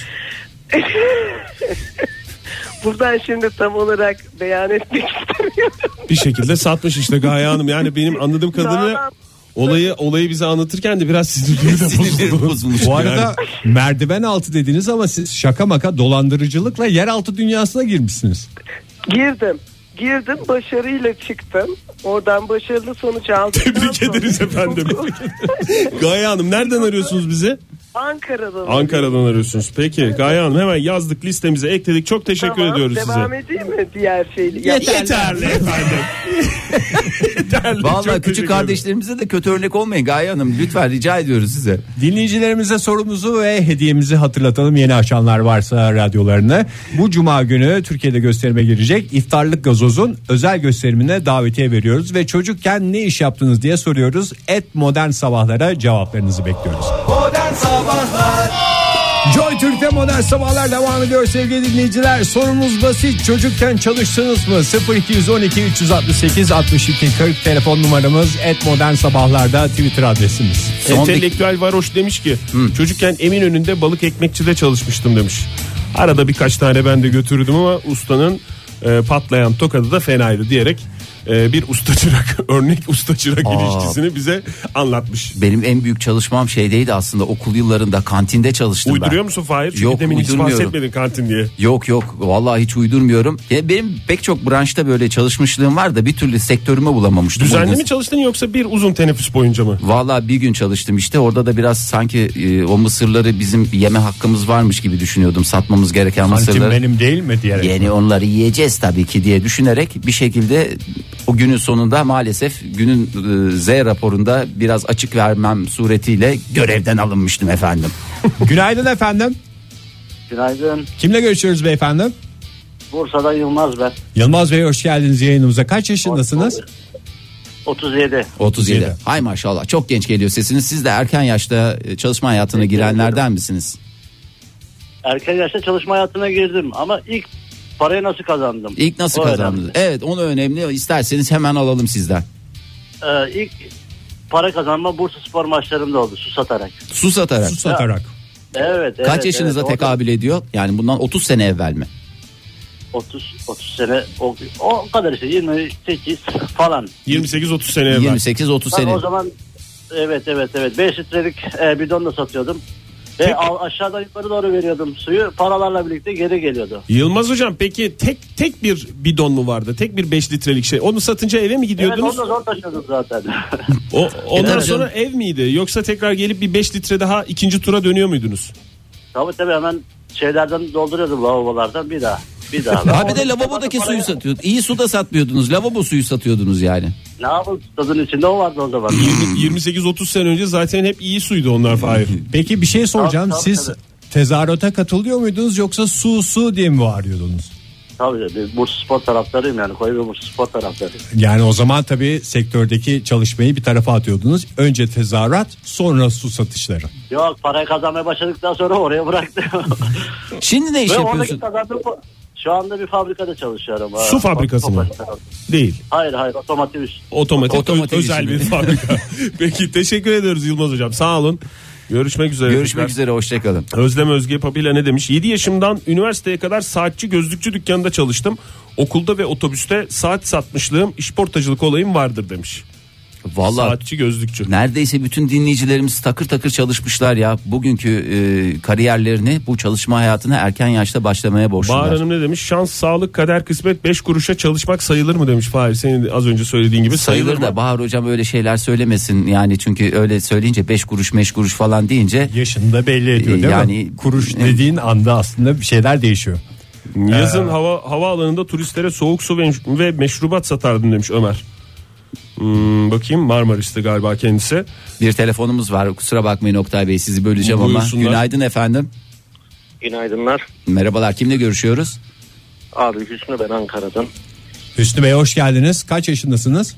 Speaker 10: Buradan şimdi tam olarak beyan etmek istemiyorum.
Speaker 5: Bir şekilde satmış işte Gaye Hanım. Yani benim anladığım kadarıyla
Speaker 10: Sağlam.
Speaker 5: olayı olayı bize anlatırken de biraz sinirleri de
Speaker 4: Sinirleri
Speaker 5: bozuldu.
Speaker 4: bozulmuş.
Speaker 3: Bu arada merdiven altı dediniz ama siz şaka maka dolandırıcılıkla yeraltı dünyasına girmişsiniz.
Speaker 10: Girdim. Girdim başarıyla çıktım. Oradan başarılı sonuç aldım.
Speaker 5: Tebrik ederiz efendim. Gaye Hanım nereden arıyorsunuz bizi?
Speaker 10: Ankara'dan.
Speaker 5: Ankara'dan arıyorsunuz. Peki Gaye Hanım hemen yazdık listemize ekledik. Çok teşekkür
Speaker 10: Tamam,
Speaker 5: ediyoruz size.
Speaker 10: Devam edeyim mi diğer şeyle? Ya-
Speaker 5: Yeterli efendim. Yeterli. Çok
Speaker 4: Vallahi
Speaker 5: teşekkür
Speaker 4: küçük
Speaker 5: ederim.
Speaker 4: kardeşlerimize de kötü örnek olmayın Gaye Hanım lütfen rica ediyoruz size.
Speaker 3: Dinleyicilerimize sorumuzu ve hediyemizi hatırlatalım yeni açanlar varsa radyolarını. Bu cuma günü Türkiye'de gösterime girecek iftarlık gazozun özel gösterimine davetiye veriyoruz ve çocukken ne iş yaptınız diye soruyoruz. Et modern sabahlara cevaplarınızı bekliyoruz.
Speaker 2: Modern Sabahlar
Speaker 3: Joy Türk'te modern sabahlar devam ediyor sevgili dinleyiciler. Sorumuz basit. Çocukken çalıştınız mı? 0212 368 62 40 telefon numaramız. Et modern sabahlarda Twitter adresimiz.
Speaker 4: Son bir-
Speaker 5: Entelektüel varoş demiş ki çocukken Eminönü'nde balık ekmekçide çalışmıştım demiş. Arada birkaç tane ben de götürdüm ama ustanın e, patlayan tokadı da fenaydı diyerek e, bir usta çırak örnek usta çırak ilişkisini bize anlatmış.
Speaker 4: Benim en büyük çalışmam şeydeydi aslında okul yıllarında kantinde çalıştım ben.
Speaker 5: Uyduruyor musun Fahir? Çünkü
Speaker 4: Yok,
Speaker 5: demin hiç
Speaker 4: uydurmuyorum.
Speaker 5: bahsetmedin kantin diye.
Speaker 4: Yok yok vallahi hiç uydurmuyorum. Ya benim pek çok branşta böyle çalışmışlığım var da bir türlü sektörüme bulamamıştım.
Speaker 5: Düzenli
Speaker 4: Uygun-
Speaker 5: mi çalıştın yoksa bir uzun teneffüs boyunca mı?
Speaker 4: Valla bir gün çalıştım işte orada da biraz sanki e, o mısırları bizim yeme hakkımız varmış gibi düşünüyordum satmamız gereken mısırları.
Speaker 3: benim değil mi diyerek.
Speaker 4: Yani onları yiyeceğiz tabii ki diye düşünerek bir şekilde o günün sonunda maalesef günün e, Z raporunda biraz açık vermem suretiyle görevden alınmıştım efendim.
Speaker 3: Günaydın efendim.
Speaker 11: Günaydın.
Speaker 3: Kimle görüşüyoruz beyefendi?
Speaker 11: Bursa'da Yılmaz ben.
Speaker 3: Yılmaz Bey hoş geldiniz yayınımıza. Kaç yaşındasınız?
Speaker 11: 37.
Speaker 4: 37. Hay maşallah çok genç geliyor sesiniz. Siz de erken yaşta e, çalışma hayatına girenlerden misiniz?
Speaker 11: Erken yaşta çalışma hayatına girdim ama ilk parayı nasıl kazandım?
Speaker 4: İlk nasıl
Speaker 11: O önemli.
Speaker 4: kazandınız? Evet onu önemli. İsterseniz hemen alalım sizden.
Speaker 11: Ee, ilk para kazanma Bursa spor maçlarımda oldu su satarak.
Speaker 4: Su satarak.
Speaker 3: Su satarak.
Speaker 11: Evet.
Speaker 4: Kaç
Speaker 11: evet,
Speaker 4: yaşınıza
Speaker 11: evet,
Speaker 4: tekabül ediyor? Yani bundan 30 sene evvel mi?
Speaker 11: Orada, 30 30 sene o, o kadar işte 28 falan.
Speaker 5: 28-30 sene evvel.
Speaker 11: Ben O zaman evet evet evet 5 litrelik e, bidonla satıyordum. Ve al- aşağıdan yukarı doğru veriyordum suyu. Paralarla birlikte geri geliyordu.
Speaker 5: Yılmaz hocam peki tek tek bir bidon mu vardı? Tek bir 5 litrelik şey. Onu satınca eve mi gidiyordunuz?
Speaker 11: Evet onu da zor taşıyordum zaten.
Speaker 5: O, ondan
Speaker 11: tabii
Speaker 5: sonra
Speaker 11: canım.
Speaker 5: ev miydi? Yoksa tekrar gelip bir 5 litre daha ikinci tura dönüyor muydunuz?
Speaker 11: tabii tabii hemen şeylerden dolduruyordum lavabolardan bir daha. Bir daha.
Speaker 4: Ha bir de lavabodaki suyu satıyordunuz. İyi su da satmıyordunuz. Lavabo suyu satıyordunuz yani.
Speaker 11: Ne yapalım tadın içinde o vardı o zaman.
Speaker 5: 28-30 sene önce zaten hep iyi suydu onlar Fahir.
Speaker 3: Peki bir şey soracağım.
Speaker 11: Tabii, tabii,
Speaker 3: Siz tezahürata katılıyor muydunuz yoksa su su diye mi bağırıyordunuz?
Speaker 11: Tabii bir Bursa Spor taraftarıyım yani koyu bir Bursa Spor taraftarıyım.
Speaker 3: Yani o zaman tabii sektördeki çalışmayı bir tarafa atıyordunuz. Önce tezahürat sonra su satışları.
Speaker 11: Yok parayı kazanmaya başladıktan sonra oraya bıraktım.
Speaker 4: Şimdi ne iş
Speaker 11: Ve
Speaker 4: yapıyorsun?
Speaker 11: Oradaki kazandığım pa- şu anda bir fabrikada çalışıyorum.
Speaker 5: Su
Speaker 11: Ha,
Speaker 5: fabrikası mı?
Speaker 11: otomatik tarafı.
Speaker 5: Değil.
Speaker 11: Hayır hayır otomatik üst.
Speaker 5: Otomatik,
Speaker 4: Otomatik
Speaker 5: ö- özel
Speaker 4: işi mi?
Speaker 5: bir fabrika. Peki teşekkür ediyoruz Yılmaz hocam. Sağ olun. Görüşmek üzere.
Speaker 4: Görüşmek
Speaker 5: tekrar.
Speaker 4: üzere hoşçakalın.
Speaker 5: Özlem Özge Papila ne demiş? 7 yaşımdan üniversiteye kadar saatçi gözlükçü dükkanında çalıştım. Okulda ve otobüste saat satmışlığım, işportacılık olayım vardır demiş.
Speaker 4: Vallahi
Speaker 5: Saatçi gözlükçü.
Speaker 4: neredeyse bütün dinleyicilerimiz takır takır çalışmışlar ya. Bugünkü e, kariyerlerini bu çalışma hayatına erken yaşta başlamaya
Speaker 5: Bahar
Speaker 4: borçlular.
Speaker 5: Hanım ne demiş? Şans, sağlık, kader, kısmet 5 kuruşa çalışmak sayılır mı demiş Fahir. Senin de az önce söylediğin gibi sayılır,
Speaker 4: Sayılır da
Speaker 5: mı?
Speaker 4: Bahar hocam öyle şeyler söylemesin yani çünkü öyle söyleyince 5 kuruş 5 kuruş falan deyince
Speaker 3: Yaşını da belli ediyor değil mi?
Speaker 4: Yani-
Speaker 3: Kuruş dediğin anda aslında bir şeyler değişiyor.
Speaker 5: Yazın
Speaker 12: Ee.
Speaker 5: hava havaalanında turistlere soğuk su ve, ve meşrubat satardım demiş Ömer. Hmm, bakayım Marmaris'te galiba kendisi.
Speaker 4: bir telefonumuz var kusura bakmayın Oktay Bey sizi böleceğim ama
Speaker 5: Buyursunlar.
Speaker 4: günaydın efendim
Speaker 12: Günaydınlar.
Speaker 4: merhabalar kimle görüşüyoruz
Speaker 12: Abi Hüsnü ben Ankara'dan.
Speaker 3: Hüsnü Bey hoş geldiniz. Kaç yaşındasınız?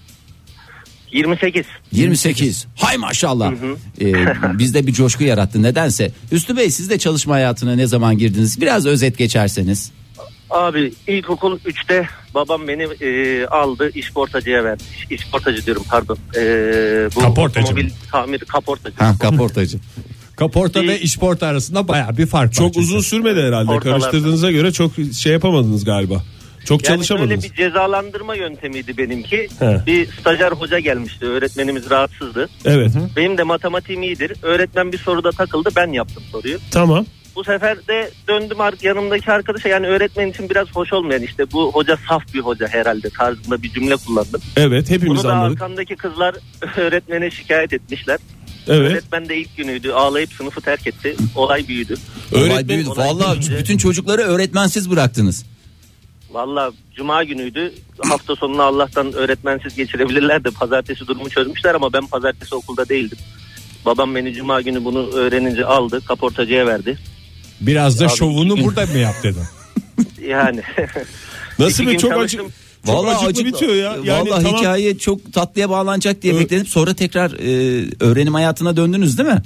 Speaker 12: 28.
Speaker 4: 28 hay maşallah Ee, bizde bir coşku yarattı nedense Üstü Bey siz de çalışma hayatına ne zaman girdiniz biraz özet geçerseniz
Speaker 12: Abi ilkokul 3'te babam beni e, aldı işportacıya verdi. İş- İşportacı diyorum pardon. E, bu
Speaker 3: Kaportacı
Speaker 12: otomobil tamir kaportacı.
Speaker 4: ha, kaportacı
Speaker 3: Kaporta ve işporta arasında baya bir fark var.
Speaker 5: Çok uzun sürmedi herhalde.
Speaker 12: Ortalarda.
Speaker 5: Karıştırdığınıza göre çok şey yapamadınız galiba. Çok
Speaker 12: Yani
Speaker 5: çalışamadınız.
Speaker 12: böyle bir cezalandırma yöntemiydi benimki.
Speaker 5: He.
Speaker 12: Bir stajyer hoca gelmişti. Öğretmenimiz rahatsızdı.
Speaker 5: Evet.
Speaker 12: Benim de matematiğim iyidir. Öğretmen bir soruda takıldı. Ben yaptım soruyu.
Speaker 5: Tamam.
Speaker 12: Bu sefer de döndüm ar- yanımdaki arkadaşa yani öğretmen için biraz hoş olmayan işte bu hoca saf bir hoca herhalde tarzında bir cümle kullandım.
Speaker 5: Evet hepimiz
Speaker 12: Bunu da
Speaker 5: anladık.
Speaker 12: arkamdaki kızlar öğretmene şikayet etmişler.
Speaker 5: Evet.
Speaker 12: Öğretmen de ilk günüydü. Ağlayıp sınıfı terk etti. Olay büyüdü.
Speaker 4: Olay büyüdü.
Speaker 12: olay
Speaker 4: Vallahi
Speaker 12: büyüyünce-
Speaker 4: bütün çocukları öğretmensiz bıraktınız
Speaker 12: Valla cuma günüydü. Hafta sonunu Allah'tan öğretmensiz geçirebilirler de pazartesi durumu çözmüşler ama ben pazartesi okulda değildim. Babam beni cuma günü bunu öğrenince aldı. Kaportacıya verdi.
Speaker 3: Biraz da şovunu burada mı yap dedim.
Speaker 12: Yani.
Speaker 5: Nasıl
Speaker 12: İki
Speaker 5: bir
Speaker 12: gün
Speaker 5: çok acı
Speaker 12: çalıştım.
Speaker 5: çok acıklı
Speaker 4: acıklı.
Speaker 5: bitiyor ya. Yani
Speaker 4: Vallahi
Speaker 5: tamam.
Speaker 4: hikaye çok tatlıya bağlanacak diye bekledim. Sonra tekrar e, öğrenim hayatına döndünüz değil mi?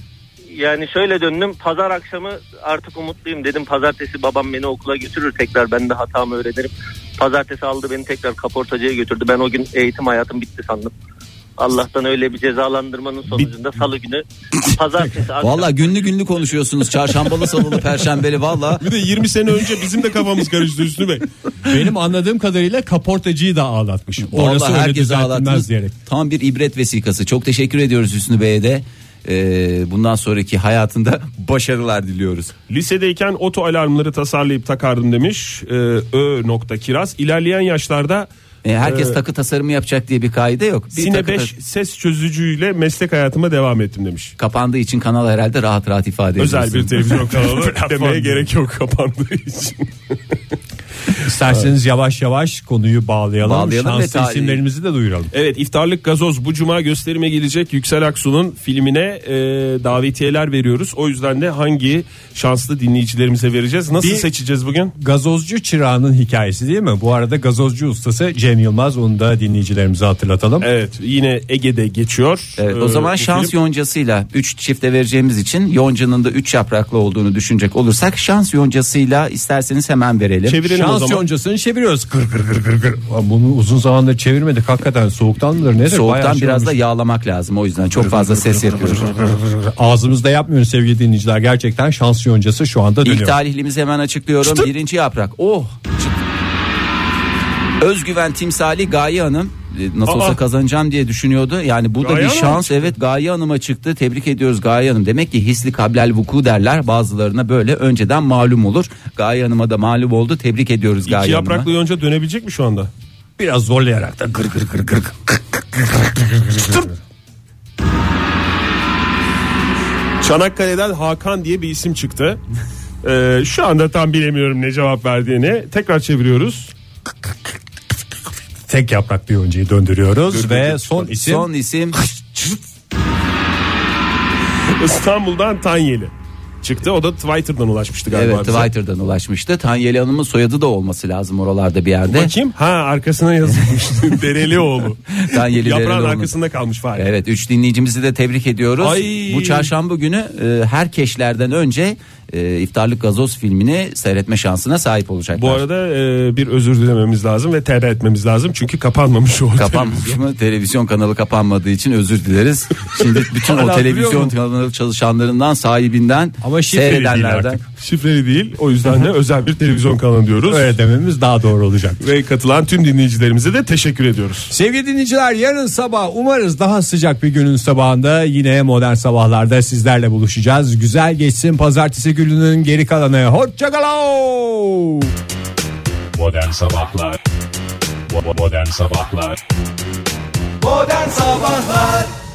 Speaker 12: Yani şöyle döndüm. Pazar akşamı artık umutluyum dedim. Pazartesi babam beni okula götürür tekrar. Ben de hatamı öğrenirim. Pazartesi aldı beni tekrar kaportacıya götürdü. Ben o gün eğitim hayatım bitti sandım. Allah'tan öyle bir cezalandırmanın sonucunda salı günü pazartesi akşamı
Speaker 4: Vallahi günlü günlü konuşuyorsunuz. Çarşambalı, salılı, perşembeli vallahi.
Speaker 5: Bir de 20 sene önce bizim de kafamız karıştı Hüsnü Bey.
Speaker 3: Benim anladığım kadarıyla kaportacıyı da ağlatmış. Orası
Speaker 4: Vallahi
Speaker 3: öyle
Speaker 4: herkes
Speaker 3: düzeltilmez
Speaker 4: ağlattınız.
Speaker 3: diyerek.
Speaker 4: Tam bir ibret vesikası. Çok teşekkür ediyoruz Hüsnü Bey'e de. E, bundan sonraki hayatında başarılar diliyoruz.
Speaker 5: Lisedeyken oto alarmları tasarlayıp takardım demiş. Ee, Ö nokta kiraz. İlerleyen yaşlarda
Speaker 4: E, herkes
Speaker 5: Ee,
Speaker 4: takı tasarımı yapacak diye bir kaide yok. Bir
Speaker 5: Sine
Speaker 4: takı
Speaker 5: 5
Speaker 4: tas-
Speaker 5: ses çözücüyle meslek hayatıma devam ettim demiş.
Speaker 4: kapandığı için kanal herhalde rahat rahat ifade
Speaker 5: Özel
Speaker 4: ediyorsun.
Speaker 5: bir televizyon kanalı demeye
Speaker 4: Platform.
Speaker 5: gerek yok kapandığı için.
Speaker 3: İsterseniz yavaş yavaş konuyu bağlayalım.
Speaker 4: Bağlayalım ve
Speaker 3: Şanslı
Speaker 4: tarih-
Speaker 3: isimlerimizi de duyuralım.
Speaker 5: Evet iftarlık gazoz bu cuma gösterime gelecek Yüksel Aksu'nun filmine e, davetiyeler veriyoruz. O yüzden de hangi şanslı dinleyicilerimize vereceğiz? Nasıl
Speaker 3: Bir-
Speaker 5: seçeceğiz bugün?
Speaker 3: Gazozcu çırağının hikayesi değil mi? Bu arada gazozcu ustası Cem Yılmaz onu da dinleyicilerimize hatırlatalım.
Speaker 5: Evet yine Ege'de geçiyor.
Speaker 4: Evet,
Speaker 5: Ee,
Speaker 4: o zaman
Speaker 5: bu
Speaker 4: şans
Speaker 5: film-
Speaker 4: yoncasıyla 3 çifte vereceğimiz için yoncanın da 3 yapraklı olduğunu düşünecek olursak şans yoncasıyla isterseniz hemen verelim.
Speaker 5: Çevirelim o
Speaker 3: Şans
Speaker 5: zaman.
Speaker 3: yoncasını çeviriyoruz. Gır gır gır gır gır. Ulan Bunu uzun zamandır çevirmedik. Hakikaten soğuktan mıdır nedir? Bayağı
Speaker 4: Soğuktan
Speaker 3: şey
Speaker 4: biraz da
Speaker 3: olmuş.
Speaker 4: yağlamak lazım o yüzden çok fazla ses yapıyoruz.
Speaker 3: Ağzımızda yapmıyoruz sevgili dinleyiciler. Gerçekten şans yoncası şu anda dönüyor.
Speaker 4: İlk talihlimizi hemen açıklıyorum. Birinci yaprak. Oh. Çıt. Özgüven timsali Gaye Hanım e, nasıl olsa
Speaker 5: Aa.
Speaker 4: kazanacağım diye düşünüyordu. Yani bu da
Speaker 5: Gaye
Speaker 4: bir
Speaker 5: Hanım
Speaker 4: şans. Evet Gaye Hanım'a çıktı. Tebrik ediyoruz Gaye Hanım. Demek ki hisli kablel vuku derler. Bazılarına böyle önceden malum olur. Gaye Hanım'a da malum oldu. Tebrik ediyoruz
Speaker 5: İki
Speaker 4: Gaye Hanım'a.
Speaker 5: yapraklı yonca dönebilecek mi şu anda?
Speaker 3: Biraz zorlayarak da gır gır gır gır.
Speaker 5: Çanakkale'den Hakan diye bir isim çıktı. Ee, şu anda tam bilemiyorum ne cevap verdiğini. Tekrar çeviriyoruz.
Speaker 3: Tek yapraklı yoncayı döndürüyoruz
Speaker 5: Gır gır
Speaker 3: ve
Speaker 5: gır.
Speaker 3: son isim
Speaker 4: Son isim
Speaker 5: İstanbul'dan Tanyeli çıktı. O da Twitter'dan ulaşmıştı galiba.
Speaker 4: evet
Speaker 5: bize.
Speaker 4: Twitter'dan ulaşmıştı. Tanyeli Hanım'ın soyadı da olması lazım oralarda bir yerde.
Speaker 5: Bakayım. Ha arkasına yazılmış. Derelioğlu.
Speaker 4: Tanyeli
Speaker 5: Yaprağın
Speaker 4: Derelioğlu.
Speaker 5: arkasında kalmış Fahri.
Speaker 4: Evet 3 dinleyicimizi de tebrik ediyoruz.
Speaker 5: Ay.
Speaker 4: Bu çarşamba günü e, her keşlerden önce e, iftarlık gazoz filmini seyretme şansına sahip olacaklar.
Speaker 5: Bu arada e, bir özür dilememiz lazım ve tevbe etmemiz lazım. Çünkü kapanmamış o
Speaker 4: Kapanmış mı? Televizyon kanalı kapanmadığı için özür dileriz. Şimdi bütün o
Speaker 5: Hala
Speaker 4: televizyon
Speaker 5: duruyor mu?
Speaker 4: kanalı çalışanlarından, sahibinden,
Speaker 3: Ama
Speaker 5: şey
Speaker 3: şifreli değil
Speaker 4: seyredenlerden.
Speaker 3: artık.
Speaker 5: Şifreli değil. O yüzden de özel bir televizyon kanalı diyoruz.
Speaker 3: öyle dememiz daha doğru olacak.
Speaker 5: Ve katılan tüm dinleyicilerimize de teşekkür ediyoruz.
Speaker 3: Sevgili dinleyiciler yarın sabah umarız daha sıcak bir günün sabahında yine modern sabahlarda sizlerle buluşacağız. Güzel geçsin pazartesi gününün geri kalanı. Hoşçakalın.
Speaker 1: Modern Sabahlar Bo- Modern Sabahlar
Speaker 2: Modern Sabahlar